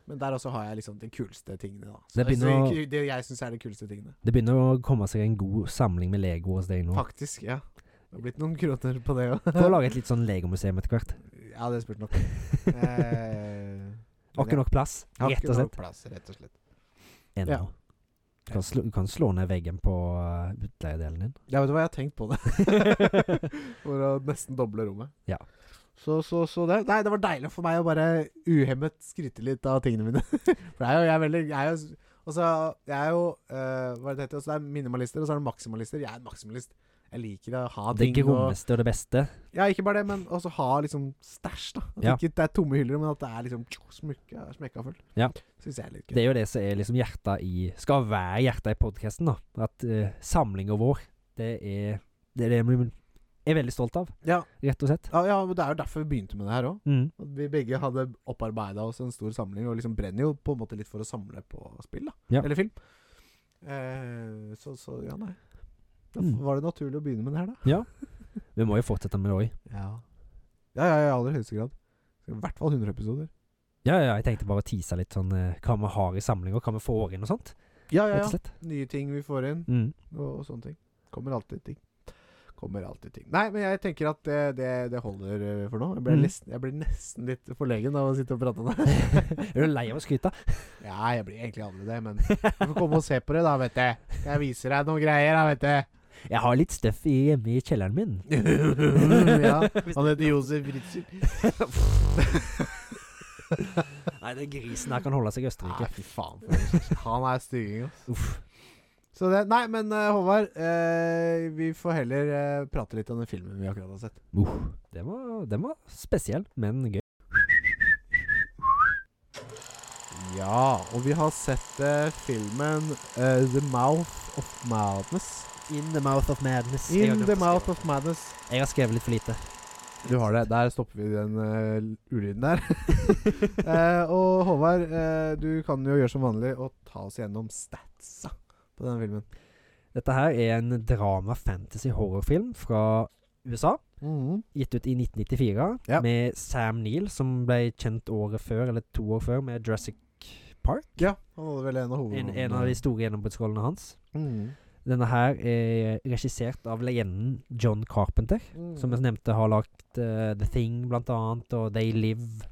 Men der også har jeg liksom de kuleste tingene, da. Så
Det begynner
altså,
å-
ikke- det jeg syns er de kuleste tingene.
Det begynner å komme seg en god samling med Lego hos deg nå.
Faktisk, ja. Det har blitt noen kroner på det òg.
Få lage et litt sånn Legomuseum etter hvert.
Ja, det spurte nok. Eh,
Har ikke nok plass,
har
rett
ikke
og slett.
nok plass, rett og slett.
Ennå.
Ja.
Du, kan slå, du kan slå ned veggen på eh, utleiedelen din.
Ja, vet du hva, jeg har tenkt på det. For å nesten doble rommet.
Ja.
Så, så, så det. Nei, det var deilig for meg å bare uhemmet skryte litt av tingene mine. For det er jo, jeg er veldig jeg er jo, altså, jeg er jo eh, Hva er det det heter? Så det er minimalister, og så er det maksimalister. Jeg er en maksimalist. Jeg liker å ha
Det
ting og
grommeste og det beste.
Ja, ikke bare det, men også ha liksom stæsj, da. At
Ja.
ikke det er tomme hyller, men at det er liksom smykka, smekka fullt.
Ja.
Syns jeg er litt gøy.
Det er jo det som er liksom hjertet i Skal være hjertet i podkasten, da. At eh, samlinga vår, det er det er det vi er veldig stolt av,
Ja,
rett og slett.
ja, ja, men det er jo derfor vi begynte med det her òg.
Mm.
At vi begge hadde opparbeida oss en stor samling, og liksom brenner jo på en måte litt for å samle på spill, da.
Ja.
Eller film. Eh, så, så ja, nei. Da
Mm.
var det naturlig å begynne med det her, da.
Vi må jo fortsette med det òg.
Ja. ja, ja, i aller høyeste grad. I hvert fall 100 episoder.
Ja, ja, jeg tenkte bare å tease litt sånn eh, hva vi har i samlinga, hva vi får inn og sånt.
Ja, ja,
Rett og
ja.
slett.
Nye ting vi får inn,
Mm.
og, og sånne ting. Kommer alltid ting. Kommer alltid ting. Nei, men jeg tenker at det, det, det holder eh, for nå. Jeg blir,
Mm.
nesten, jeg blir nesten litt forlegen av å sitte og prate om det.
Er du lei av å skryte?
Ja, jeg blir egentlig aldri det, men du får komme og se på det, da, vet du. Jeg viser deg noen greier, da, vet du.
Jeg har litt støff i- hjemme i kjelleren min.
ja, han heter Josef Ritzel.
Nei, den grisen her kan holde seg i
Nei,
Østerrike.
fy faen. for en- Han er stygging, ass.
Uff.
Så det, nei, men eh, Håvard, eh, vi får heller eh, prate litt om den filmen vi akkurat har sett.
Uff. Den var, den var spesiell, men gøy.
Ja, og vi har sett eh, filmen eh, The Mouth of Madness.
In the mouth of madness.
In The Mouth of Madness.
Jeg har skrevet litt for lite.
Du har det. Der stopper vi den eh, ulyden der. Eh, og Håvard, eh, du kan jo gjøre som vanlig og ta oss gjennom statsa på denne filmen.
Dette her er en drama-fantasy-horrorfilm fra USA. Gitt ut i 1994
Ja.
med Sam Neill, som ble kjent året før, eller to år før, med Jurassic Park.
Ja, han hadde vel en av
En,
hovedrollene.
en av de store gjennombruddsrollene hans.
Mhm.
Denne her er regissert av legenden John Carpenter,
Mhm.
som jeg nevnte har lagt eh, The Thing, blant annet, og They Live.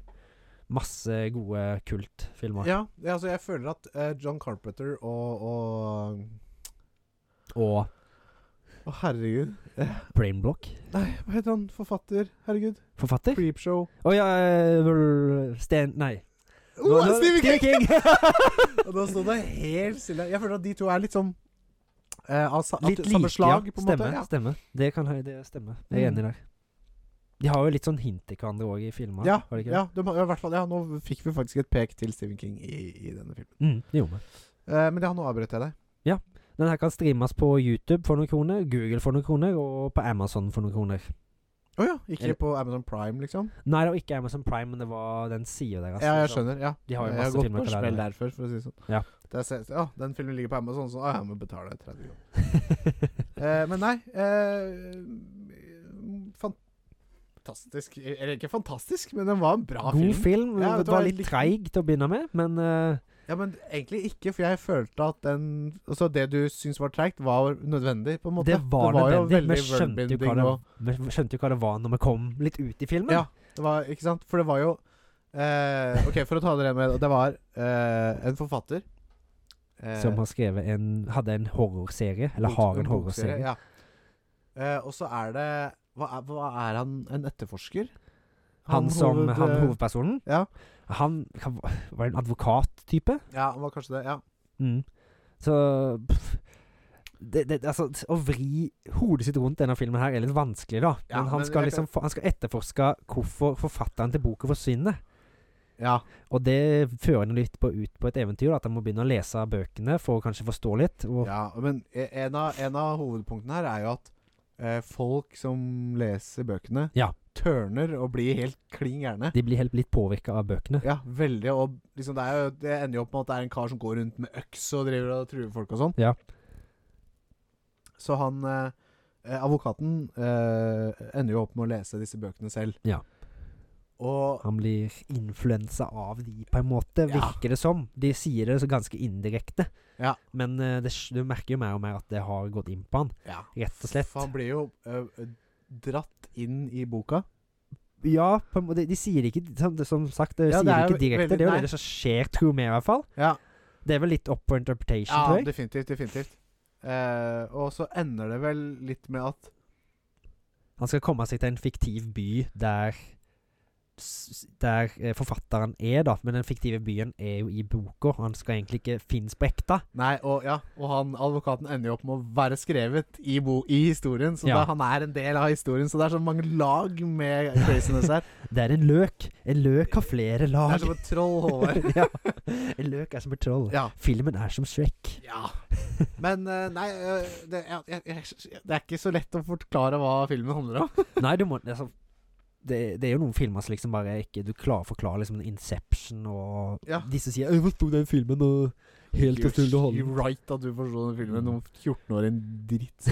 Masse gode kultfilmer.
Ja, ja, altså jeg føler at eh, John Carpenter og, og
Og
Å, herregud.
Brainblock.
Nei, hva heter han? Forfatter? Herregud.
Forfatter?
Creepshow.
Å ja eh, Sten... Nei.
Oh,
Nå- nå-
Stephen King!
King!
Og da sto det helt stille. Jeg føler at de to er litt sånn eh, av sa,
Litt
at- samme
like, ja.
slag, på en
stemme,
måte. Ja.
Stemme. Det kan jeg- det stemmer. Jeg er
Mm.
enig der. De har jo litt sånn hint til hverandre òg i filmer.
Ja,
har de ikke det?
ja, de, har- ja, i hvert fall, ja, nå fikk vi faktisk et pek til Stephen King i, i denne filmen.
Mm, det gjorde vi.
Eh, men ja, nå avbrøt jeg deg.
Den her kan streames på YouTube for noen kroner, Google for noen kroner og på Amazon for noen kroner.
Å ja, ikke på Amazon Prime, liksom?
Nei, det var ikke Amazon Prime, men det var den sida deres.
Ja, jeg
så-
skjønner. ja Eh,
De har jo
Jeg
masse
gått
filmer
på en
til
smell
der.
der før, for å si det sånn.
Ja.
Det er, se- ja, den filmen ligger på Amazon, så ah, jeg må betale 30 kroner. Eh, men nei eh, Fantastisk Eller ikke fantastisk, men den var en bra
God
film.
film.
Ja, vet
det
du
var
hva, jeg
litt
likte
treig til å begynne med, men eh,
Ja, Men egentlig ikke, for jeg følte at den Altså, det du syns var treigt, var nødvendig, på en måte.
det var
jo
nødvendig. Vi
veldig
skjønte, jo hva
worldbending
det,
og-
vi skjønte jo hva det var når vi kom litt ut i filmen.
Ja, det var, ikke sant? For det var jo eh, OK, for å ta det med Det var eh, en forfatter eh,
Som har skrevet en Hadde en horrorserie, eller
Bok-
har en
bokserie,
horrorserie.
Ja. Eh, og så er det hva er, hva er han? En etterforsker?
Han, som,
hoved-
han hovedpersonen
Ja.
Han han var- var en advokattype.
Ja, han var kanskje det. Ja.
Mm. Så pff, det, det, altså, t- Å vri hodet sitt rundt denne filmen her er litt vanskelig, da.
Ja,
men han,
men
skal
jeg
liksom, få- han skal etterforske hvorfor forfatteren til boka forsvinner.
ja.
Og det fører han litt på, ut på et eventyr, da, at han må begynne å lese bøkene for å kanskje forstå litt. Og,
ja. Men e- en av, en av hovedpunktene her er jo at eh, folk som leser bøkene,
Ja.
tørner og blir helt klin gærne.
De blir helt litt påvirka av bøkene.
Ja, veldig. Og liksom det, er jo, det ender jo opp med at det er en kar som går rundt med øks og driver og truer folk og sånn.
Ja.
Så han eh, eh, advokaten eh, ender jo opp med å lese disse bøkene selv.
Ja.
Og
Han blir influensa av de, på en måte,
Ja.
virker det som. De sier det så ganske indirekte.
Ja.
Men eh, det, s- du merker jo mer og mer at det har gått inn på han,
ja,
rett og slett.
for han blir jo eh, dratt inn i boka.
Ja, på en måte, de sier det ikke som, som sagt, de
Ja,
sier
det
det
er
ikke
jo
direkte.
veldig-
det er
nei.
jo det som skjer, tror vi i hvert fall.
Ja,
Det er vel litt up for interpretation,
ja
tror jeg.
definitivt. Definitivt. Eh, og så ender det vel litt med at
Han skal komme seg til en fiktiv by der s- der eh, forfatteren er, da. Men den fiktive byen er jo i boka. Han skal egentlig ikke finnes på ekte.
Nei, og, ja, og han, advokaten ender jo opp med å være skrevet i, bo, i historien, så
Ja.
da, han er en del av historien. Så det er så mange lag med craziness her.
Det er en løk. En løk har flere
Det
lag.
er som et troll, Håvard.
ja. En løk er som et troll.
Ja.
Filmen er som Shrek.
ja. Men eh, nei, eh, det, ja, jeg, jeg, det er ikke så lett å forklare hva filmen handler om.
Nei, du må altså, det, det er jo noen filmer som liksom bare ikke Du klarer å forklare liksom Inception og
Ja.
disse sier 'Jeg forsto den filmen og helt Mm. og fullt og
You're
holdent'.
right at du forstår den filmen. Noen 14 år, en dritt.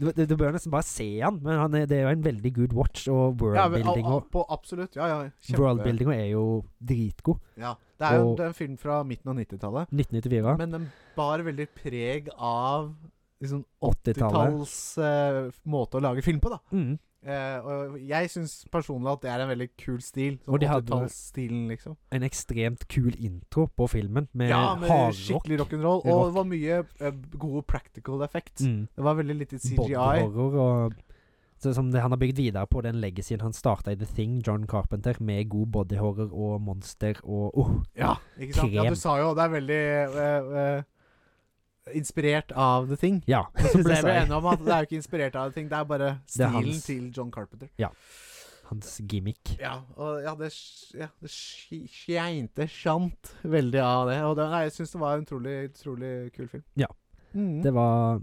Du, du, du bør nesten bare se han, men han er, det er jo en veldig good watch, og
Ja, men,
worldbuildinga
a- a- på, absolutt. Ja, ja. kjempe-
worldbuilding er jo dritgod.
Ja. Det er jo
Og-
det er en film fra midten av 90-tallet,
1994.
men den bar veldig preg av liksom
80-tallet.
80-talls eh, måte å lage film på, da.
Mm.
Eh, og jeg syns personlig at det er en veldig kul stil.
Og
Sånn
de hadde-
80-tallsstilen, liksom.
En ekstremt kul intro på filmen, med,
Ja, med
Eh, hardrock.
skikkelig rock'n'roll. Og
Rock.
det var mye eh, gode practical effects.
Mm.
Det var veldig lite CGI.
Body-horror og så som det, Han har bygd videre på den legacyen han starta i The Thing, John Carpenter, med god body-horror og monster og oh,
Ja, ikke sant? ja,
Krem.
du sa jo det er veldig eh, eh, Inspirert av The Thing.
Ja.
Så ble
Det sa
vi
jeg.
enige om at det er jo ikke inspirert av The Thing, det er bare
Det er
stilen
hans.
til John Carpenter.
Hans gimmick.
Ja, og ja, det, sk- ja, det sk- skeinte sjant veldig av det. Og det, nei, jeg syns det var en utrolig, utrolig kul film.
Ja.
Mm.
Det var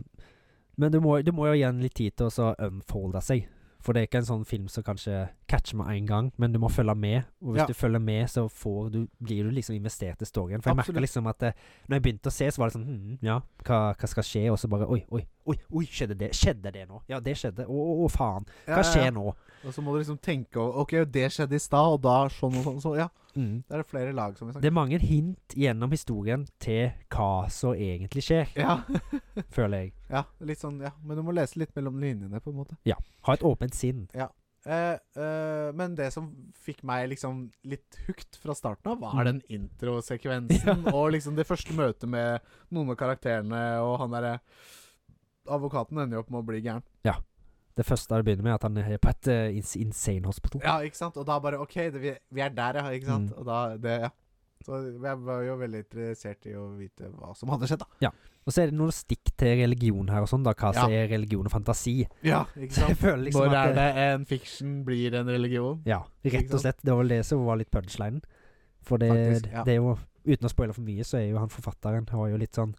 Men du må, du må jo gi han litt tid til å så unfolde seg. For det er ikke en sånn film som kanskje catcher med en gang, men du må følge med. Og hvis
Ja.
du følger med, så får du, blir du liksom investert i storyen. For jeg
Absolutt.
merka liksom at eh, Når jeg begynte å se, så var det sånn hm, Ja, hva, hva skal skje? Og så bare Oi, oi, oi, oi, skjedde det? Skjedde det nå? Ja, det skjedde. Å, å, å faen. Hva
Ja, ja, ja.
skjer nå?
Og så må du liksom tenke over Ok, det skjedde i stad, og da sånn og sånn. Så ja,
Mm.
det er flere lag, som vi snakker
Det er mange hint gjennom historien til hva som egentlig skjer,
Ja,
føler jeg.
ja, litt sånn, ja. Men du må lese litt mellom linjene, på en måte.
Ha et åpent sinn.
Eh, eh, men det som fikk meg liksom litt hooked fra starten av,
Mm.
var den introsekvensen. Og liksom det første møtet med noen av karakterene, og han derre Advokaten ender jo opp med å bli gæren.
Det første det begynner med, er at han er på et eh, ins- insane hospital.
Ja, ikke sant? Og da bare OK, det, vi, vi er der, ja. Ikke sant?
Mm.
Og da det, ja. Så jeg var jo veldig interessert i å vite hva som hadde skjedd, da.
Og så er det noen stikk til religion her og sånn, da. Hva som
Ja.
er religion og fantasi.
Ja, ikke
Så jeg
sant?
føler liksom at
Når er det en fiction blir en religion?
Ja,
Ikke
rett og
sant?
slett. Det var vel det som var litt punchlinen. For det,
Faktisk, ja.
det er jo Uten å spoile for mye, så er jo han forfatteren har jo litt sånn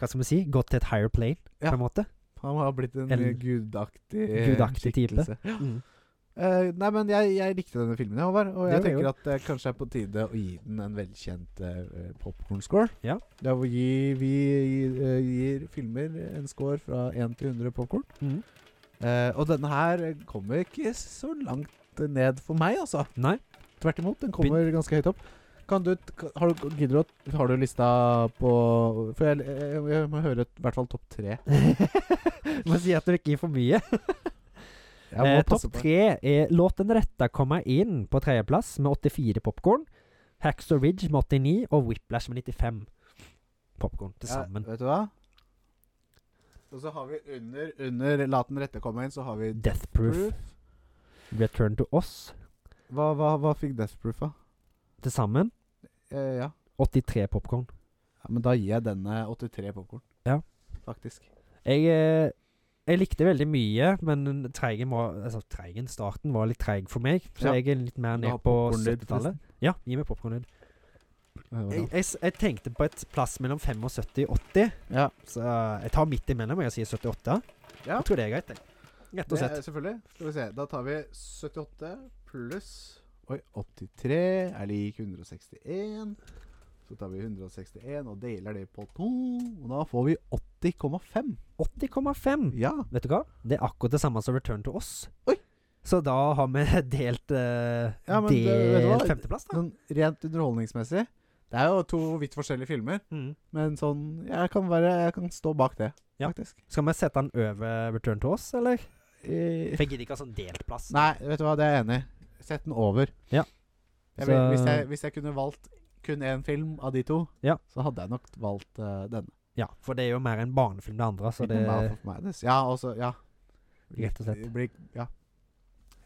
Hva skal vi si? Gått til et higher plane,
Ja.
på en måte.
Han har blitt en,
En
gudaktig,
gudaktig type.
skikkelse.
Mm.
Eh, nei, men jeg, jeg likte denne filmen, jeg, Håvard. Og jeg
Det gjorde
tenker at det kanskje er på tide å gi den en velkjent uh, popkorn-score.
Ja.
Der hvor gi, vi eh, gir filmer en score fra 1 til 100 popkorn.
Mm.
Eh, og denne her kommer ikke så langt ned for meg, altså.
Nei.
Tvert imot, den kommer ganske høyt opp. Kan du, t- har, du, gidder du, å- har du lista på For jeg, jeg, jeg må høre et- i hvert fall topp tre.
Må si at du ikke gir for mye.
Jeg må
Eh,
passe
Topp
på.
tre er Låt den rette komme inn på tredjeplass med 84 popkorn. Hacksaw Ridge med 89 og Whiplash med 95 popkorn til sammen.
Ja, vet du hva? Og så har vi under, under La den rette komme inn, så har vi
Death Proof, Return to Us
Hva, hva, hva fikk Death Proof av?
til sammen
Eh, ja.
83 popkorn.
ja. Men da gir jeg denne 83 popkorn.
Ja.
Faktisk.
Jeg, eh, jeg likte veldig mye, men treigen var Altså, treigen starten var litt treig for meg, så
Ja.
jeg er litt mer
Du har
ned på
popcornlyd,
70-tallet. Ja, gi meg popkornlyd. Jeg, jeg, s- jeg tenkte på et plass mellom 75 og 80,
Ja.
så jeg tar midt imellom og jeg sier 78.
Ja.
Jeg tror det er greit, jeg. Rett og slett.
Det er- Selvfølgelig. Skal vi se. Da tar vi 78 pluss Oi, 83 er lik 161. Så tar vi 161 og deler det på to. Og da får vi 80,5.
80,5.
Ja.
Vet du hva? Det er akkurat det samme som Return to oss.
Oi.
Så da har vi delt eh,
Ja, men det- vet du hva?
delt femteplass, da.
Sånn rent underholdningsmessig. Det er jo to vidt forskjellige filmer,
Mm.
men sånn Jeg kan, være, jeg kan stå bak det,
Ja.
faktisk.
Skal vi sette den over Return to oss, eller?
Eh,
For jeg gidder ikke ha sånn deltplass.
Nei, vet du hva, det er jeg enig i. Sett den over.
Ja.
Jeg vil, hvis,
Så-
jeg, hvis jeg kunne valgt kun én film av de to,
Ja.
så hadde jeg nok valgt eh, denne.
Ja, for det er jo mer en barnefilm det andre, så det
Midnight Mouth of Madness. Ja, også, ja.
Rett og slett.
Det Blir, ja.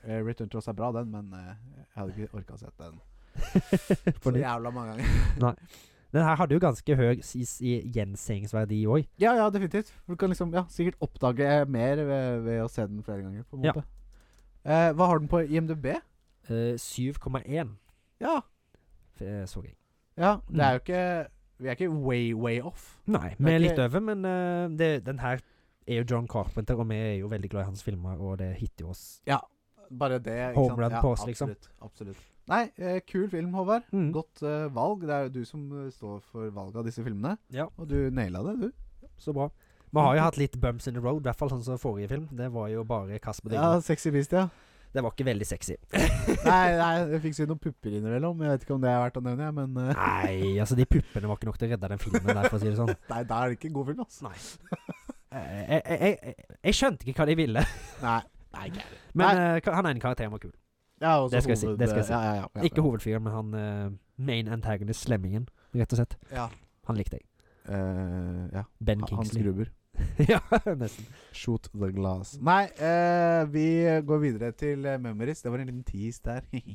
Eh, Return to us er bra, den, men eh, jeg hadde ikke orka å sett den
For
så
det-
jævla mange ganger.
Den her hadde jo ganske høy sis- i gjenseingsverdi òg.
Ja, ja, definitivt. For Du kan liksom, ja, sikkert oppdage eh, mer ved, ved å se den flere ganger. på en
Ja.
måte. Eh, hva har den på IMDb?
Eh, 7,1
Ja,
f- eh, så jeg.
ja det
Mm.
er jo ikke Vi er ikke way, way off.
Nei,
er
vi er litt
ikke-
over, men eh, det, den her er jo John Carpenter, og vi er jo veldig glad i hans filmer, og det hitter jo oss.
Bare det. ikke
Home
sant?
run
ja,
på oss, liksom.
Absolutt. absolutt. Nei, eh, kul film, Håvard.
Mm.
Godt eh, valg. Det er jo du som eh, står for valget av disse filmene.
Ja.
Og du naila det, du.
Så bra. Vi har jo hatt litt bumps in the road, i hvert fall sånn som forrige film. Det var jo bare kast på
Ja,
dyna.
Sexy beast, ja.
Det var ikke veldig sexy.
nei, nei, jeg fikk se noen pupper innimellom. Jeg vet ikke om det er verdt å nevne, jeg, men eh,
Nei, altså de puppene var ikke nok til å redde den filmen der, for å si det sånn.
Nei, da er det ikke en god film, altså.
Nei. Jeg, jeg, jeg, eh, jeg skjønte ikke hva de ville,
Nei. Nei, ikke jeg.
men eh, ka- han ene karakteren var kul.
Ja, også
Det skal jeg si,
hoved-
det skal jeg si.
Ja, ja, ja, ja.
Ikke hovedfyren, men han eh, main antagonist, slemmingen, rett og slett.
Ja.
Han likte jeg.
Eh, ja.
Ben
Ha- Hans
Kingsley.
Gruber.
ja, nesten.
Shoot the glass. Nei, eh, vi går videre til eh, Memories. Det var en liten tease der.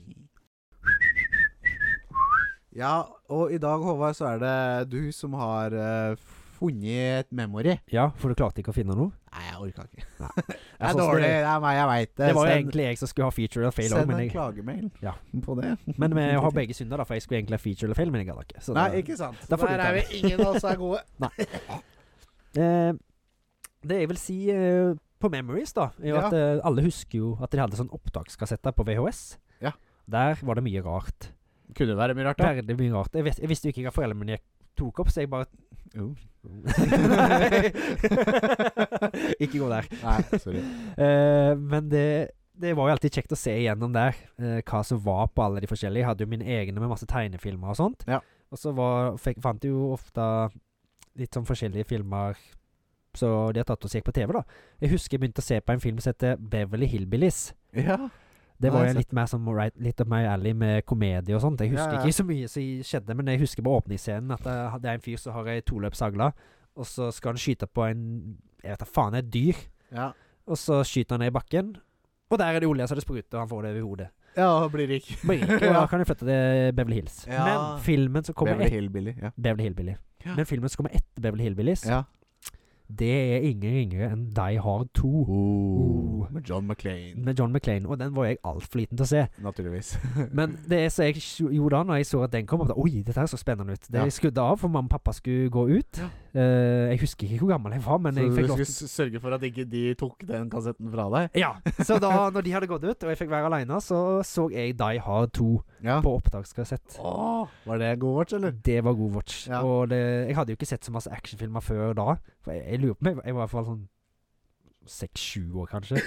ja, og i dag, Håvard, så er det du som har eh, funnet et memory.
Ja, for du klarte ikke å finne noe?
Nei, jeg orka ikke. Det
Jeg
er
synes
dårlig.
Det,
Det er meg, jeg veit det.
det var jo
Send-
egentlig jeg som skulle ha feature eller fail òg,
Send
men,
en
jeg-
klagemail
Ja.
på det.
men vi har begge synder, da, for jeg skulle egentlig ha feature eller fail, men jeg gadd ikke. Så
Nei,
da-
ikke sant.
Da får du
Der
ta
er vi ingen av oss er gode.
Eh, det jeg vil si eh, på Memories, da, er jo
Ja.
at eh, alle husker jo at de hadde sånn opptakskassetter på VHS.
Ja.
Der var det mye rart.
Kunne være mye rart,
Veldig mye rart. Jeg, vet, jeg visste jo ikke hva foreldrene mine tok opp, så jeg bare
Jo.
Ikke gå der.
Nei, sorry.
Eh, men det det var jo alltid kjekt å se igjennom der eh, hva som var på alle de forskjellige. Jeg hadde jo mine egne med masse tegnefilmer og sånt.
Ja.
Og så var, fikk, fant jeg jo ofte litt sånn forskjellige filmer så de har tatt og sett på TV, da. Jeg husker jeg begynte å se på en film som heter Beverly Hillbillies.
Ja.
Det
Ja,
var
jeg
jo
har
litt mer som right, litt opp my alley med komedie og sånt. Jeg husker
Ja, ja.
ikke så mye som skjedde, men jeg husker på åpningsscenen at eh, det- det er en fyr som har ei toløpshagle, og så skal han skyte på en Jeg vet da faen, et dyr.
ja.
Og så skyter han ned i bakken, og der er det olje så det spruter, og han får det over hodet.
Ja, blir rik.
Bare gikk, og da kan du flytte til Beverly Hills.
Ja.
Men filmen som kommer
Beverly
etter
Hillbilly. Ja.
Beverly Hillbilly.
Ja.
Men filmen som kommer etter Beverly Hillbillies, det er ingen ringere enn Die Hard 2
Oh.
Oh.
Med John McClain,
med John McClaine, og den var jeg altfor liten til å se.
naturligvis.
Men det er så jeg sj- gjorde da når jeg så at den kom opp, da, Oi, dette her så spennende ut. Det
Ja.
Jeg skudde av, for mamma og pappa skulle gå ut. Eh, jeg husker ikke hvor gammel jeg var, men jeg fikk lov til
sørge for at ikke de tok den kassetten fra deg?
ja, Så da når de hadde gått ut, og jeg fikk være aleine, så så jeg Die Hard 2
Ja.
på opptakskassett.
Åh, var det god watch, eller?
Det var god watch.
Ja.
Og det, jeg hadde jo ikke sett så masse actionfilmer før da. For jeg, jeg lurer på meg Jeg var i hvert fall sånn seks-sju år, kanskje.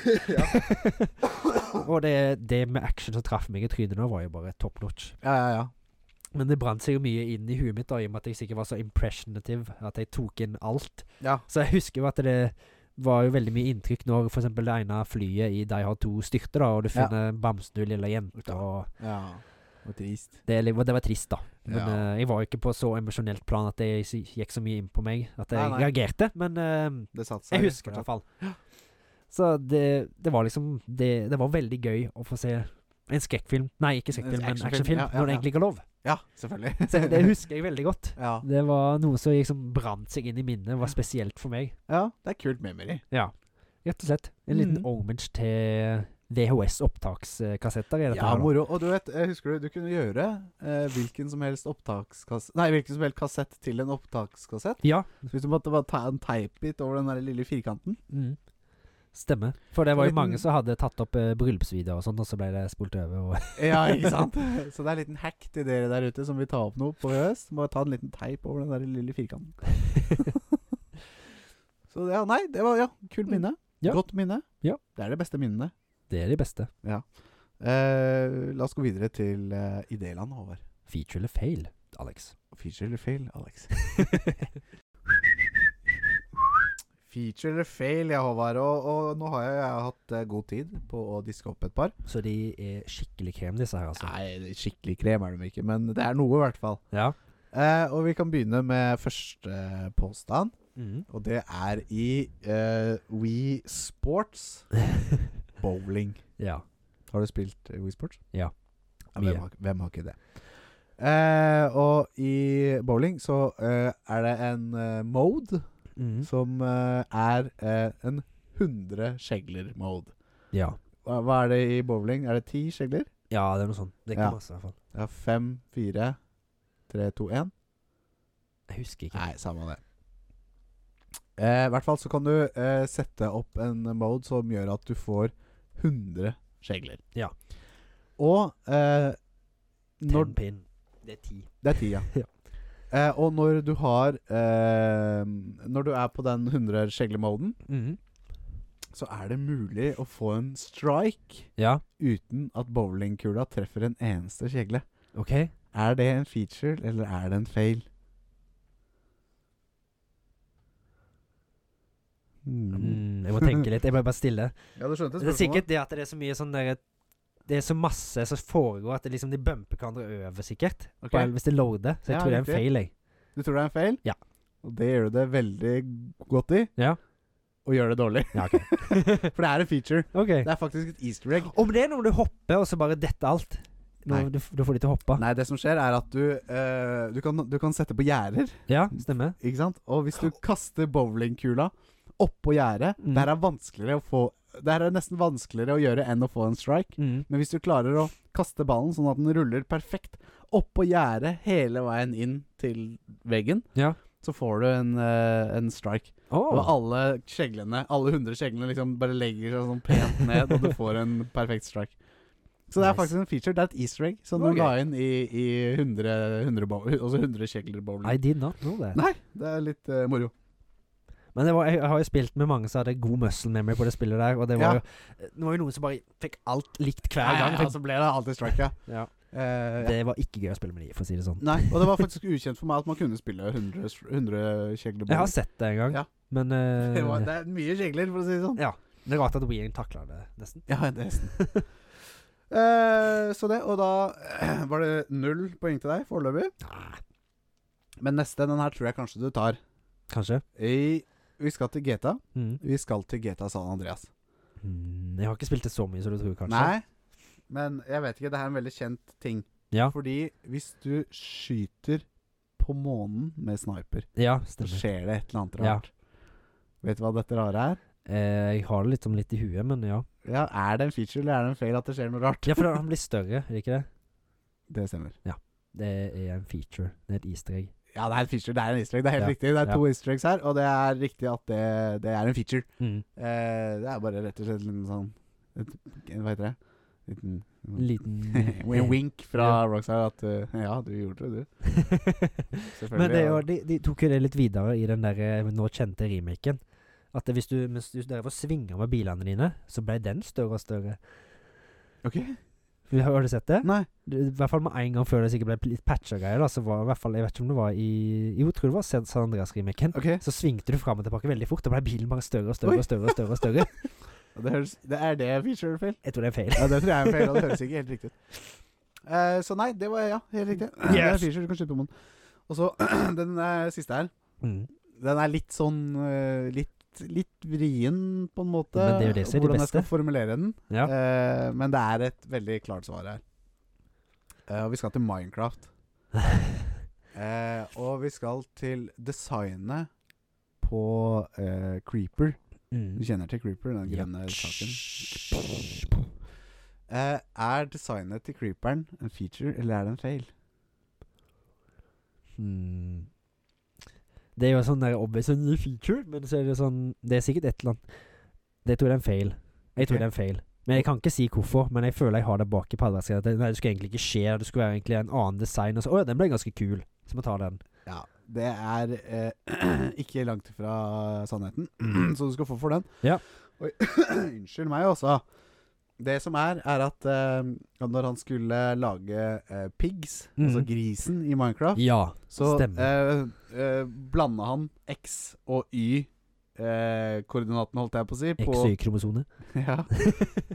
og det, det med action som traff meg i trynet nå, var jo bare top notch.
Ja, ja, ja.
Men det brant seg jo mye inn i huet mitt, da, i og med at jeg sikkert var så impressionative at jeg tok inn alt.
Ja.
Så jeg husker jo at det var jo veldig mye inntrykk når f.eks. det ene flyet i Die Hard 2 styrte, da, og du
Ja.
finner bamsen og lille jenta.
Ja.
og
ja. Og trist.
det, er litt- det var trist, da. Men
Ja.
eh, jeg var jo ikke på så emosjonelt plan at det s- gikk så mye inn på meg at jeg
Nei, nei.
reagerte. Men eh,
Det satte seg.
jeg husker det i hvert fall. Så det, det var liksom det, det var veldig gøy å få se en skrekkfilm Nei, ikke skrekkfilm, men actionfilm.
actionfilm. Ja, ja,
når det
ja.
egentlig ikke er lov.
Ja, selvfølgelig.
Så det husker jeg veldig godt.
ja.
Det var noe som liksom brant seg inn i minnet, var spesielt for meg.
ja, det er kult memory.
Ja, rett og slett. En liten
Mhm.
homage til VHS-opptakskassetter i dette.
Ja,
her, da.
moro. Og du vet, eh, husker du, du kunne gjøre eh, hvilken som helst opptakskassett Nei, hvilken som helst kassett til en opptakskassett.
Ja.
Så Hvis du måtte bare ta en teipbit over den der lille firkanten,
Mm. Stemmer. For det var jo
Liten-
mange som hadde tatt opp eh, bryllupsvideoer og sånn, og så ble det spolt over. Og
Ja, ikke sant? Så det er en liten hack til dere der ute som vil ta opp noe på høst. Bare ta en liten teip over den der lille firkanten. Så ja, nei, det var ja, kult minne.
Ja.
Godt minne.
Ja.
Det er det beste minnene.
det er de beste.
Eh, la oss gå videre til uh, idéland, Håvard.
Feature eller fail, Alex?
Feature eller fail, Alex?
Feature eller fail, ja, Håvard. Og, og nå har jeg, jeg har hatt eh, god tid på å diske opp et par.
Så de er skikkelig krem, disse her, altså.
Nei, skikkelig krem er de ikke, men det er noe, i hvert fall.
Ja.
Eh, og vi kan begynne med første eh, påstand,
Mm.
og det er i eh, We Sports bowling.
ja.
Har du spilt eh, Wii Sports?
Ja. Mye.
hvem, har, hvem har ikke det? Eh, og i bowling så eh, er det en eh, mode
Mm.
som eh, er eh, en 100 skjegler-mode.
ja.
Hva, hva er det i bowling? Er det ti skjegler?
Ja, det er noe sånt. Det er ikke
Ja.
masse, i hvert fall.
Ja, fem, fire, tre, to, én.
Jeg husker ikke.
Nei, samme det. Eh, I hvert fall så kan du eh, sette opp en mode som gjør at du får 100 skjegler.
Ja.
Og eh, når
Ten pin. Det er ti.
Det er ti, ja.
Ja.
Eh, og når du har eh, Når du er på den 100 skjegler-moden,
Mm.
så er det mulig å få en strike
Ja,
uten at bowlingkula treffer en eneste kjegle.
OK.
Er det en feature, eller er det en fail? Hmm.
Mm, jeg må tenke litt. Jeg ble bare stille.
Ja, du skjønte
Det er sikkert det at det er så mye sånn derre Det er så masse som foregår at det liksom de bumper hverandre over, sikkert.
Ok.
Bare Hvis de loader. Så jeg
Ja,
tror det er en
riktig.
fail, jeg.
Du tror det er en fail?
Ja.
Og det gjør du det veldig godt i,
Ja.
og gjør det dårlig.
Ja, OK.
For det er en feature.
Ok.
Det er faktisk et easter egg.
Om det er noe du hopper, og så bare detter alt.
Nei.
Når du, du får de til å hoppe.
Nei, det som skjer, er at du, eh, du, kan, du kan sette på gjerder.
Ja, stemmer.
Ikke sant? Og hvis du kaster bowlingkula oppå gjerdet
Mm.
Det her er vanskeligere å få Det her er nesten vanskeligere å gjøre enn å få en strike.
Mm.
Men hvis du klarer å kaste ballen sånn at den ruller perfekt oppå gjerdet hele veien inn til veggen,
Ja.
så får du en, eh, en strike. Og
Oh.
alle kjeglene, alle hundre kjeglene liksom bare legger seg sånn pent ned, og du får en perfekt strike. Så det er
Nice.
faktisk en feature. Det er et easter egg som
Ok.
du la inn i, i 100, 100, bow- altså 100 kjegler
I
bowling.
did not know that.
Nei, det er litt eh, moro.
Men det var, jeg har jo spilt med mange som hadde god muscle memory på det spillet der, og det var,
Ja.
jo, det var jo noen som bare fikk alt likt hver
Nei, altså,
gang.
ja, så ble det alltid strike, ja.
altså, Ja.
Eh, ja.
Det var ikke gøy å spille med de, for å si det sånn.
Nei, og det var faktisk ukjent for meg at man kunne spille 100, str- 100 kjegler
Jeg har
bowling.
sett det en gang,
Ja.
men eh,
Det, var- det er mye kjegler, for å si det sånn.
det er rart at Wien takla det, nesten.
Ja, det er nesten. Eh, så det, og da eh, var det null poeng til deg foreløpig.
Nei,
Men neste, den her tror jeg kanskje du tar.
Kanskje.
I, vi skal til GTA.
Mm.
Vi skal til GTA San Andreas.
Mm, Jeg har ikke spilt det så mye som du tror, kanskje.
Nei, men jeg vet ikke. Det er en veldig kjent ting.
Ja.
Fordi hvis du skyter på månen med sniper
Ja,
så
stemmer.
skjer det et eller annet
Ja.
rart. Vet du hva dette rare er?
Eh, jeg har det litt, som litt i huet, men ja.
Ja, Er det en feature eller er det en fail at det skjer noe rart?
Ja, for han blir større, er det ikke det?
Det stemmer.
Det er en feature. Det er et easter egg.
Ja, det er en feature. Det er en easter egg. Det er helt
Ja.
riktig. Det er
Ja.
to easter eggs her, og det er riktig at det, det er en feature.
Mm.
Eh, det er bare rett og slett en sånn et, Hva heter det? Liten,
Liten
en wink fra Rockstar at eh, Ja, du gjorde det, du. Selvfølgelig.
Men det er
ja.
jo, de, de tok jo det litt videre i den der eh, nå kjente remaken. At det hvis du, mens du drev og svinga med bilene dine, så ble den større og større.
Ok.
For Har har du sett det?
Nei.
Det- I hvert fall med en gang før det sikkert ble litt patcha greier, da, så var det i hvert fall Jeg vet ikke om det var i Jo, jeg tror det var San San Andreas-remaken.
Ok.
Så svingte du fram og tilbake veldig fort, og ble bilen bare større og større
Oi.
og større. og større og større
Og Det, høres, det er det feature fail?
Jeg tror det er feil.
Ja, det tror jeg er en feil, og det høres ikke helt riktig ut. Eh, så nei, det var ja, helt riktig. Det er feature, du kan skyte på månen. Og så den eh, siste her.
Mm.
Den er litt sånn eh, litt, litt vrien, på en måte.
Men det er jo det som er det
hvordan jeg skal
beste.
formulere den.
Ja.
Eh, men det er et veldig klart svar her. Eh, og vi skal til Minecraft. Eh, og vi skal til designet på eh, Creeper.
Mm.
Du kjenner til Creeper, den
Ja.
grønne saken? Eh, er designet til Creeperen en feature, eller er det en fail?
Hmm. sånn, Det er jo sånn der obvious en ny feature, men så er det sånn Det er sikkert et eller annet Det tror jeg er en feil. Jeg tror
Ok.
det er en feil. Men jeg kan ikke si hvorfor, men jeg føler jeg har det bak i paddesken. at det- Nei, det skulle egentlig ikke skje. Det skulle være egentlig en annen design. Og så, å ja, den ble ganske kul. Så må jeg ta den.
Ja, det er eh, ikke langt fra sannheten, så du skal få for den.
Ja.
Oi, unnskyld meg også. Det som er, er at eh, når han skulle lage eh, pigs,
Mhm.
altså grisen i Minecraft,
Ja.
så eh,
stemmer.
eh, blanda han X og Y. Eh, koordinatene, holdt jeg på å si, på,
XY-kromosone.
ja,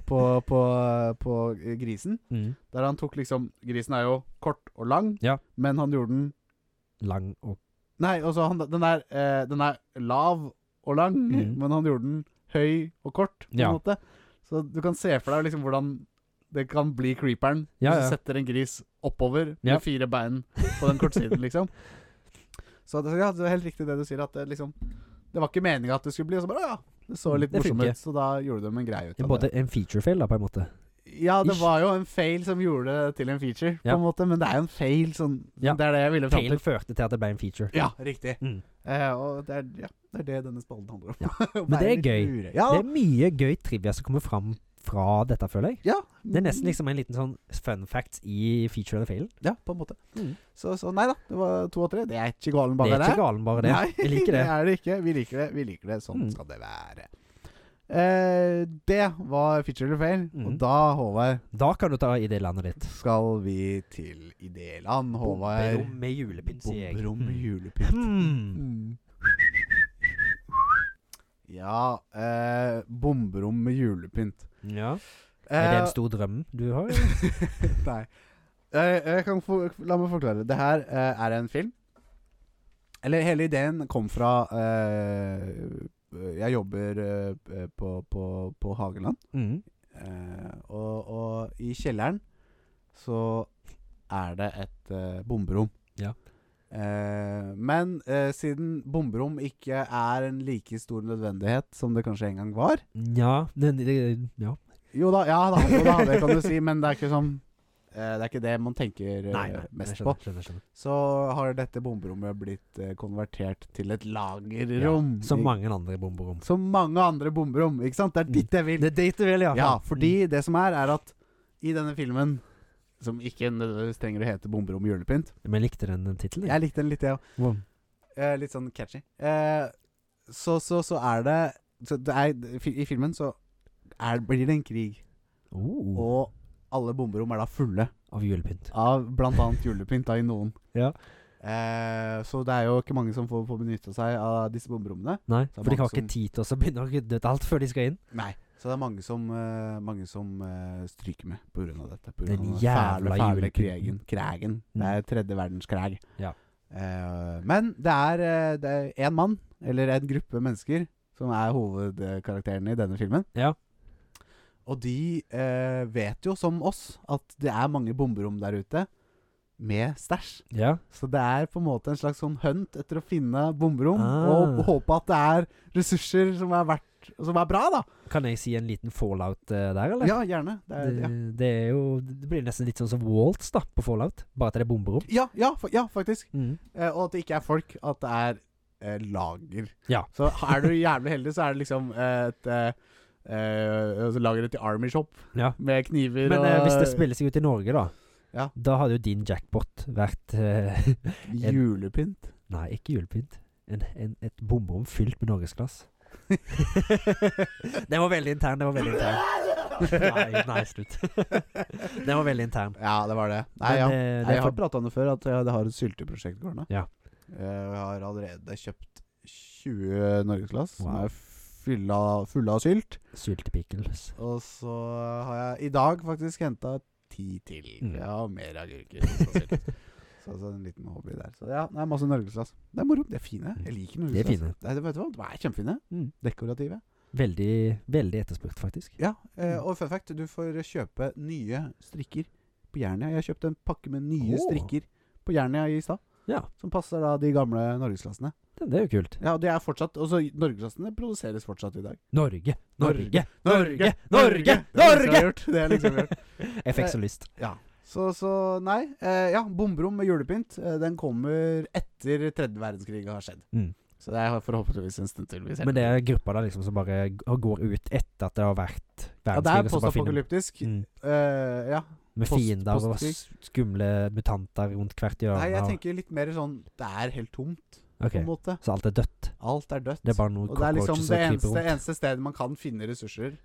på, på, på grisen.
Mm.
Der han tok liksom Grisen er jo kort og lang,
Ja.
men han gjorde den
Lang og
Nei, altså han, den, er, eh, den er lav og lang,
Mhm.
men han gjorde den høy og kort, på
Ja.
en måte. Så du kan se for deg liksom hvordan det kan bli creeperen
Ja,
hvis
ja.
du setter en gris oppover
Ja.
med fire bein på den kortsiden, liksom. Så det, ja, det er helt riktig det du sier, at det liksom Det var ikke meninga at det skulle bli, og så bare «Å ja. Det så
Mm,
litt
Det
morsomt
funker.
ut, så da gjorde de en greie ut
En,
av
både
det.
en feature-fail, da, på en måte.
Ja, det
Ish.
var jo en fail som gjorde det til en feature, på
Ja.
en måte, men det er jo en fail sånn
Ja.
Det er det jeg ville fram
Failen
til.
førte til at det ble en feature.
Ja, riktig.
Mm.
Eh, og det er, ja, det er det denne spalten handler om.
Men det er
Være litt
gøy.
lure. Ja,
Det er mye gøy trivia som kommer fram fra dette, føler jeg.
ja.
Det er nesten liksom en liten sånn fun fact i feature eller failen.
Ja, på en måte.
Mm.
Så, så nei da, det var to og tre. Det er ikke galen
Det
bare
er ikke galen, bare det.
Nei,
Jeg liker det.
det er det ikke. Vi liker det. Vi liker det. Sånn
Mm.
skal det være. Eh, det var feature eller fail. Og
Mm.
da, Håvard,
Da kan du ta i det landet ditt.
skal vi til idéland. Håvard
Bomberom med julepynt, sier jeg. Mm.
Bomberom med julepynt. Mm.
Hmm.
Ja, eh, bomberom med julepynt.
Ja.
Eh,
Er det en stor drøm du har? eller?
Nei. Eh, jeg kan få- la meg forklare. Det her eh, er en film. Eller hele ideen kom fra eh, Jeg jobber eh, på, på, på Hageland.
Mm.
Eh, og, og i kjelleren så er det et eh, bomberom.
Ja.
Eh, men eh, siden bomberom ikke er en like stor nødvendighet som det kanskje en gang var
Ja, det, det, ja.
Jo da, ja da, jo da det kan du si, men det er ikke sånn eh, Det er ikke det man tenker eh, mest
jeg
på.
skjønner, skjønner, skjønner.
Så har dette bomberommet blitt eh, konvertert til et lagerrom.
Som
Ik-
mange andre bomberom.
som mange andre bomberom, ikke sant? Det er
Mm.
dit jeg vil.
Det er dit du vil, ja.
Ja, fordi det som er, er at i denne filmen som ikke nødvendigvis trenger å hete 'Bomberom julepynt'.
Mm. Men likte den den tittelen?
Jeg likte den litt, jeg òg.
Wow.
Eh, litt sånn catchy. Eh, så, så, så er det, så det er, fi- I filmen så er, blir det en krig,
Oh,
og alle bomberom er da fulle
av julepynt.
av bl.a. julepynt da, i noen.
Ja.
Eh, så det er jo ikke mange som får, får benytta seg av disse bomberommene.
Nei,
er
for de har
mange
ikke
som-
tid til å begynne å rydde ut alt før de skal inn.
Nei. Så det er mange som, eh, mange som eh, stryker med pga. dette. På grunn
Den
av den
jævla
fæle, fæle
julepynten. Mm.
krigen. Krigen. Det er tredje verdenskreg.
Ja.
Eh, men det er, eh, det er en mann, eller en gruppe mennesker, som er hovedkarakterene i denne filmen.
Ja.
Og de eh, vet jo, som oss, at det er mange bomberom der ute med stæsj.
Ja.
Så det er på en måte en slags sånn hunt etter å finne bomberom,
Ah.
og håpe at det er ressurser som er, verdt, som er bra, da.
Kan jeg si en liten fallout eh, der, eller?
Ja, gjerne. Det er,
Det,
ja.
det er jo Det blir nesten litt sånn som Waltz da på Fallout, bare at det er bomberom.
Ja, ja, fa ja, faktisk.
Mm.
Eh, og at det ikke er folk, at det er eh, lager.
Ja.
Så er du jævlig heldig, så er det liksom eh, et eh, eh, altså Lageret til Army Shop
Ja.
med kniver
Men
og
eh, hvis det spiller seg ut i Norge, da,
Ja.
da hadde jo din jackpot vært eh,
Julepynt.
Nei, ikke julepynt. En, en, et bomberom fylt med norgesglass. den var veldig intern, den var veldig intern. Nei, nei, slutt. den var veldig intern.
Ja, det var det. Nei,
Men,
ja.
eh, det
Nei,
er
jeg har
for-
prata om det før, at jeg har et sylteprosjekt gående.
Ja.
Eh, og jeg har allerede kjøpt 20 norgesglass som
Wow.
er fylla, fulle av sylt.
Syltepickles.
Og så har jeg i dag faktisk henta ti til.
Mm.
Ja, og mer agurker. og sylt. Så, så en liten hobby der. Så ja, nei, masse norgesglass. Det er moro. De er fine.
Mm.
Jeg liker
De er
norgesglass.
fine.
Nei, det- vet du hva? De er kjempefine.
Mm.
Dekorative.
Veldig, veldig etterspurt, faktisk.
Ja, eh,
Mm.
og fun fact, du får kjøpe nye strikker på Jernia. Jeg har kjøpt en pakke med nye
Åh.
strikker på Jernia i stad.
Ja.
Som passer da de gamle norgesklassene.
Det, det er jo kult.
Ja, og de er fortsatt Også norgesklassene produseres fortsatt i dag.
Norge, Norge,
Norge,
Norge,
Det
Norge!
er liksom
Norge!
gjort. Det er liksom gjort.
Jeg fikk så lyst.
Ja. Så, så nei. Eh, ja, bomberom med julepynt. Eh, den kommer etter tredje verdenskrig har skjedd.
Mm.
Så det er forhåpentligvis en stund til vi ser
Men det er gruppa da liksom som bare g- går ut etter at det har vært
Ja, det er
verdenskrig, og så bare finner
postapokalyptisk.
mm,
Eh, ja.
Med
post-
fiender og
postkrig.
s- skumle mutanter rundt hvert hjørne.
Nei, jeg
og-
tenker litt mer sånn Det er helt tomt,
Ok,
på en måte.
Så alt er dødt?
Alt er dødt.
Det er bare noen
og det er liksom
cockroaches
det
som
eneste,
kryper rundt?
eneste stedet man kan finne ressurser,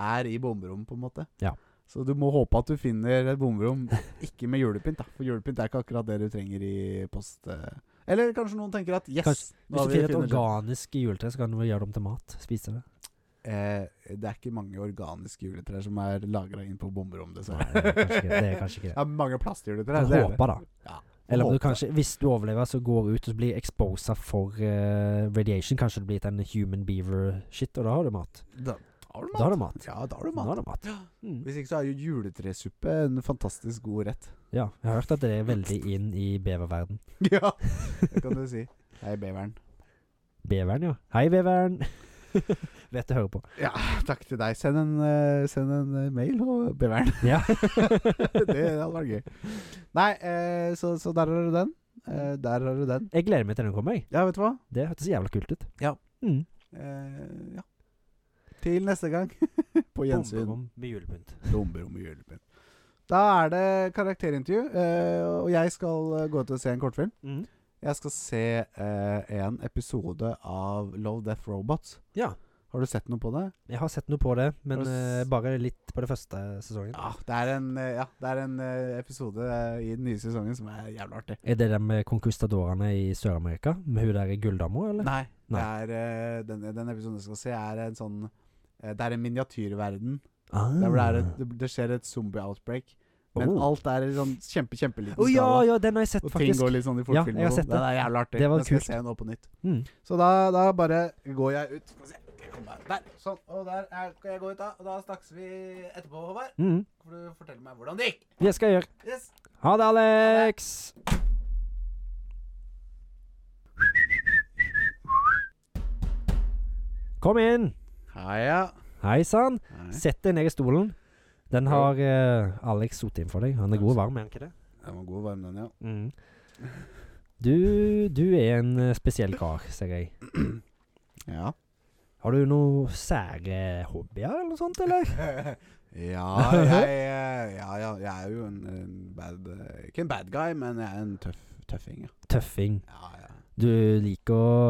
er i bomberom, på en måte.
Ja.
Så du må håpe at du finner et bomberom, ikke med julepynt, da. For julepynt er ikke akkurat det du trenger i post... eh. Eller kanskje noen tenker at yes,
Kanskje-
nå
Hvis
har
du
vi
finner et
funnet det.
organisk juletre, så kan du vel gjøre det om til mat? Spise det?
Eh, det er ikke mange organiske juletrær som er lagra inn på bomberom,
Nei, det er kanskje ikke det. det, er
dessverre.
kanskje ikke det.
Ja, mange plastjuletrær.
Kan
det er det.
håpe, da.
Ja,
Eller om du
håpe.
kanskje, hvis du overlever, så går du ut og blir exposa for eh, radiation. Kanskje du blir til en human beaver-shit, og da har du mat.
Da har du
Da har
mat.
du mat.
Ja, da har du
Da
mat.
har du mat. Mm.
Hvis ikke så er jo juletresuppe en fantastisk god rett.
Ja, jeg har hørt at det er veldig inn i beververden.
ja, det kan du si. Hei, beveren.
Beveren, ja. Hei, beveren. Vet du hører på.
Ja, takk til deg. Send en, eh, send en eh, mail, og beveren.
Ja.
det hadde vært gøy. Nei, eh, så, så der har du den. Eh, der har du den.
Jeg gleder meg til den kommer, jeg.
Ja, vet du hva?
Det hørtes jævla kult ut.
Ja.
Mm.
Eh, ja. Til neste gang. På gjensyn.
Bomberom med julepynt.
Bomberom og julepynt. Da er det karakterintervju, eh, og jeg skal eh, gå ut og se en kortfilm.
Mm.
Jeg skal se eh, en episode av Love Death Robots.
Ja.
Har du sett noe på det?
Jeg har sett noe på det, men
Har du
eh,
s-
bare litt på det første sesongen.
Ja, det er en, eh, ja, det er en eh, episode eh, i den nye sesongen som er jævla artig.
Er det de med konkustadorene i Sør-Amerika? Med hun der gulldama, eller?
Nei. Det
Nei.
er, eh, den, den episoden jeg skal se, er en sånn eh, Det er en miniatyrverden.
Ah.
Der hvor det, er et, det, det skjer et zombie-outbreak. Men
Oh.
alt er i sånn kjempe, kjempeliten
Å ja,
skala.
ja, den har jeg sett,
Og ting
faktisk.
går litt sånn i
Ja, jeg
fortfilm.
har
og
sett
sånn. det er jævla artig.
Det var
Da skal
kult.
jeg se nå på nytt.
Mm.
Så da, da bare går jeg ut. Skal vi se. Jeg kommer meg Der. Sånn. Og der er, skal jeg gå ut, da. Og da snakkes vi etterpå, Håvard.
Mm.
Får du fortelle meg hvordan det gikk.
Det skal jeg gjøre.
Yes.
Ha det, Alex! Kom inn!
Heia.
Hei sann.
Hei.
Sett deg ned i stolen. Den har eh, Alex sotet inn for deg. Han er god og varm, er han ikke det?
Den var god og varm, den, ja.
Mm. Du, du er en eh, spesiell kar, ser jeg.
Ja.
Har du noen sære hobbyer eller noe sånt, eller?
ja, jeg, eh, ja, ja, jeg er jo en, en bad eh, Ikke en bad guy, men jeg er en tøff tøffing, ja.
Tøffing.
ja, ja.
Du liker å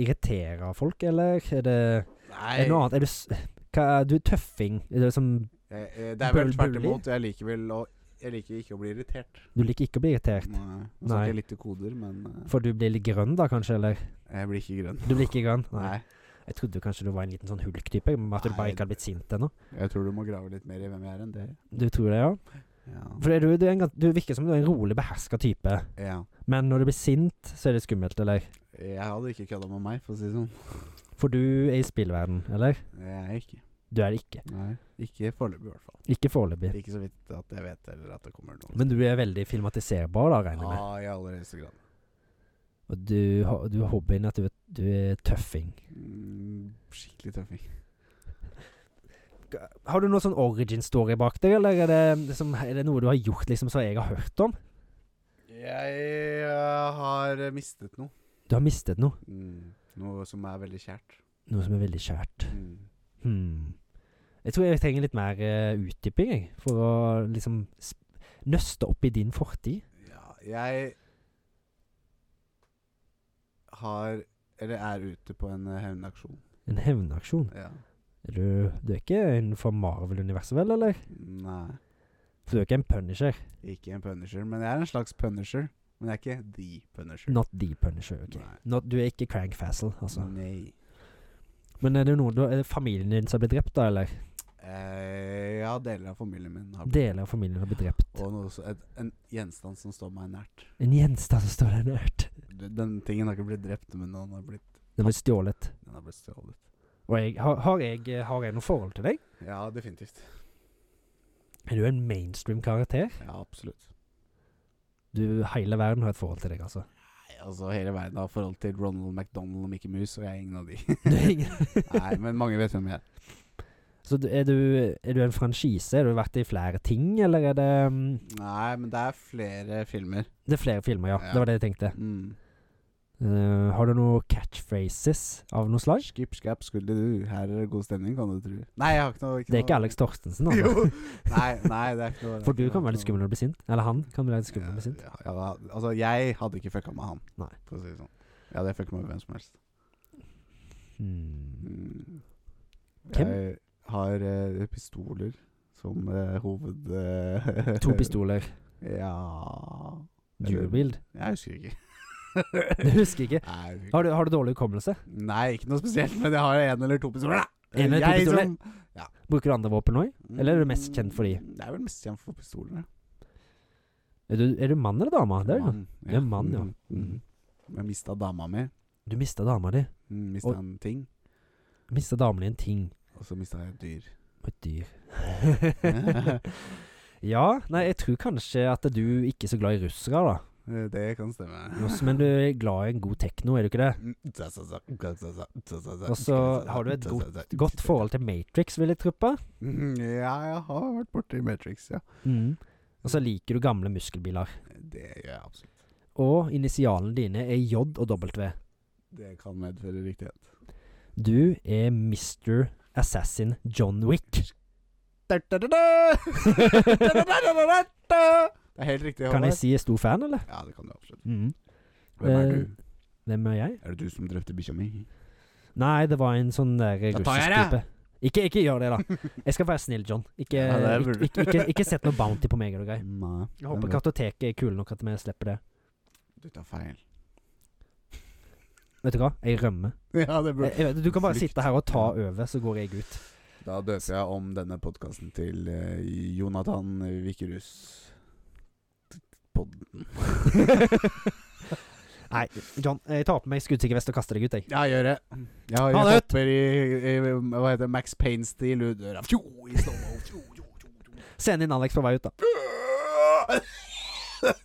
irritere folk, eller? Er det
Nei,
er det noe annet? Er du, s- hva, er du tøffing? Er det som,
eh, eh, det er vel
Bull-
tvert
bully?
imot. Jeg liker vel å Jeg liker ikke å bli irritert.
du liker ikke å bli irritert?
Nå nå
Nei.
snakker jeg litt i koder, men eh,
For du blir litt grønn da, kanskje? Eller?
jeg blir ikke grønn.
Du blir ikke grønn?
Nei.
Jeg trodde kanskje du var en liten sånn hulk-type, men at du bare
Nei.
ikke hadde blitt sint ennå.
Jeg tror du må grave litt mer i hvem jeg er enn det.
Du tror det, ja?
Ja.
For er du, du, er en, gans- du virker som du er en rolig, beherska type.
ja.
Men når du blir sint, så er det skummelt, eller?
Jeg hadde ikke kødda med meg, for å si det sånn.
For du er i spillverden, eller?
Jeg er ikke.
Du er det ikke.
Nei. Ikke foreløpig, i hvert fall.
Ikke foreløpig.
Ikke så vidt at jeg vet, eller at det kommer noe.
Men du er veldig filmatiserbar, da, regner jeg med.
Ja, i aller høyeste grad.
Og du, har- du har hobbyen at du, er- du er tøffing.
Mm, skikkelig tøffing.
Har du noe sånn origin story bak deg, eller er det, liksom, er det noe du har gjort liksom, som jeg har hørt om?
Jeg eh, har mistet noe.
Du har mistet noe.
Mm. Noe som er veldig kjært.
Noe som er veldig kjært.
Mm.
Hmm. Jeg tror jeg trenger litt mer eh, utdyping, jeg. For å liksom sp nøste opp i din fortid.
Ja, jeg har Eller er ute på en eh, hevnaksjon.
En hevnaksjon.
Ja.
Er du, du er ikke innenfor Marvel-universet, vel, eller?
Nei.
For du er ikke en punisher.
Ikke en punisher, men jeg er en slags punisher. Men jeg er ikke the punisher.
Not the punisher. ok
Nei. Mm.
Not, du er ikke Crank Fassel, altså.
Nei.
Men er det noen du, er det familien din som blir drept, da, eller?
Eh, ja, deler av familien min har blitt
Deler av familien har blitt drept.
Og noe, så- et, en gjenstand som står meg nært.
En gjenstand som står der nært.
Den den tingen har ikke blitt drept, men den har blitt,
Den ble stjålet.
den har blitt stjålet.
Og jeg, har, har, jeg, eh, har jeg noe forhold til deg?
Ja, definitivt.
Er du en mainstream karakter?
Ja, absolutt.
Du, Hele verden har et forhold til deg, altså.
Nei, altså Hele verden har forhold til Ronald McDonald og Mickey Mouse, og jeg er ingen av de.
Du er ingen
Nei, men mange vet hvem jeg er.
Så du- er du, er du en franchise? Har du vært i flere ting, eller er det mm,
Nei, men det er flere filmer.
Det er flere filmer, ja.
Ja.
Det var det jeg tenkte.
Mm.
Eh, har du noen catchphrases av noe slag?
Skip, skap, skulle du. Her er det god stemning, kan du tro. Nei, jeg har ikke noe
Det er ikke Alex Torstensen, altså.
Jo. Nei, nei, det er ikke noe
For du kan være litt skummel når du blir sint. Eller han kan bli litt skummel når du blir sint.
Ja, ja, da- altså, jeg hadde ikke fucka med han,
Nei.
for å si det sånn. Jeg hadde fucka med hvem som helst.
Hmm.
Mm.
Hvem?
Jeg har eh, pistoler som eh, hoved... eh,
To pistoler.
Ja
Jewelbeeld.
Jeg husker ikke.
Det husker jeg ikke.
Nei, jeg husker ikke.
Har du, har du dårlig hukommelse?
Nei, ikke noe spesielt, men jeg har en eller to pistoler. da.
En eller to
Jeg
pistoler?
som-
Bruker du andre våpen òg? Eller er du mest kjent for de?
Mm, Jeg er vel mest kjent for pistolene.
Er, du- er du mann eller dame? Det er du.
Mann,
Det er mann, ja.
Mm, mm. Jeg mista dama mi.
Du mista dama di.
Mista
Og-
en ting,
Mista damen din en ting.
og så mista jeg et dyr.
Og et dyr. ja, nei, jeg tror kanskje at du ikke er så glad i russere, da.
Eh, Det kan stemme. Mm,
Også, men du er glad i en god tekno, er du ikke det?
Og
Og så har du et Godt forhold til Matrix, vil jeg truppe.
Mm, Ja, jeg har vært borti Matrix, ja.
Mm. Og så liker du gamle muskelbiler.
Det gjør jeg absolutt.
Og initialene dine er J og W.
Det kan medføre riktighet.
Du er Mr. Assassin John Wick.
Det er helt riktig.
Kan
Håvard.
jeg si jeg er stor fan, eller?
Ja, det kan du absolutt.
Mm.
Hvem er
Eh,
du?
Hvem er jeg?
Er det du som drepte bikkja mi?
Nei, det var en sånn der
Da
russisk
tar jeg det.
type. Ikke, ikke gjør det, da. Jeg skal være snill, John. Ikke,
Ja, det er
ikke,
burde-
ikke, ikke, ikke sett noe bounty på meg. Er du grei?
Nei.
Jeg håper kartoteket er kule nok at vi slipper det.
Du tar feil.
Vet du hva? Jeg rømmer.
Ja, det
Jeg, jeg, vet- Eh, du kan bare
Flykt.
sitte her og ta over, så går jeg ut.
Da døper jeg om denne podkasten til eh, Jonathan Vikerus. Podden.
Nei, John. Jeg tar på meg skuddsikker vest og kaster deg ut, jeg.
Ja, gjør det. Ja, jeg
Ha det ut!
hopper i, i hva heter det, Max Payne-stil ut døra. Fjo, i snowball. Fjo, jo, jo, jo.
Send inn Alex på vei ut, da.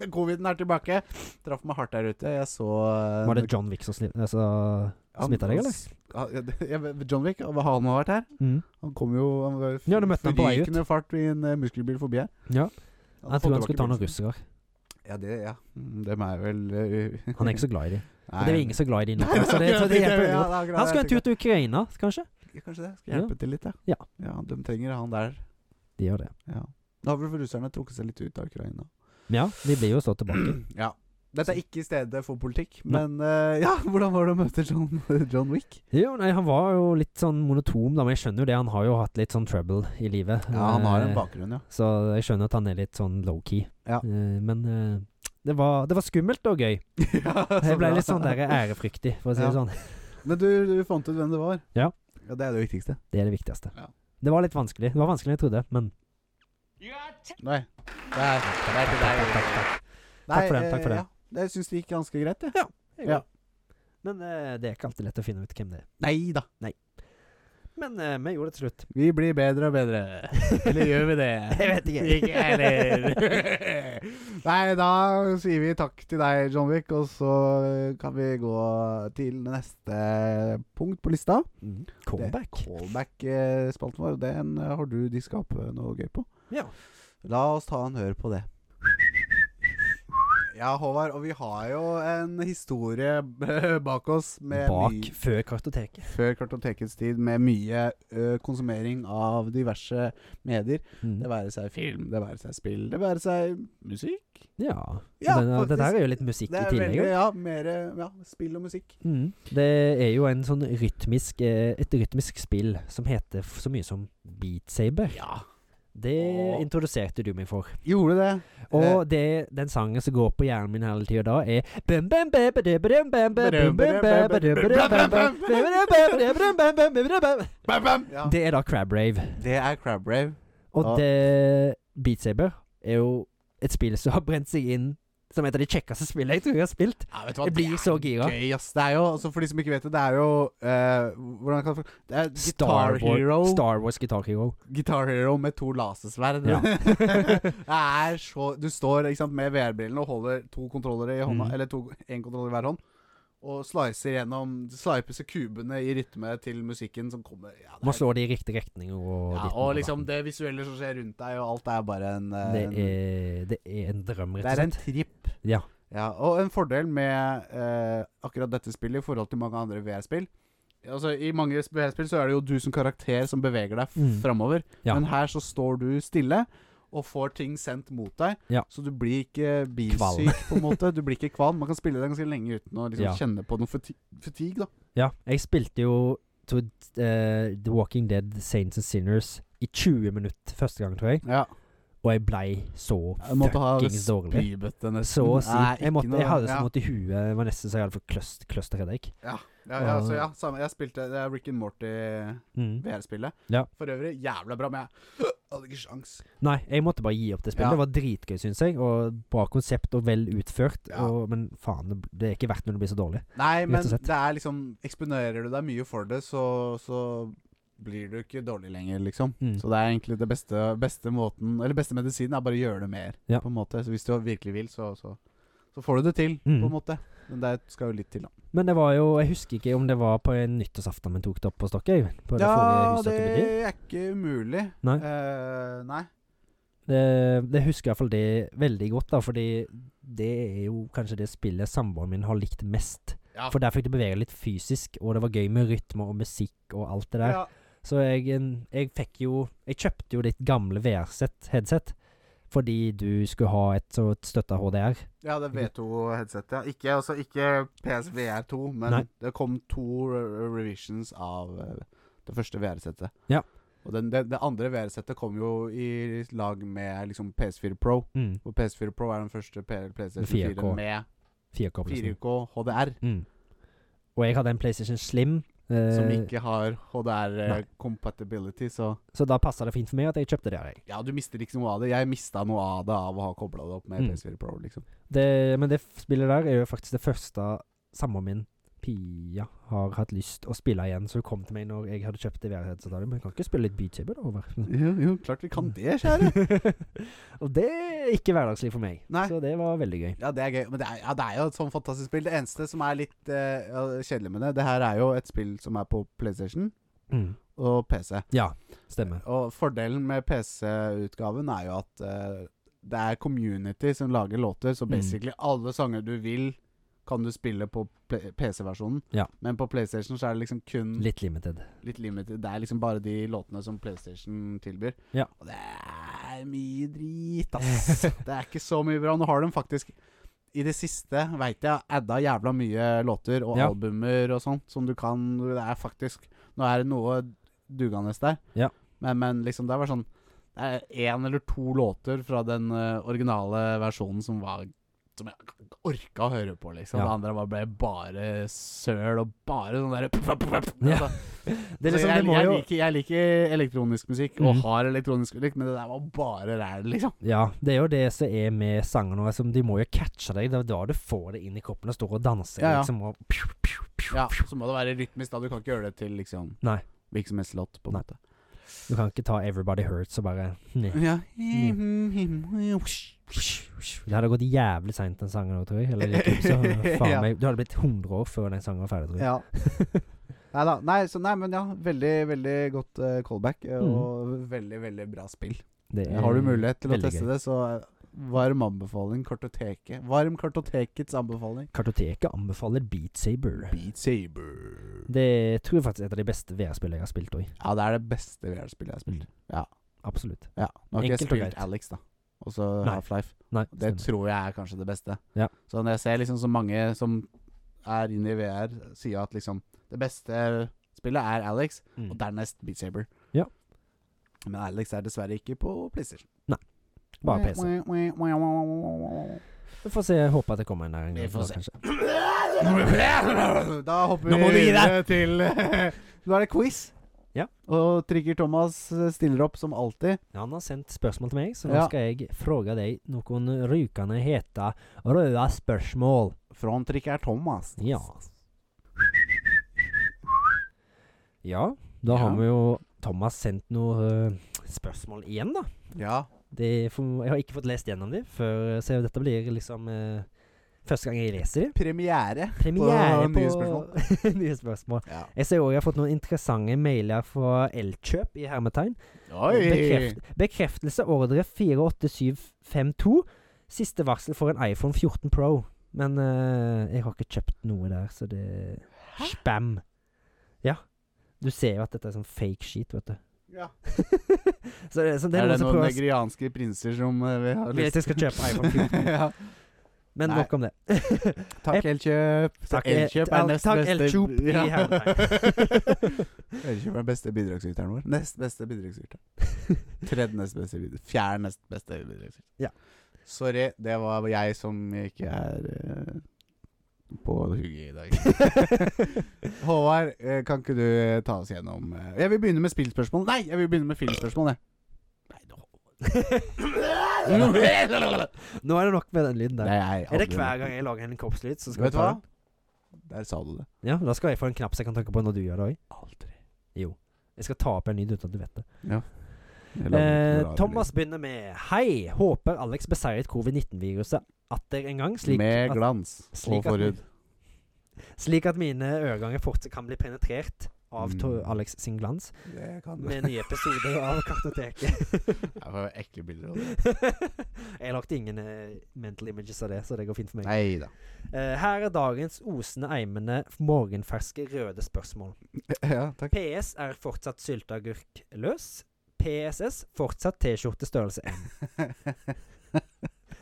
Coviden er tilbake. Traff meg hardt der ute. Jeg så eh,
Var det John Wick som snitt... Altså
han-
smittet deg, eller?
Ja, ja, det- jeg vet- John Wick, hva har han har vært her?
mm.
Han kom jo han var f-
Ja, du møtte han på vei ut.
forrykende fart i en eh, muskelbil forbi her.
Ja. Jeg tror
Han fått
han
tilbake
skulle ta noen
bilen.
russere.
Ja, det, ja. Mm, Dem er vel eh,
Han er ikke så glad i dem.
Nei.
Og det er ingen så glad i dem nå. Så det, så det er helt bra. Han skal en tur til Ukraina, kanskje?
Ja, Kanskje det. Skal
Ja.
hjelpe til litt, ja.
Ja.
De trenger han der.
De gjør det.
Ja. Da har vel russerne trukket seg litt ut av Ukraina.
Ja, de blir jo så tilbake.
Ja. Dette er ikke stedet for politikk,
Nei.
men eh, ja, hvordan var det å møte John, John Wick?
Jo, nei, Han var jo litt sånn monotom, da, men jeg skjønner jo det. Han har jo hatt litt sånn trouble i livet. Eh,
bakgrunn, ja.
Så jeg skjønner at han er litt sånn low-key.
Ja.
Eh, Men eh, det var, det var skummelt og gøy. Jeg ble litt sånn der ærefryktig, for å si det
Ja.
sånn.
Men du, du fant ut hvem det var?
Ja.
ja det er det viktigste.
Det er det viktigste.
Ja.
Det var litt vanskelig. Det var vanskeligere enn jeg trodde, men
Nei. Det er, det er til deg.
Takk, takk, takk.
Nei,
for den, takk for
eh,
den.
Ja, det syns det gikk ganske greit, jeg. Ja.
Ja. Men eh, det er ikke alltid lett å finne ut hvem det er.
Nei da.
Men eh, vi gjorde det til slutt.
Vi blir bedre og bedre. Eller gjør vi det?
Jeg vet ikke.
Ikke jeg heller. Nei, da sier vi takk til deg, John Wick, og så kan vi gå til neste punkt på lista.
Mm. Callback.
Callback-spalten vår. Den eh, har du diska opp eh, noe gøy på.
Ja.
La oss ta en hør på det. Ja, Håvard, og vi har jo en historie bak oss med
Bak
mye
før kartoteket.
før kartotekets tid med mye ø, konsumering av diverse medier.
Mm.
Det være seg film, det være seg spill, det være seg musikk.
Ja.
Ja,
den,
faktisk.
det der er jo litt musikk i
Det er
tillegg.
veldig,
jo.
ja, mer ja, spill og musikk.
Mm. Det er jo en sånn rytmisk, eh, et rytmisk spill som heter f- så mye som Beat Saber.
Ja.
Det
Åh.
introduserte du meg for.
Gjorde det.
Og det, den sangen som går på hjernen min hele tida da, er bum, bum, bum, badum, badum, bum, bum, bum, bum, bum, badum, badum, bum, bum, bum, badum, bum, badum, bum, bum, bum, badum, bum.
Bam, bam! Ja.
Det er da Crab Rave.
Det er Crab Rave.
Og
Ja.
det Beat Saber er jo et spill som har brent seg inn som et av de kjekkeste spillene jeg tror jeg har spilt.
Ja, vet du
Jeg blir så gira.
Gøy, ass. Det er jo, altså for de som ikke vet det, det er jo eh, Hvordan kan jeg for- Det er Guitar
Star
Hero.
Wars, Star Wars Guitar Hero.
Guitar Hero med to lasersverd.
Ja.
det er så Du står ikke sant, med VR-brillene og holder to kontrollere i hånda,
Mm.
eller to- en kontroller i hver hånd, og slicer gjennom Sliper kubene i rytme til musikken som kommer. Ja, det
Man
er-
slår det i riktig retning og
ja,
ditt
og
og datt.
liksom det visuelle som skjer rundt deg, og alt er bare en eh,
det
en-
er, det er en drøm,
det
rett og
er en
slett.
tripp.
Ja.
Ja, og en fordel med eh, akkurat dette spillet i forhold til mange andre VR-spill Altså, I mange VR-spill så er det jo du som karakter som beveger deg mm.
Mm.
framover.
Ja.
Men her så står du stille og får ting sendt mot deg,
Ja.
så du blir ikke bilsyk, på en måte. Du blir ikke kvalm. Man kan spille det ganske lenge uten å liksom,
Ja.
kjenne på noe fati fatigue, da.
Ja, jeg spilte jo to, eh, The Walking Dead Saints and Sinners i 20 minutter første gang, tror jeg.
Ja.
Og jeg blei så
Jeg måtte ha
fuckings dårlig.
spybøtte nesten.
Så å si.
Nei, ikke
jeg, måtte,
noe-
jeg hadde så
ja.
vondt i huet. Det var nesten så jeg hadde fått cluster, cluster headache.
Ja, ja, ja, så ja, samme. Jeg spilte det er Rick and Morty-VR-spillet.
Mm. Ja.
For øvrig jævla bra, men jeg hadde ikke sjans.
Nei, jeg måtte bare gi opp det
Ja.
spillet. Det var dritgøy, syns jeg. Og bra konsept og vel utført.
Ja.
Og, men faen, det, det er ikke verdt når det blir så dårlig.
Nei, men
og slett.
det er liksom Eksponerer du deg mye for det, så, så blir du ikke dårlig lenger, liksom.
Mm.
Så det er egentlig det beste, beste måten Eller beste medisinen er bare å gjøre det mer,
Ja.
på en måte. Så hvis du virkelig vil, så, så, så får du det til,
Mm.
på en måte. Men det skal jo litt til, da.
Men det var jo Jeg husker ikke om det var på en nyttårsaften vi tok det opp på Stokkøy. På det forrige
Ja,
huset
det
dere bodde i.
er ikke umulig.
Nei.
Eh, nei.
Det, det husker jeg iallfall det veldig godt, da, fordi det er jo kanskje det spillet samboeren min har likt mest.
Ja.
For der fikk du bevege deg litt fysisk, og det var gøy med rytme og musikk og alt det der.
Ja.
Så jeg, en- jeg fikk jo Jeg kjøpte jo ditt gamle VR-sett, headset, fordi du skulle ha et som støtta HDR.
Ja, det er V2-headset, ja. Ikke, altså, ikke PSVR2, men
Nei.
det kom to re- revisions av eh, det første VR-settet.
Ja.
Og den, det, det andre VR-settet kom jo i lag med liksom PS4 Pro.
Mm,
Og PS4 Pro er den første P- PlayStation 4
4K.
med
4K-oppløsning.
4K HDR,
Mm. Og jeg hadde en PlayStation Slim, eh,
som ikke har HDR
Nei.
eh, compatibility, så
så da passa det fint for meg at jeg kjøpte det. her, Jeg.
Ja, du mister ikke noe av det. Jeg mista noe av det av å ha kobla det opp med
Mm.
PS4 Pro, liksom.
Det, men det f- spillet der er jo faktisk det første samboeren min, Pia, har hatt lyst å spille igjen. Så hun kom til meg når jeg hadde kjøpt det VR-headsetet. av dem, Men kan ikke spille litt Beachaber over?
Jo, jo, klart vi kan det, kjære.
og det er ikke hverdagslig for meg.
Nei.
Så det var veldig gøy.
Ja, det er gøy. Men det er, ja, det er jo et sånn fantastisk spill. Det eneste som er litt eh, ja, kjedelig med det, det her er jo et spill som er på PlayStation og PC.
Mm. Ja, stemmer.
Og fordelen med PC-utgaven er jo at eh, det er community som lager låter, så
Mm.
basically alle sanger du vil, kan du spille på PC-versjonen.
Ja.
Men på PlayStation så er det liksom kun litt.
Litt limited.
limited. Det er liksom bare de låtene som PlayStation tilbyr.
Ja.
Og det er mye drit, ass. det er ikke så mye bra. Nå har de faktisk i det siste, veit jeg, adda jævla mye låter og
Ja.
albumer og sånt som du kan Det er faktisk Nå er det noe dugende der.
Ja.
Men, men liksom, det var sånn Det er én eller to låter fra den eh, originale versjonen som var Som jeg orka å høre på, liksom.
Ja.
Det andre var ble bare søl og bare sånn derre puff, puff, puff.
Ja.
Altså,
Det er liksom,
jeg,
det må
jeg,
jo
liker, jeg liker elektronisk musikk, og
Mhm.
har elektronisk musikk, men det der var bare ræl, liksom.
Ja, det er jo det som er med sanger nå. Liksom, de må jo catche deg. Det er da du får det inn i kroppen og står og danser.
Ja, ja.
Liksom, og pju, pju, pju.
Ja, så må det være rytmisk, da. Du kan ikke gjøre det til liksom
Nei.
hvilken som helst låt, på en
Nei.
måte.
Du kan ikke ta 'Everybody Hurts' og bare hm, Nei.
Ja.
Mm. Det hadde gått jævlig seint, den sangen òg, tror jeg. Eller YouTube, så faen
Ja.
meg Du hadde blitt 100 år før den sangen var ferdig, tror jeg.
ja. Nei da. Nei, så, nei, men ja. Veldig, veldig godt eh, callback, eh,
Mhm.
og veldig, veldig bra spill.
Det er
Har du mulighet til å
veldig
teste
gøy.
det, så eh, varm anbefaling. Kartoteket. Varm kartotekets anbefaling.
Kartoteket anbefaler Beat Saber.
Beat Saber.
Det tror jeg faktisk er et av de beste VR-spillene jeg har spilt òg.
Ja, det er det beste VR-spillet jeg har spilt.
Absolutt.
Ja. Nå har ikke jeg
Enkelt og
spilt
greit.
Alex, da. Og så
Nei.
Half-Life.
Nei,
Det
stemmer.
tror jeg er kanskje det beste.
Ja.
Så når jeg ser liksom så mange som er inne i VR, sier at liksom det beste spillet er Alex,
Mm.
og dernest Beat Saber.
Ja.
Men Alex er dessverre ikke på PlayStation.
Bare PC. Vi får se. Jeg håper at det kommer en der en
Vi
gang.
får
da,
se.
kanskje.
Da hopper
Nå må du
vi
gi
videre til Nå er det quiz.
Ja.
Og Trigger Thomas stiller opp som alltid.
Han har sendt spørsmål til meg, så nå
Ja.
skal jeg fråga deg noen rykende hete røde spørsmål.
Fra Trigger Thomas.
Ja. Ja, da
Ja.
har vi jo Thomas sendt noen eh, spørsmål igjen, da.
Ja.
Det får- jeg har ikke fått lest gjennom de før, så dette blir liksom eh, første gang jeg leser de.
Premiere.
Premiere på,
nye spørsmål.
nye spørsmål.
Ja.
Jeg ser også jeg har fått noen interessante mailer fra Elkjøp i hermetegn.
Oi!
Bekreft, bekreftelse ordre 48752. Siste varsel for en iPhone 14 Pro. Men eh, jeg har ikke kjøpt noe der, så det Spam. Ja. Du ser jo at dette er sånn fake shit, vet du.
Ja.
så det, så det
er
er
det
noen som
noen
prøver å
nigerianske prinser som eh, vi har
Vil at jeg skal kjøpe iPhone 14.
ja.
Men
Nei.
nok om det.
Takk, Elkjøp.
Eh, Takk,
Elkjøp
El-
er nest
takk,
beste
Elkjøp i
Ja.
hermetegn.
Elkjøp er den beste bidragsyteren vår. Nest beste bidragsyter. Tredje nest beste bidrag. Fjerde nest beste bidragsyter.
Ja.
Sorry, det var jeg som ikke er eh, på hugget i dag. Håvard, eh, kan ikke du eh, ta oss gjennom eh, Jeg vil begynne med spillspørsmål. Nei, jeg vil begynne med filmspørsmål, jeg. Nei,
Nå er det nok med den lyden der.
jeg
Er det hver gang jeg lager en kroppslyd, så skal
Vet
vi
du
ta
hva?
den?
Der sa du det.
Ja, da skal jeg få en knapp så jeg kan trykke på når du gjør det òg.
Aldri.
Jo. Jeg skal ta opp en lyd uten at du vet det.
Jeg lager ikke
Eh,
noe
Thomas begynner med Hei, håper Alex beseiret covid-19-viruset atter en gang,
radiolyd.
slik
Med
at,
glans og
slik at-
forhud.
slik at mine øreganger fortsatt kan bli penetrert av
Mm.
to- Alex sin glans
Det kan
med nye episoder av Kartoteket.
Jeg får ekle bilder av det.
jeg lagde ingen eh, mental images av det, så det går fint for meg.
Nei da.
Eh, her er dagens osende, eimende, morgenferske, røde spørsmål.
Ja, takk.
PS er fortsatt sylteagurk løs. PSS fortsatt T-skjorte størrelse M.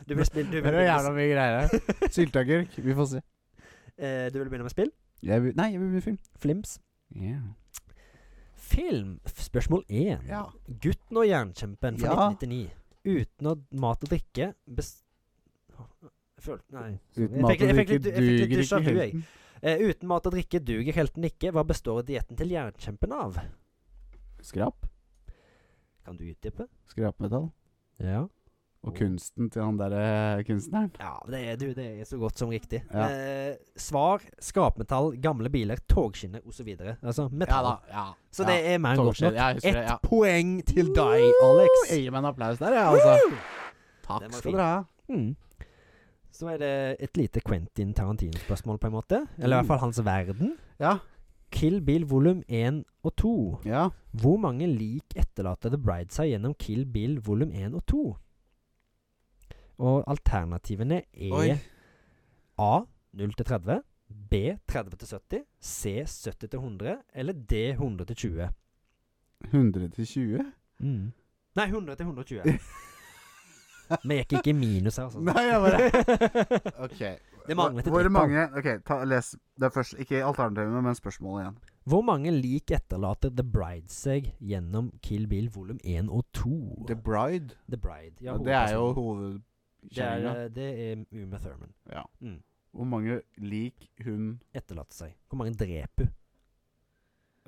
Du vil, spille, du,
Det
vil
er jo
begynne,
jævla mye greier her. Sylteagurk. Vi får se.
eh, du vil begynne med spill?
Jeg vil, nei, jeg vil bli film.
Flims.
Ja.
Film. F- Spørsmål én. Gutten og jernkjempen fra
Ja.
1999. Uten å mat og drikke bes... Jeg følte Nei.
Uten
Jeg
mat
fikk-
og
jeg fikk
drikke
litt- jeg fikk litt
duger
déjà
ikke
vu, jeg.
helten.
Eh, uten mat og drikke duger helten ikke. Hva består dietten til jernkjempen av?
Skrap.
Kan du utdype?
Skrapmetall.
Ja.
Og kunsten til han derre kunstneren.
Ja, det er, du, det er så godt som riktig.
Ja.
Eh, svar skrapmetall, gamle biler, togskinner osv. Altså metall.
Ja.
så det er mer enn godt nok.
Jeg husker
Ett
det. Ja.
poeng til deg, Alex.
Jeg gir meg en applaus der, jeg, altså.
Den
Takk
var
skal
fin.
dere ha.
Mm. Så er det et lite Quentin Tarantino-spørsmål, på en måte. Eller i hvert fall hans verden.
Ja.
Kill Bill volum 1 og 2.
ja.
Hvor mange lik etterlater The Bride seg gjennom Kill Bill volum 1 og 2? Og alternativene er
Oi.
A 0 til 30, B 30 til 70, C 70 til 100 eller D 100 til 20.
100 til 20?
Nei, 100 til 120. Vi gikk ikke i minus her, altså.
Nei, jeg bare OK.
Det manglet et
Hvor
tipptall.
mange OK, ta, les. Det er først, ikke alternativene, men spørsmålet igjen.
Hvor mange lik etterlater The Bride seg gjennom Kill Bill volum 1 og 2?
The Bride.
The Bride. Ja,
det er jo
hovedpersonen. Det er,
hovedkjerringa.
eh, det er Uma Thurman.
Ja.
Mm.
Hvor mange lik hun
Etterlater seg. Hvor mange dreper hun?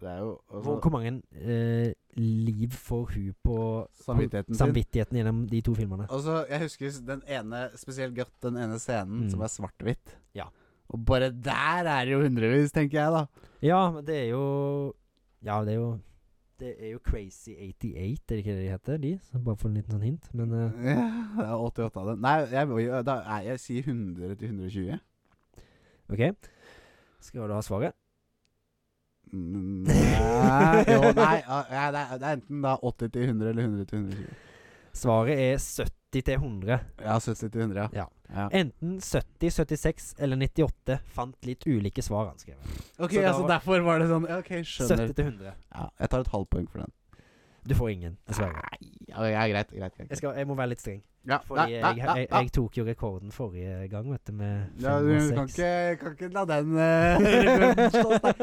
Det er jo
Hvor,
altså,
hvor mange eh, liv får hun på
samvittigheten sin.
samvittigheten gjennom de to filmene?
Altså, jeg husker den ene spesielt godt den ene scenen
Mm.
som er svart-hvitt.
Ja.
Og bare der er det jo hundrevis, tenker jeg, da.
Ja, men det er jo Ja, det er jo Det er jo Crazy 88, er det ikke det de heter? De? Så bare for en liten sånn hint. Men eh,
Ja, det er 88 av dem. Nei, jeg, jeg, da, jeg, jeg sier 100 til 120.
OK. Skal du ha svaret?
Mm, Nei, jo, nei ja, ja, det, er, det er enten da 80 til 100 eller 100 til 120.
Svaret er 70 til 100.
Ja, 70 til 100, ja.
Ja. Enten 70, 76 eller 98 fant litt ulike svar, han skrev.
Ok,
Så da
altså
var-
derfor var det sånn ja, Ok, skjønner.
70 til 100.
Ja, jeg tar et halvt poeng for den.
Du får ingen, dessverre.
Nei, ja, ja, greit, greit. greit.
Jeg, skal, jeg må være litt streng,
Ja,
Fordi
ja,
jeg,
ja,
jeg,
ja.
jeg tok jo rekorden forrige gang, vet du, med
Ja,
5
du kan
og 6.
ikke, kan ikke la den eh, slå deg.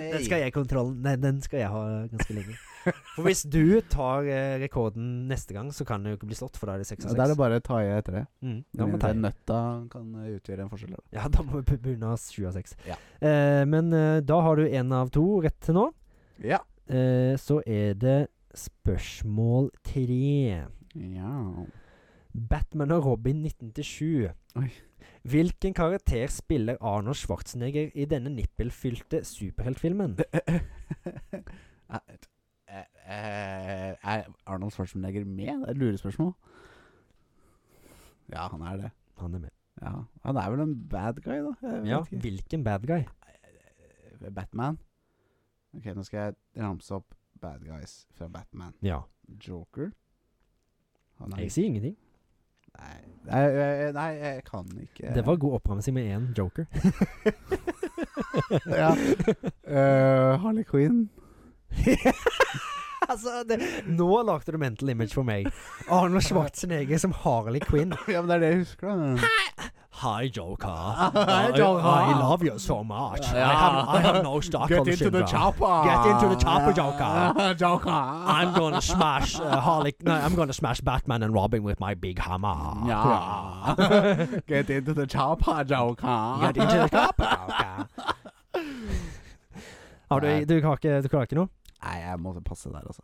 Den skal jeg kontrollen Nei, den skal jeg ha ganske lenge. For hvis du tar eh, rekorden neste gang, så kan det jo ikke bli slått, for da er det 6
Ja,
og
Da er det
6.
bare å ta i etter det.
Mm, da
Med
må vi ta
mindre
i.
nøtta kan eh, utgjøre en forskjell.
Ja, da må vi be- begynne av 7 av 6.
Ja.
Eh, men eh, da har du én av to rett til nå.
Ja.
Eh, så er det spørsmål tre.
ja.
Batman og Robin 1997.
Oi.
Hvilken karakter spiller Arnold Schwarzenegger i denne nippelfylte superheltfilmen?
Eh, eh, Er Arnold Schwarzenegger med? Det er et lurespørsmål. Ja, han er det.
Han er med.
Ja. Han er vel en bad guy, da? Jeg vet
Ja,
ikke.
hvilken bad guy?
Eh, Batman. Ok, nå skal jeg ramse opp bad guys fra Batman.
Ja,
Joker. Han er
jeg sier ingenting.
Nei, Nei, jeg- nei, jeg kan ikke
Det var god oppramsing med én joker.
ja. Eh, Harley Quinn.
altså, det, nå lagde du mental image for meg. Arnold Schwarzenegger som Harley Quinn.
Ja, men det er det jeg husker, da.
Hi, Joker.
Hi,
I, I
Joker.
love you so much. I, have, I have no Stockholm
Get into
syndrome.
the chopper!
Get into the chopper, Joker.
Joker.
I'm gonna smash uh, Harley. No, I'm gonna smash Batman and Robin with my big hammer.
Ja. Get into the chopper, Joker.
Get into the chopper, Joker.
Har du, du, har ikke, du klarer ikke noe?
Nei, jeg måtte passe der, altså.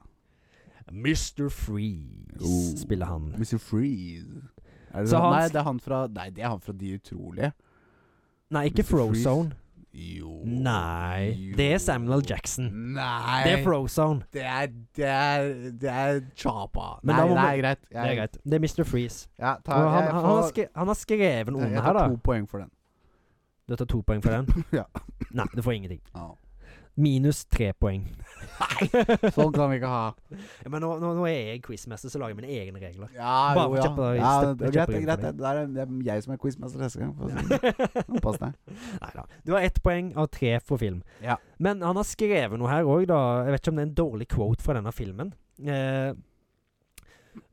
Mr. Freeze.
Oh.
Spiller han.
Mr. Freeze. Er det
Så
han,
han-
nei, det er han fra Nei, det er han fra De utrolige.
Nei, ikke
Mr. Freeze.
Frozone.
Jo
Nei. Det er Samuel L. Jackson.
Nei.
Det er Frozone.
Det er Det er, det er Chapa.
Men
Nei,
da må
det
man-
er greit. Jeg,
Det er greit. Det er Mr. Freeze.
Ja, ta,
Og han,
jeg
han,
får,
har skre, han har skrevet noe
jeg
her,
tar
da.
to poeng for den.
Du tar to poeng for den?
Ja.
Nei, du får ingenting.
Ja.
Minus tre poeng.
Sånn kan vi ikke ha.
Ja, men nå, nå, nå er jeg quizmester, så lager jeg mine egne regler.
Ja,
Bare
jo,
for
ja.
kjappe-
ja
kjappe-
det, er greit, det er
kjappe
greit. Det, det, er, det er jeg som er quizmester neste gang. for å si det. Pass deg.
Neida. Du har ett poeng av tre for film.
Ja.
Men han har skrevet noe her òg, da. Jeg vet ikke om det er en dårlig quote fra denne filmen. Eh,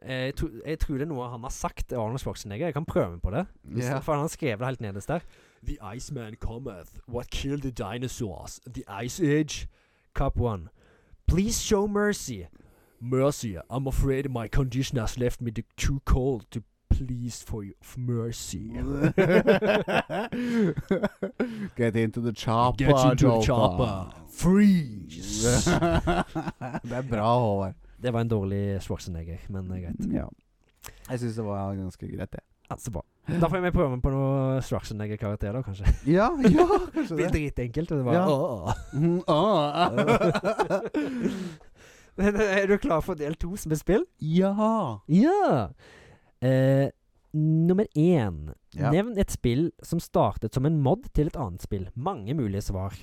eh, jeg, tro, jeg tror det er noe han har sagt, Arnold Schwarzenegger. Jeg kan prøve på det.
Ja.
For han har skrevet det helt nederst der.
The Iceman cometh. What killed the dinosaurs? The Ice Age?
Cop one.
Please show mercy. Mercy. I'm afraid my condition has left me the- too cold to please for you. for mercy.
Get into the chopper,
Get into the
Joker.
chopper. Freeze.
det er bra, Håvard.
Det var en dårlig Schwarzenegger, men eh, greit.
Ja. Jeg syns det var ganske greit, det.
Altså, bra. Da får vi prøve på noe Schwarzenegger-karakterer, kanskje.
Ja, ja, kanskje
Det er
det.
dritenkelt. og Det var,
Ja.
Åh.
Mm, ah.
Men, eh, er du klar for del to som er spill?
ja.
Ja! Eh, nummer én.
Ja.
Nevn et spill som startet som en mod til et annet spill. Mange mulige svar.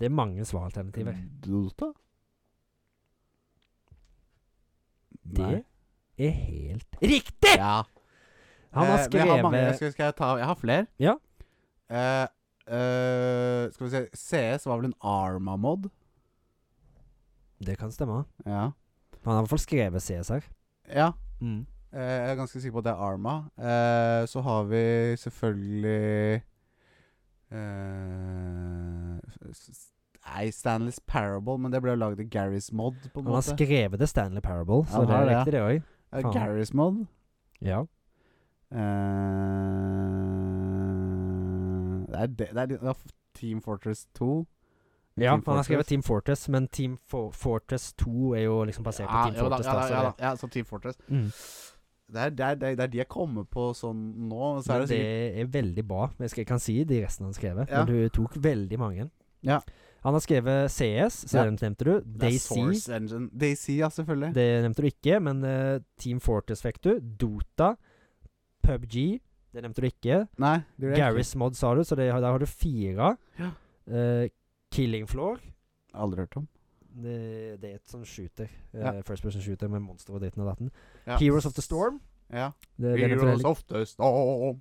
Det er mange
Mm,
svaralternativer.
Dota? Nei.
Det er helt riktig!
Ja.
Han har
Eh, men Jeg har, mange,
skrevet
skal, skal jeg ta Jeg har flere.
Ja.
Eh, eh, skal vi se CS var vel en Arma-mod?
Det kan stemme.
Ja.
Han har i hvert fall skrevet CSR.
ja.
Mm.
Eh, jeg er ganske sikker på at det er Arma. Eh, så har vi selvfølgelig eh, s- s- Nei, Stanley's Parable, men det ble jo lagd i Garys mod, på en
Han har
måte.
skrevet det Stanley Parable, så
Han
det
har
er
det,
riktig, det òg.
Eh,
faen.
Garys mod.
Ja.
Eh, det er det, det er litt- det er Team Fortress 2.
ja
Team
han har skrevet
Fortress.
Team Fortress, men Team For Fortress 2 er jo liksom basert på Team
jo da,
Fortress.
ja,
da,
da,
så
ja,
det-
da, ja, så Team Fortress.
Mm.
Det er, det, er, det, er, det er de jeg kommer på sånn nå. Så er
Men det
det sikkert
er veldig bra. Jeg, skal, jeg kan si de resten han skrev,
Ja.
men du tok veldig mange.
Ja.
Han har skrevet CS, så
Ja.
den nevnte du.
det er
Daisy,
Source Engine. Daisy, ja, selvfølgelig.
det nevnte du ikke, men eh, Team Fortress fikk du. Dota, PubG, det nevnte du ikke.
Nei, det gjør jeg ikke.
Garry's Mod sa du, så det, der har du fire.
Ja.
Eh, Killing Floor,
Aldri hørt om.
det, det er et sånn shooter. eh,
Ja.
First person shooter med monstre og dritten og datten.
Ja.
Heroes of the Storm.
Ja.
Det, det nevnte du heller ikke.
of the Storm.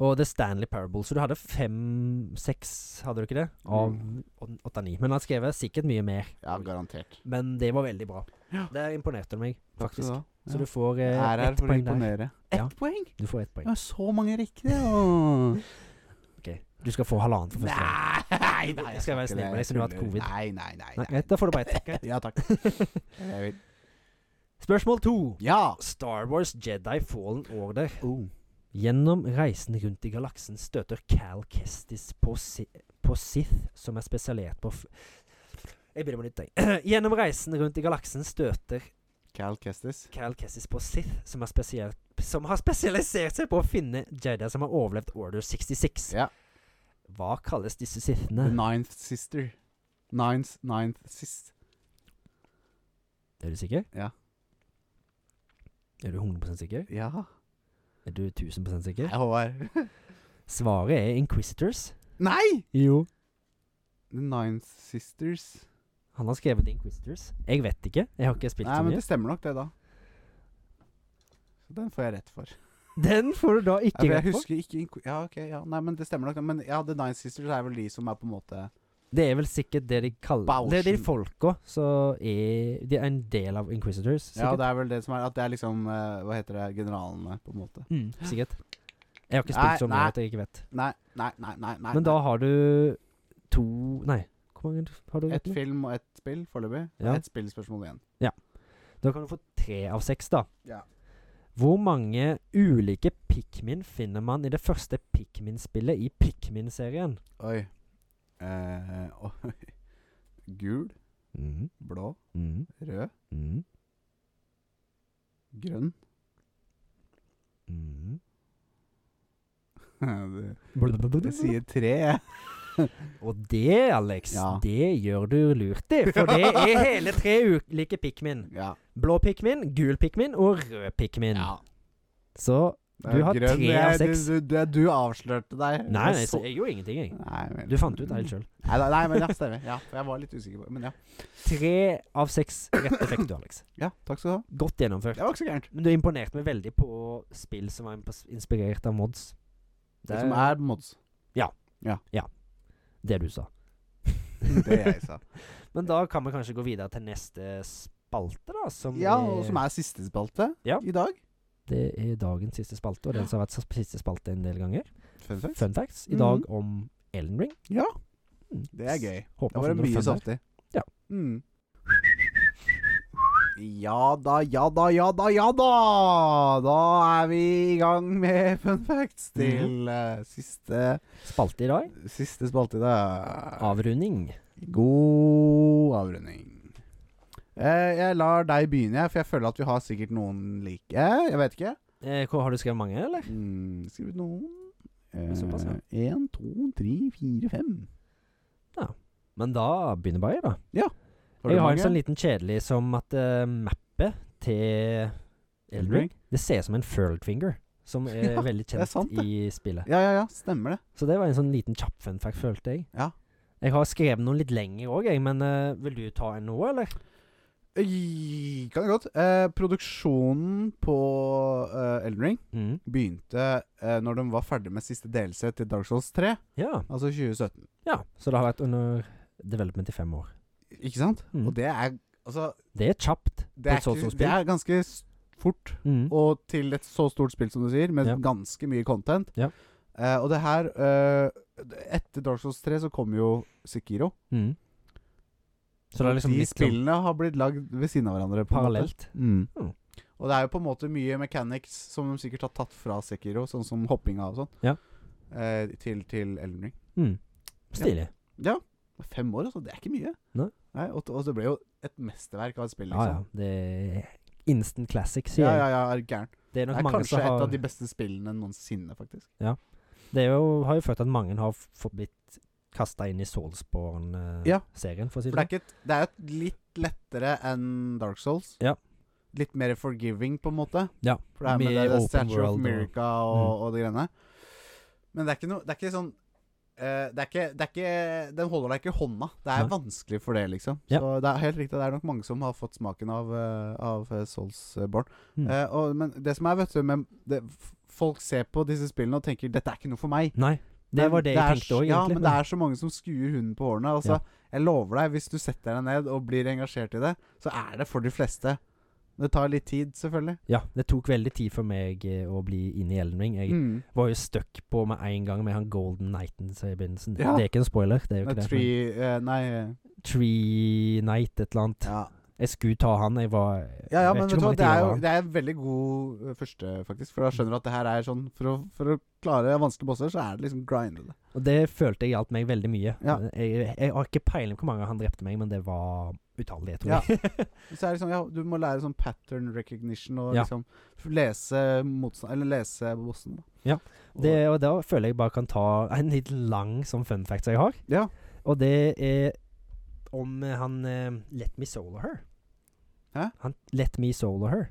Og The Stanley Parable. Så du hadde fem, seks, hadde du ikke det? Av
Mm.
åt- åtte av ni. Men han skrev sikkert mye mer.
Ja, garantert.
Men det var veldig bra.
Ja.
Der imponerte du meg, faktisk.
Faktisk.
Så
Ja.
du får
Jeg
eh,
er her
ett
for å
poeng der.
imponere.
Ja.
Ett poeng?
Du får ett poeng.
Jeg har så mange riktige. og-
Ok. Du skal få halvannen for første gang.
Nei,
Jeg skal være
ikke
snill med
det.
deg, siden du har hatt
Tuller.
covid.
Nei, nei, nei.
Nei, greit, da får du bare ett. Greit.
Ja takk. Jeg vil.
Spørsmål to.
Ja!
Star Wars Jedi Fallen Order.
Oh.
Gjennom reisen rundt i galaksen støter Cal Kestis på, si på Sith, som er spesialert på f Jeg begynner med nytt, jeg. Gjennom reisen rundt i galaksen støter
Cal Kestis.
Cal Kestis på Sith, som, er spesial- som har spesialisert seg på å finne Jedi som har overlevd Order 66.
Ja.
Hva kalles disse
The
Sithene?
Ninth Sister. Ninth, ninth Sis.
Er du sikker?
Ja.
Er du 100 sikker?
Ja.
Er du 1000 sikker?
Nei, Håvard.
Svaret er Inquisitors.
Nei!
Jo.
The Ninth Sisters.
Han har skrevet Inquisitors. Jeg vet ikke. Jeg har ikke spilt
Nei,
så
men
mye.
det stemmer nok, det, da. Så den får jeg rett for.
Den får du da
Ja, for
ikke
jeg
rett på.
husker ikke inko- Ja, ok, ja. Nei, men det stemmer nok. Men ja, The Nine Sisters er vel de som er på en måte
Det er vel sikkert det de kaller Det er de
Bauschen.
folka som er De er en del av Inquisitors,
Ja,
sikkert.
det er vel det som er At det er liksom eh, Hva heter det? Generalene, på en måte.
mm, sikkert. Jeg har ikke
Nei,
spilt så mye
nei.
at jeg ikke vet.
Nei, nei, nei. nei, nei
Men da
nei.
har du to Nei, hvor mange har du?
Et
egentlig?
film og ett spill foreløpig.
Ja.
Ett spillspørsmål igjen.
Da kan du få tre av seks, da.
Ja.
Hvor mange ulike Pikmin finner man i det første Pikmin-spillet i Pikmin-serien?
Oi. Eh, oi. Gul,
Mhm,
blå,
mhm,
rød,
mhm,
grønn.
mhm.
Det- Jeg sier tre, jeg.
Og det, Alex,
Ja.
det gjør du lurt i. For det er hele tre ulike Pikmin.
Ja.
Blå Pikmin, gul Pikmin og rød Pikmin.
ja.
Så
Det
Du
er
har
grønn.
tre av
Jeg- du-
seks.
Du, du, du avslørte deg.
Nei, nei,
Jeg
så
så-
jeg gjorde ingenting, jeg.
Nei, vel.
Du fant ut det helt sjøl.
Nei, da- nei, men ja, stemmer. Ja, for jeg var litt usikker på det. Men ja.
Tre av seks rette fikk du, Alex.
ja, takk skal du ha.
Godt gjennomført.
Det var ikke så gærent.
Men du imponerte meg veldig på spill som var impos- inspirert av mods.
Det som er mods.
det du sa.
Det jeg sa.
Men da kan vi kanskje gå videre til neste spalte, da. Som
Ja, og som er siste spalte
Ja.
i dag.
Det er dagens siste spalte, og den som har vært sp- siste spalte en del ganger.
Fun fact.
Fun facts i dag om Elden Ring.
Ja,
Mm.
det er gøy.
Håper
Da var det
vi
mye sånn.
finner fun facts.
saftig.
Ja.
Mm. Ja da, ja da, ja da, ja da! Da er vi i gang med fun facts til eh, siste,
Spalte i dag.
siste spalte i dag.
Avrunding.
God avrunding. Eh, jeg lar deg begynne, jeg, for jeg føler at vi har sikkert noen like. Jeg vet ikke.
Eh, hvor- har du skrevet mange, eller?
Mm, skriv ut noen.
Såpass, ja.
Én, to, tre, fire, fem.
Men da begynner bare jeg, da.
Har du
jeg har en
mange?
sånn liten kjedelig som at eh, mappet til Elden Ring Det ser ut som en furled finger, som er
Ja,
veldig
er
kjent
sant, det.
i spillet.
Ja, ja, ja. Stemmer det.
Så det var en sånn liten kjapp fun fact, følte jeg.
Ja.
Jeg har skrevet noen litt lenger òg, jeg, men eh, vil du ta en nå, eller?
I- Kan jeg godt. Eh, produksjonen på eh, Elden Ring
Mm.
begynte eh, når de var ferdig med siste delelse til Dark Souls 3,
Ja.
altså 2017.
ja. Så det har vært under development i fem år.
Ikke sant?
Mm.
Og det er altså
Det er kjapt.
Det er,
et sånt
ikke,
som
det
spill.
er ganske s- fort,
Mm.
og til et så stort spill som du sier, med
Ja.
ganske mye content.
Ja.
Eh, og det her eh, Etter Dark Souls 3 så kom jo Sikiro.
Mm. Så det er liksom
De
litt sånn
spillene har blitt lagd ved siden av hverandre. på en måte.
parallelt.
Mm.
Mm.
Og det er jo på en måte mye mechanics som de sikkert har tatt fra Sekiro, sånn som hoppinga og sånn,
Ja.
eh, til, til Elden Ring.
Mm. Stilig.
Fem år, altså. Det er ikke mye.
Nei.
og, og det ble jo et mesterverk av et spill,
Ja, ja.
liksom.
Det er instant classic, sier
Ja,
jeg.
ja, ja, er du gæren.
Det er
Det
nok
er
mange
kanskje
som har
et av de beste spillene noensinne, faktisk.
Det er jo, har jo ført til at mange har f- fått blitt kasta inn i
Ja.
Soulsborne-serien, for å si
For
det
det er, ikke et, det er et litt lettere enn Dark Souls.
Ja.
Litt mer forgiving, på en måte.
Ja,
For det er med
mer
det, det
open
Statue
world
of
og- Mm.
America og, og, de greiene. Men det er ikke noe Det er ikke sånn eh, det er ikke, det er ikke Den holder deg ikke i hånda. Det er
Nei.
vanskelig for det, liksom.
Ja.
Så det er helt riktig. Det er nok mange som har fått smaken av, eh, av eh, Soulsborne.
Mm.
Eh, og, men det som er, vet du med, det, f- Folk ser på disse spillene og tenker 'dette er ikke noe for meg'.
Nei, det
Men
var det, jeg
er
tenkte
så-
òg,
Ja,
egentlig.
men det er så mange som skuer hunden på hårene. Altså,
Ja.
Jeg lover deg, hvis du setter deg ned og blir engasjert i det, så er det for de fleste. Det tar litt tid, selvfølgelig.
ja, det tok veldig tid for meg eh, å bli inn i Elden Ring. Jeg
Mm.
var jo stuck på med en gang med han Golden Knighten som er i begynnelsen.
Ja.
sånn- Det er ikke en spoiler. Det er jo
Nei,
ikke det. men
Tree eh, Nei eh,
Tree Knight, et eller annet.
Ja,
Jeg skulle ta han, jeg var
ja, ja
jeg
men
vet
vet
ikke
du
hvor
hva,
mange
det er
timer
jo
var han.
det er en veldig god eh, første, faktisk. For da skjønner du at det her er sånn For å, for å klare vanskelige bosser, så er det liksom grinde det.
Og det følte jeg hjalp meg veldig mye.
Ja.
Jeg, jeg har ikke peiling på hvor mange han drepte meg, men det var utallige, tror
Ja.
jeg.
Så er det liksom, ja, du må lære sånn pattern recognition og
Ja.
liksom lese motstand Eller lese bossen. da.
Ja,
Og-
Det, og da føler jeg bare kan ta en litt lang sånn fun fact som jeg har.
Ja.
Og det er om eh, han eh, Let Me Solo Her.
Hæ?
Han Let Me Solo Her.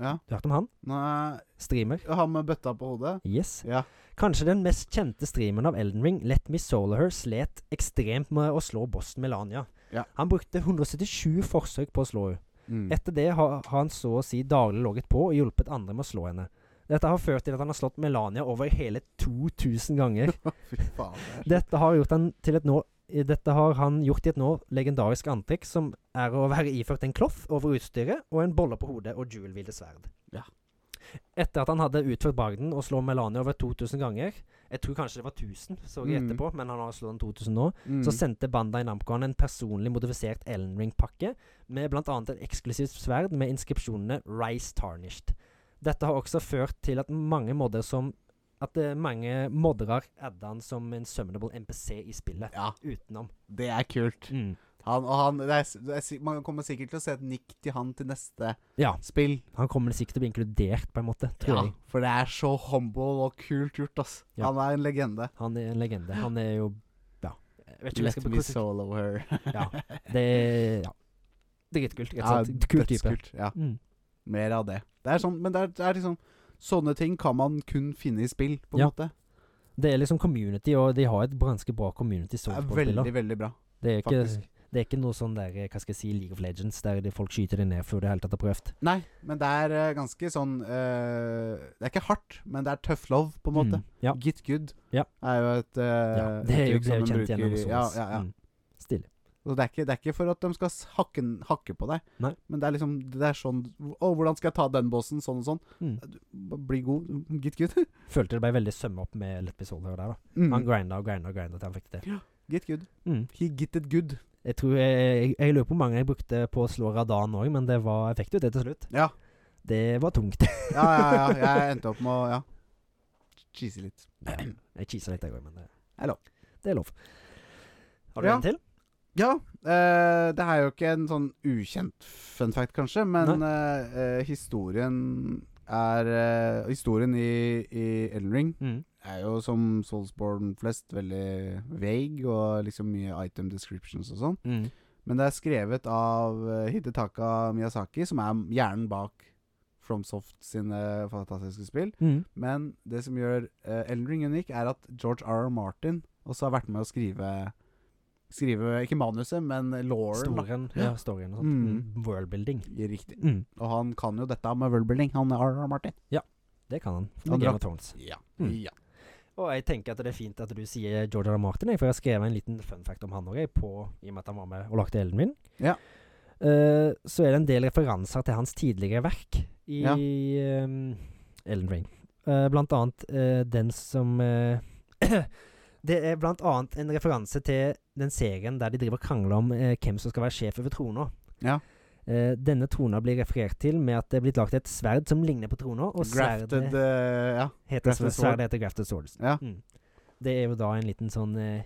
ja.
Du har hørt om han?
Nei,
Streamer.
han med bøtta på hodet.
Yes.
Ja.
Kanskje den mest kjente streameren av Elden Ring, Let Me Solo Her, slet ekstremt med å slå bossen Melania.
Ja.
Han brukte 177 forsøk på å slå henne.
Mm.
Etter det har har han så å si daglig logget på og hjulpet andre med å slå henne. Dette har ført til at han har slått Melania over hele 2000 ganger.
Fy faen. det er-
Dette har, gjort han til et nå, dette har han gjort i et nå legendarisk antrekk, som er å være iført en cloth over utstyret og en bolle på hodet og jewelvilde sverd.
Ja.
Etter at han hadde utført bragden å slå Melania over 2000 ganger Jeg tror kanskje det var 1000, så jeg
Mm.
etterpå, men han har slått den 2000 nå.
Mm.
Så sendte Bandai Namco han en personlig modifisert Ellen Ring-pakke med bl.a. et eksklusivt sverd med inskripsjonene 'Rise Tarnished'. Dette har også ført til at mange modder som At eh, mange modderer adda han som en summonable MPC i spillet.
Ja,
Utenom.
det er kult.
Mm.
Han, og han, det er, s- det er, si- man kommer sikkert til å se et nikk til han til neste
Ja.
spill.
Han kommer sikkert til å bli inkludert, på en måte. Tror jeg.
For det er så humble og kult gjort, ass.
Ja.
Han er en legende.
Han er en legende. Han er jo Ja. Jeg vet ikke om jeg
Let
skal
me
bekrefte
solo her.
Ja. Det er ja. dritkult. Rett og slett. Kul type.
dødskult, Ja.
Mm.
Mer av det. Det er sånn, men det er, det er liksom Sånne ting kan man kun finne i spill, på en
Ja.
måte.
Det er liksom community, og de har et ganske bra community.
Det er
soulspillere.
veldig, veldig bra,
Det er, ikke,
faktisk.
det er ikke noe sånn der eh, Hva skal jeg si League of Legends der de folk skyter deg ned før du i hele tatt har prøvd.
Nei, men det er eh, ganske sånn eh, Det er ikke hardt, men det er tough love, på en måte.
Mm, ja,
Get good
Ja.
er jo et eh,
ja. Det er jo, sånn det
uttrykk
er jo
som de
kjent gjennom
bruker i-
Souls.
Ja, ja, ja.
Mm. Stilig.
Så det er, ikke, det er ikke for at de skal s- hakke, n- hakke på deg,
Nei.
men det er liksom Det er sånn Å, hvordan skal jeg ta den bossen? Sånn og sånn.
Mm.
B- Bli god. Get good.
Følte det ble veldig sømma opp med Let Me Soul her der, da. Han
Mm.
grinda og grinda og grinda til han fikk det til.
Get good.
Mm.
He get it good.
Jeg tror jeg, jeg, jeg lurer på hvor mange jeg brukte på å slå Radan òg, men det var, jeg fikk det jo til til slutt.
Ja.
Det var tungt.
Ja, ja, ja. Jeg endte opp med å Ja. Cheese litt.
jeg cheesa litt, jeg òg, men det
Det er lov.
Det er lov. Har du
Ja.
en til?
Ja, eh, det er jo ikke en sånn ukjent fun fact, kanskje, men eh, eh, historien er eh, Historien i, i Elden Ring
Mm.
er jo som Soulsborne flest veldig vague, og liksom mye item descriptions og sånn.
Mm.
Men det er skrevet av eh, Hidetaka Miyazaki, som er hjernen bak FromSoft sine fantastiske spill.
Mm.
Men det som gjør uh, Elden Ring unik, er at George R. R. Martin også har vært med å skrive Skrive ikke manuset, men lauren. da.
Storyen, ja, storyen og sånt. Mm.
Mm.
Worldbuilding.
Riktig.
Mm.
Og han kan jo dette med worldbuilding, han R. R. Martin.
Det kan han.
Han
Med Game
drakk-
of Thrones.
Ja.
Mm.
ja.
Og jeg tenker at det er fint at du sier George R. R. Martin, jeg, for jeg har skrevet en liten fun fact om han òg, i og med at han var med og lagde Elden min.
Ja.
Eh, så er det en del referanser til hans tidligere verk i
Ja.
ehm, Elden Ring. Eh, blant annet eh, den som eh, Det er blant annet en referanse til den serien der de driver og krangler om eh, hvem som skal være sjef over trona.
Ja.
Eh, denne trona blir referert til med at det er blitt lagt et sverd som ligner på trona, og
Grafted
sverdet
eh, Ja.
heter,
Grafted Sword.
sverdet heter Grafted Swords.
ja.
Mm. Det er jo da en liten sånn eh,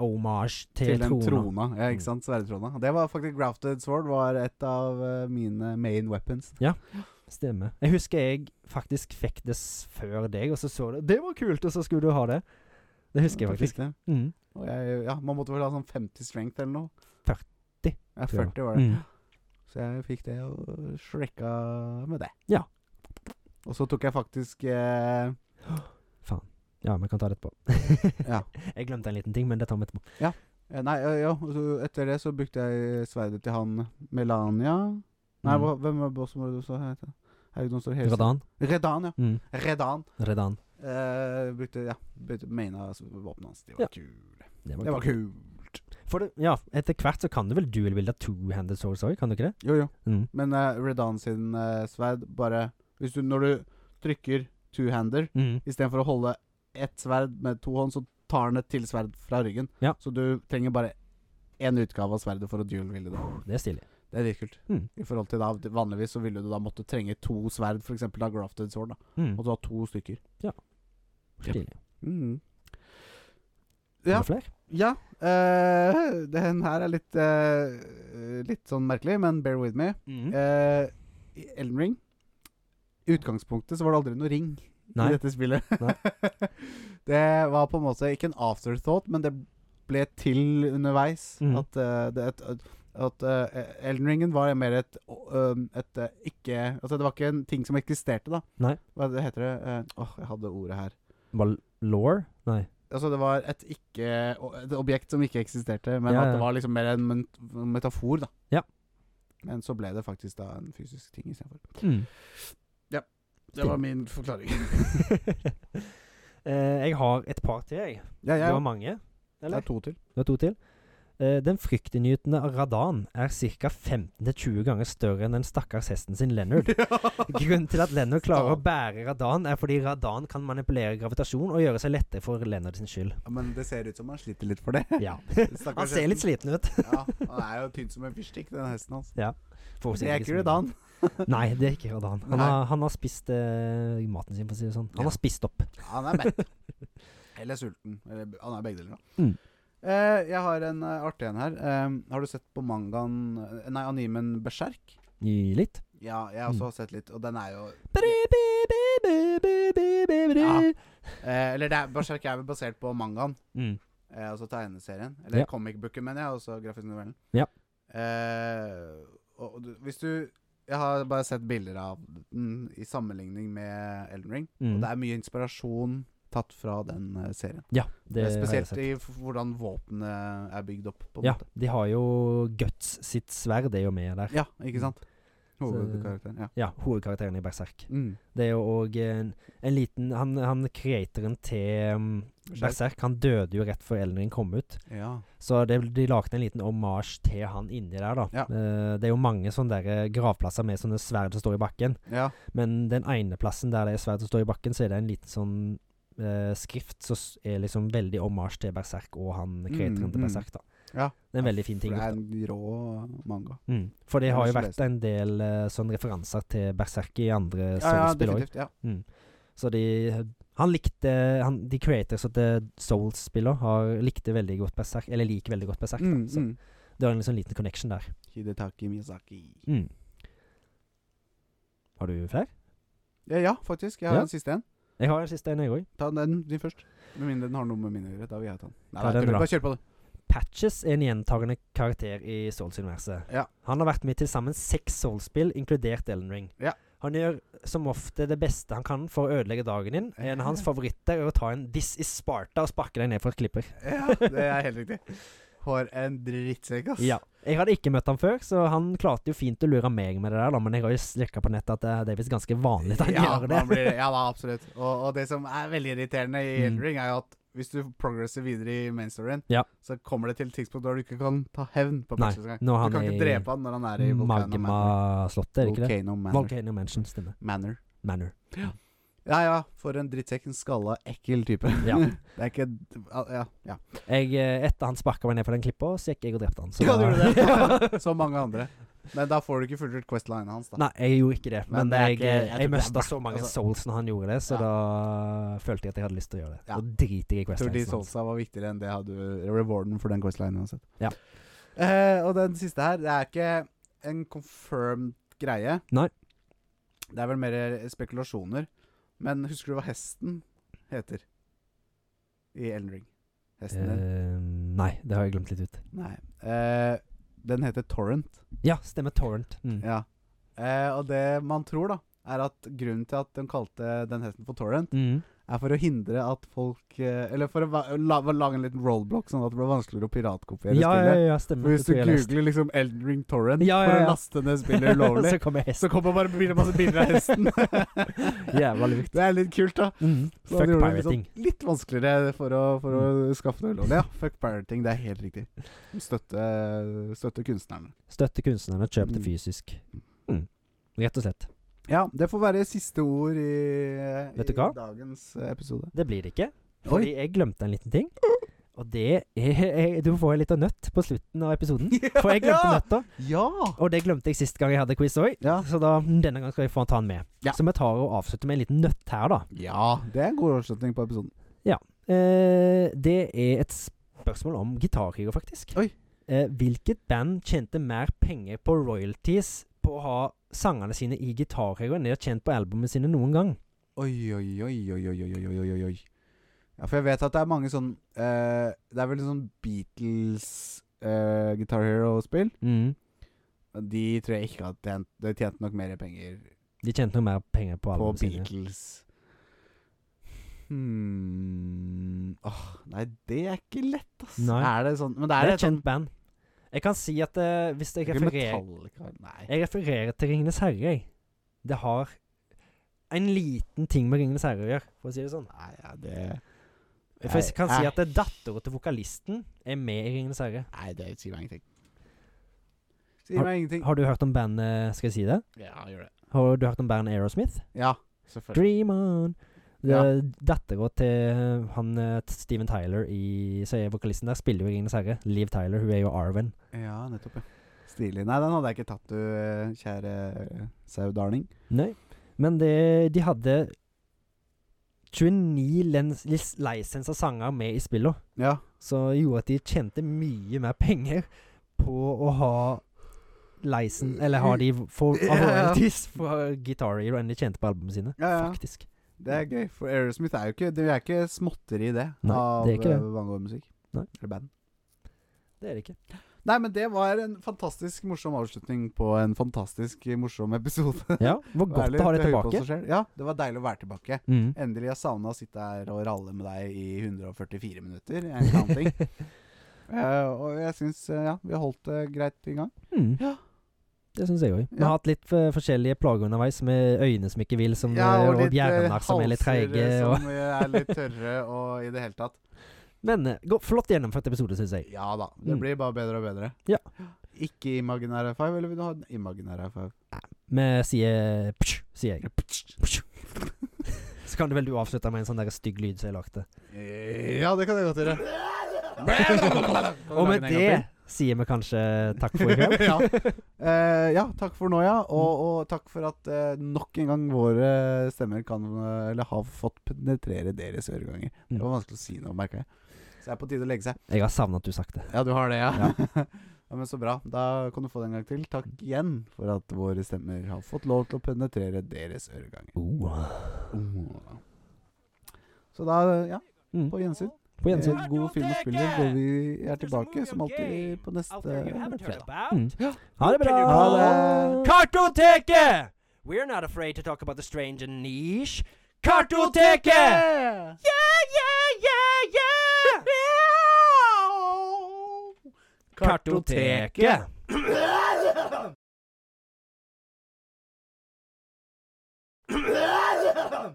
homage til,
Til den
trona.
trona. Ja,
Mm.
ikke sant? Sverdetrona. Det var faktisk Grafted Sword var et av eh, mine main weapons.
Stemmer. Jeg husker jeg faktisk fikk det s- før deg, og så så du Det var kult, og så skulle du ha det. Det husker jeg
Da
faktisk.
fikk det.
Mm.
Og jeg, ja, man måtte vel ha sånn 50 strength eller noe.
40,
Ja,
tror jeg.
40 var det.
Mm.
Så jeg fikk det og shrekka med det.
Ja.
Og så tok jeg faktisk eh,
Faen. Ja, vi kan ta det etterpå.
Ja.
Jeg glemte en liten ting, men det tar vi etterpå.
eh, Nei, eh, ja, og så etter det så brukte jeg sverdet til han Melania Nei,
Mm.
hva, hvem var bossen vår du sa? het? Herregud, nå står det hele tiden.
Redan.
Redan, ja.
Mm.
Redan.
Redan.
Eh, brukte ja, brukte maina altså, våpenet hans. De var
Ja.
kule.
Det
Det
var
var
kult.
kult.
For det, ja, etter hvert så kan du vel dual-bilde two-handed swords òg, kan du ikke det?
Jo, jo.
Mm.
Men eh, Redan sin eh, sverd bare Hvis du, når du trykker two-hander
Mm.
Istedenfor å holde ett sverd med to hånd, så tar han et til sverd fra ryggen.
Ja.
Så du trenger bare én utgave av sverdet for å duel-ville det.
Det er stilig.
Det er litt kult.
Mm.
I forhold til da, Vanligvis så ville du da måtte trenge to sverd, f.eks. av grafted sword. da
Mm.
Og du har to stykker.
Stilig.
Mm.
Er
Ja.
det flere?
ja eh, den her er litt eh, Litt sånn merkelig, men bear with me.
Mm.
Eh, I Elden Ring I utgangspunktet så var det aldri noe ring
Nei.
i dette spillet.
Nei.
det var på en måte ikke en afterthought, men det ble til underveis.
Mhm.
At, eh, det, at, at eh, Elden Ringen var mer et, å- um, et eh, ikke Altså det var ikke en ting som eksisterte, da.
Nei.
Hva det heter det? Eh, Åh, jeg hadde ordet her.
Var law? Nei.
Altså det var et ikke o- Et objekt som ikke eksisterte, men
Ja,
at
ja.
det var liksom mer en ment- metafor, da.
Ja.
Mm. Men så ble det faktisk da en fysisk ting istedenfor.
Mm.
Det var min forklaring.
Eh, jeg har et par til, jeg.
Ja,
Du
jeg
har
òg.
mange.
Det er to til.
Du har to til. Eh, Den fryktinngytende radan er ca. 15-20 ganger større enn den stakkars hesten sin Leonard. Grunnen til at Leonard klarer å bære radan, er fordi radan kan manipulere gravitasjon og gjøre seg lettere for Leonard sin skyld.
Ja, men det ser ut som han sliter litt for det.
Ja.
Stakkars
Han ser litt
hesten.
sliten ut.
Ja, han er jo tynn som en fyrstikk, den hesten hans.
Får
Det
sikkert
er
ikke så
ikke
mye.
Redan.
Nei, det er ikke radan. Han
Nei.
har, han har spist eh, maten sin, for å si det sånn. Han
Ja.
har spist opp.
Han er mett. Eller sulten. Eller, b- han er begge deler. da.
Mm.
Eh, jeg har en eh, artig en her. Eh, har du sett på mangaen eh, Nei, animen Berserk?
Gi litt.
Ja, jeg har også
Mm.
sett litt, og den er jo
Ja.
eh, Eller det er, Berserk er vel basert på mangaen,
Mm.
eh, altså tegneserien. Eller
Ja.
comic booken, mener jeg, altså grafisk novellen.
Ja.
Eh, og og du, hvis du Jeg har bare sett bilder av den i sammenligning med Elden Ring, og
Mm.
det er mye inspirasjon tatt fra den eh, serien.
Ja, det har jeg
Spesielt
sett.
i f- hvordan våpenet er bygd opp. På en
Ja,
måte.
de har jo Guts sitt sverd er jo med der.
ja, ikke sant?
Mm.
Hovedkarakteren. Ja.
Ja, hovedkarakteren i Berserk.
Mm.
Det er jo òg en, en liten Han, han creatoren til um, Berserk, han døde jo rett før Elden Ring kom ut.
ja.
Så det, de lagde en liten omasj til han inni der, da.
Ja.
Eh, det er jo mange sånne der eh, gravplasser med sånne sverd som står i bakken.
ja.
Men den ene plassen der det er sverd som står i bakken, så er det en liten sånn eh, skrift som s- er liksom veldig omasj til Berserk og han creatoren
mm.
til Berserk, da.
Ja.
Det er en veldig fin
For
ting.
det
gjort,
er en rå manga.
da. Mm. For det
Jeg har
har jo
ikke lest
vært en del eh, sånn referanser til Berserk i andre
Ja, ja,
soulspill òg.
definitivt. Ja.
Så de Han likte han, De creators og The Souls-spiller har likte veldig godt Berserk, eller liker veldig godt Berserk.
Mm,
da. Så
mm.
det var en liksom liten connection der. Mm.
Hidetaki Miyazaki.
Har du flere?
Ja, ja, faktisk. Jeg har
Ja.
en siste en.
Jeg har en siste en, jeg òg.
Ta den din først. Med mindre den har noe med mine å gjøre. Da vil jeg ta den. Nei,
Ta
da,
den,
kjør-
da.
bare kjør på, du.
Patches er en gjentagende karakter i Souls-universet.
Ja.
Han har vært med i til sammen seks Souls-spill, inkludert Elden Ring.
Ja.
Han gjør som ofte det beste han kan for å ødelegge dagen din. En av hans favoritter er å ta en 'This is Sparta' og sparke deg ned fra et klipper.
Ja, det er helt riktig. For en drittsekk, ass.
Ja. Jeg hadde ikke møtt han før, så han klarte jo fint å lure meg med det der, da, men jeg har jo sjekka på nettet at eh, det, det er visst ganske vanlig at han
ja,
gjør det.
man Blir, ja da, absolutt. Og, og det som er veldig irriterende i Elden
Mm.
Ring, er jo at hvis du progresser videre i main storyen,
Ja.
så kommer det til et tidspunkt der du ikke kan ta hevn på
Nei,
Patches engang.
når han
Du kan
er
ikke
i
drepe han når han er i Volcano Manor.
Magmaslottet, er det ikke det?
Volcano Manor.
Volcano Mansion, stemmer.
Manor.
Manor.
Ja ja, for en drittsekk. En skalla, ekkel type.
Ja.
det er ikke Ja. ja.
Jeg, eh, etter han sparka meg ned fra den klippa, så gikk jeg og drepte han. Så
Ja,
da-
du gjorde det. Som mange andre. Men da får du ikke fullført Questline hans, da.
Nei, jeg gjorde ikke det, men,
Men det er
jeg,
ikke- jeg
jeg,
tror det er
mista
verdt-
så mange
altså-
souls når han gjorde det, så
Ja.
da følte jeg at jeg hadde lyst til å gjøre det.
Ja.
Da driter jeg i
Jeg tror de
Questlines. hans.
soulsa var viktigere enn det hadde rewarden for den questline uansett.
Ja.
Eh, og den siste her, det er ikke en confirmed greie.
Nei.
Det er vel mer spekulasjoner. Men husker du hva hesten heter i Elden Ring? Hesten din?
Eh, nei, det har jeg glemt litt ut.
Nei. Eh, den heter Torrent.
Ja, stemmer. Torrent. Mm.
Ja. Eh, og det man tror, da, er at grunnen til at de kalte den hesten for Torrent,
Mm.
er for å hindre at folk eh, Eller for å va la lage en liten rollblock, sånn at det blir vanskeligere å
Ja,
piratkopiere
ja,
spillet.
ja, stemmer.
For hvis
Det
du
tror jeg jeg leste.
googler liksom Elden Ring Torrent
Ja, ja,
for
ja.
å laste ned spillet ulovlig,
så kommer hesten.
så kommer bare bilder, masse bilder av hesten.
Jævla lurt.
Det er litt kult, da. Så
Mm. Fuck
det gjorde det litt
pirating. Mm.
Sånn, litt vanskeligere for å, for å skaffe det ulovlig. Ja, fuck pirating, det er helt riktig. Støtte, støtte kunstnerne.
Støtte kunstnerne, kjøp det
Mm.
fysisk. Mm. Rett og slett.
Ja, det får være siste ord i,
Vet du
i
hva?
dagens episode.
Det blir det ikke,
Oi.
fordi jeg glemte en liten ting. Og det er jeg, Du får en liten nøtt på slutten av episoden. For jeg glemte
ja!
nøtta,
Ja!
og det glemte jeg sist gang jeg hadde quiz òg.
Ja.
Så da, denne gangen skal jeg få ta den med.
Ja.
Så vi tar og avslutter med en liten nøtt her, da.
ja, det er en god avslutning på episoden.
Eh, det er et spørsmål om gitarkriger, faktisk.
Oi.
Eh, hvilket band tjente mer penger på royalties på å ha sangene sine i gitarkriger enn de har tjent på albumene sine noen gang?
Oi, oi, oi, oi, oi, oi, oi, oi, oi, oi. Ja, for jeg vet at det er mange sånn eh, Det er vel sånn Beatles eh, Guitar Hero-spill. De tror jeg ikke har tjent De tjente nok mer penger
De tjente noe mer penger på
på
albumene sine.
Beatles. Hmm Åh, Nei, det er ikke lett, ass.
Nei.
Er det sånn Men det
Det
er
er
et
et kjent band. Jeg kan si at eh, hvis jeg
Ikke
refererer
Metallica Nei.
Jeg refererer til Ringenes herre, jeg. Det har en liten ting med Ringenes herre å gjøre, for å si det sånn.
Nei, ja, det
For jeg kan
Nei. eh.
si at det er dattera til vokalisten er med i Ringenes herre.
Nei, det sier meg ingenting.
Sier meg ingenting.
Har du hørt om bandet Skal jeg si det?
Ja, gjør det.
Har du hørt om bandet Aerosmith?
Ja.
Selvfølgelig.
Dream on! Det
Ja.
er Dattera til han eh, Steven Tyler i Så er vokalisten der, spiller jo i Ringenes herre. Liv Tyler, hun er jo Arwen.
ja, nettopp, ja. Stilig. Nei, den hadde jeg ikke tatt, du eh, kjære eh, sau darling.
Nei. Men det, de hadde 29 lens, lis- lisensa sanger med i spillet,
Ja.
som gjorde at de tjente mye mer penger på å ha lisen, eller ha de for,
Ja,
av
ja.
royalties fra Guitar Hero enn de tjente på albumene sine.
Ja, ja.
Faktisk.
Det er gøy, for Aerosmith er jo ikke Det er ikke småtteri, det.
Nei,
av
det er ikke det.
eh, Vanngård-musikk.
Nei.
Eller band.
Det er det ikke.
Nei, men det var en fantastisk morsom avslutning på en fantastisk eh, morsom episode.
Ja, Hvor godt
Ærlig,
å ha det
til å høre på
tilbake.
oss selv. Ja, det var deilig å være tilbake.
Mm.
Endelig jeg savna å sitte her og ralle med deg i 144 minutter. En counting. Eh, og jeg syns eh, ja, vi har holdt det greit i gang.
Mm.
Ja.
Det syns jeg òg. Vi
Ja.
har hatt litt eh, forskjellige plager underveis, med øyne som ikke vil, som, eh, og,
litt, eh,
hjerner som er litt
halser, eh,
treige. Og...
Som eh, er litt tørre og i det hele tatt.
Men eh, go- flott gjennomført episode, syns jeg.
Ja da. Det
Mm.
blir bare bedre og bedre.
Ja.
Ikke imaginær high five, eller vil du ha en imaginær high five?
Vi sier psj, eh, sier jeg. Psj. Så kan du vel du avslutte med en sånn der stygg lyd som jeg lagde.
Ja, det kan jeg godt gjøre.
Og med det sier vi kanskje takk for i kveld.
ja. Eh, ja, takk for nå, ja. Og, og takk for at eh, nok en gang våre stemmer kan eh, Eller har fått penetrere deres øreganger. Det var vanskelig å si noe, merka jeg. Så det er på tide å legge seg.
Jeg har savna at du sagt det.
Ja, du har det, ja. ja men så bra. Da kan du få det en gang til. Takk igjen for at våre stemmer har fått lov til å penetrere deres øreganger. Oh. Så da, ja.
Mm.
På gjensyn.
På gjensyn.
Eh, God film og spiller hvor vi er tilbake som alltid på
Out
neste
there you haven't heard
fredag.
about.
Mm. Ha det bra!
Ha det.
Kartoteket! We're not afraid to talk about the strange and niche. Kartoteket! Yeah, yeah, yeah, yeah!
Kartoteket.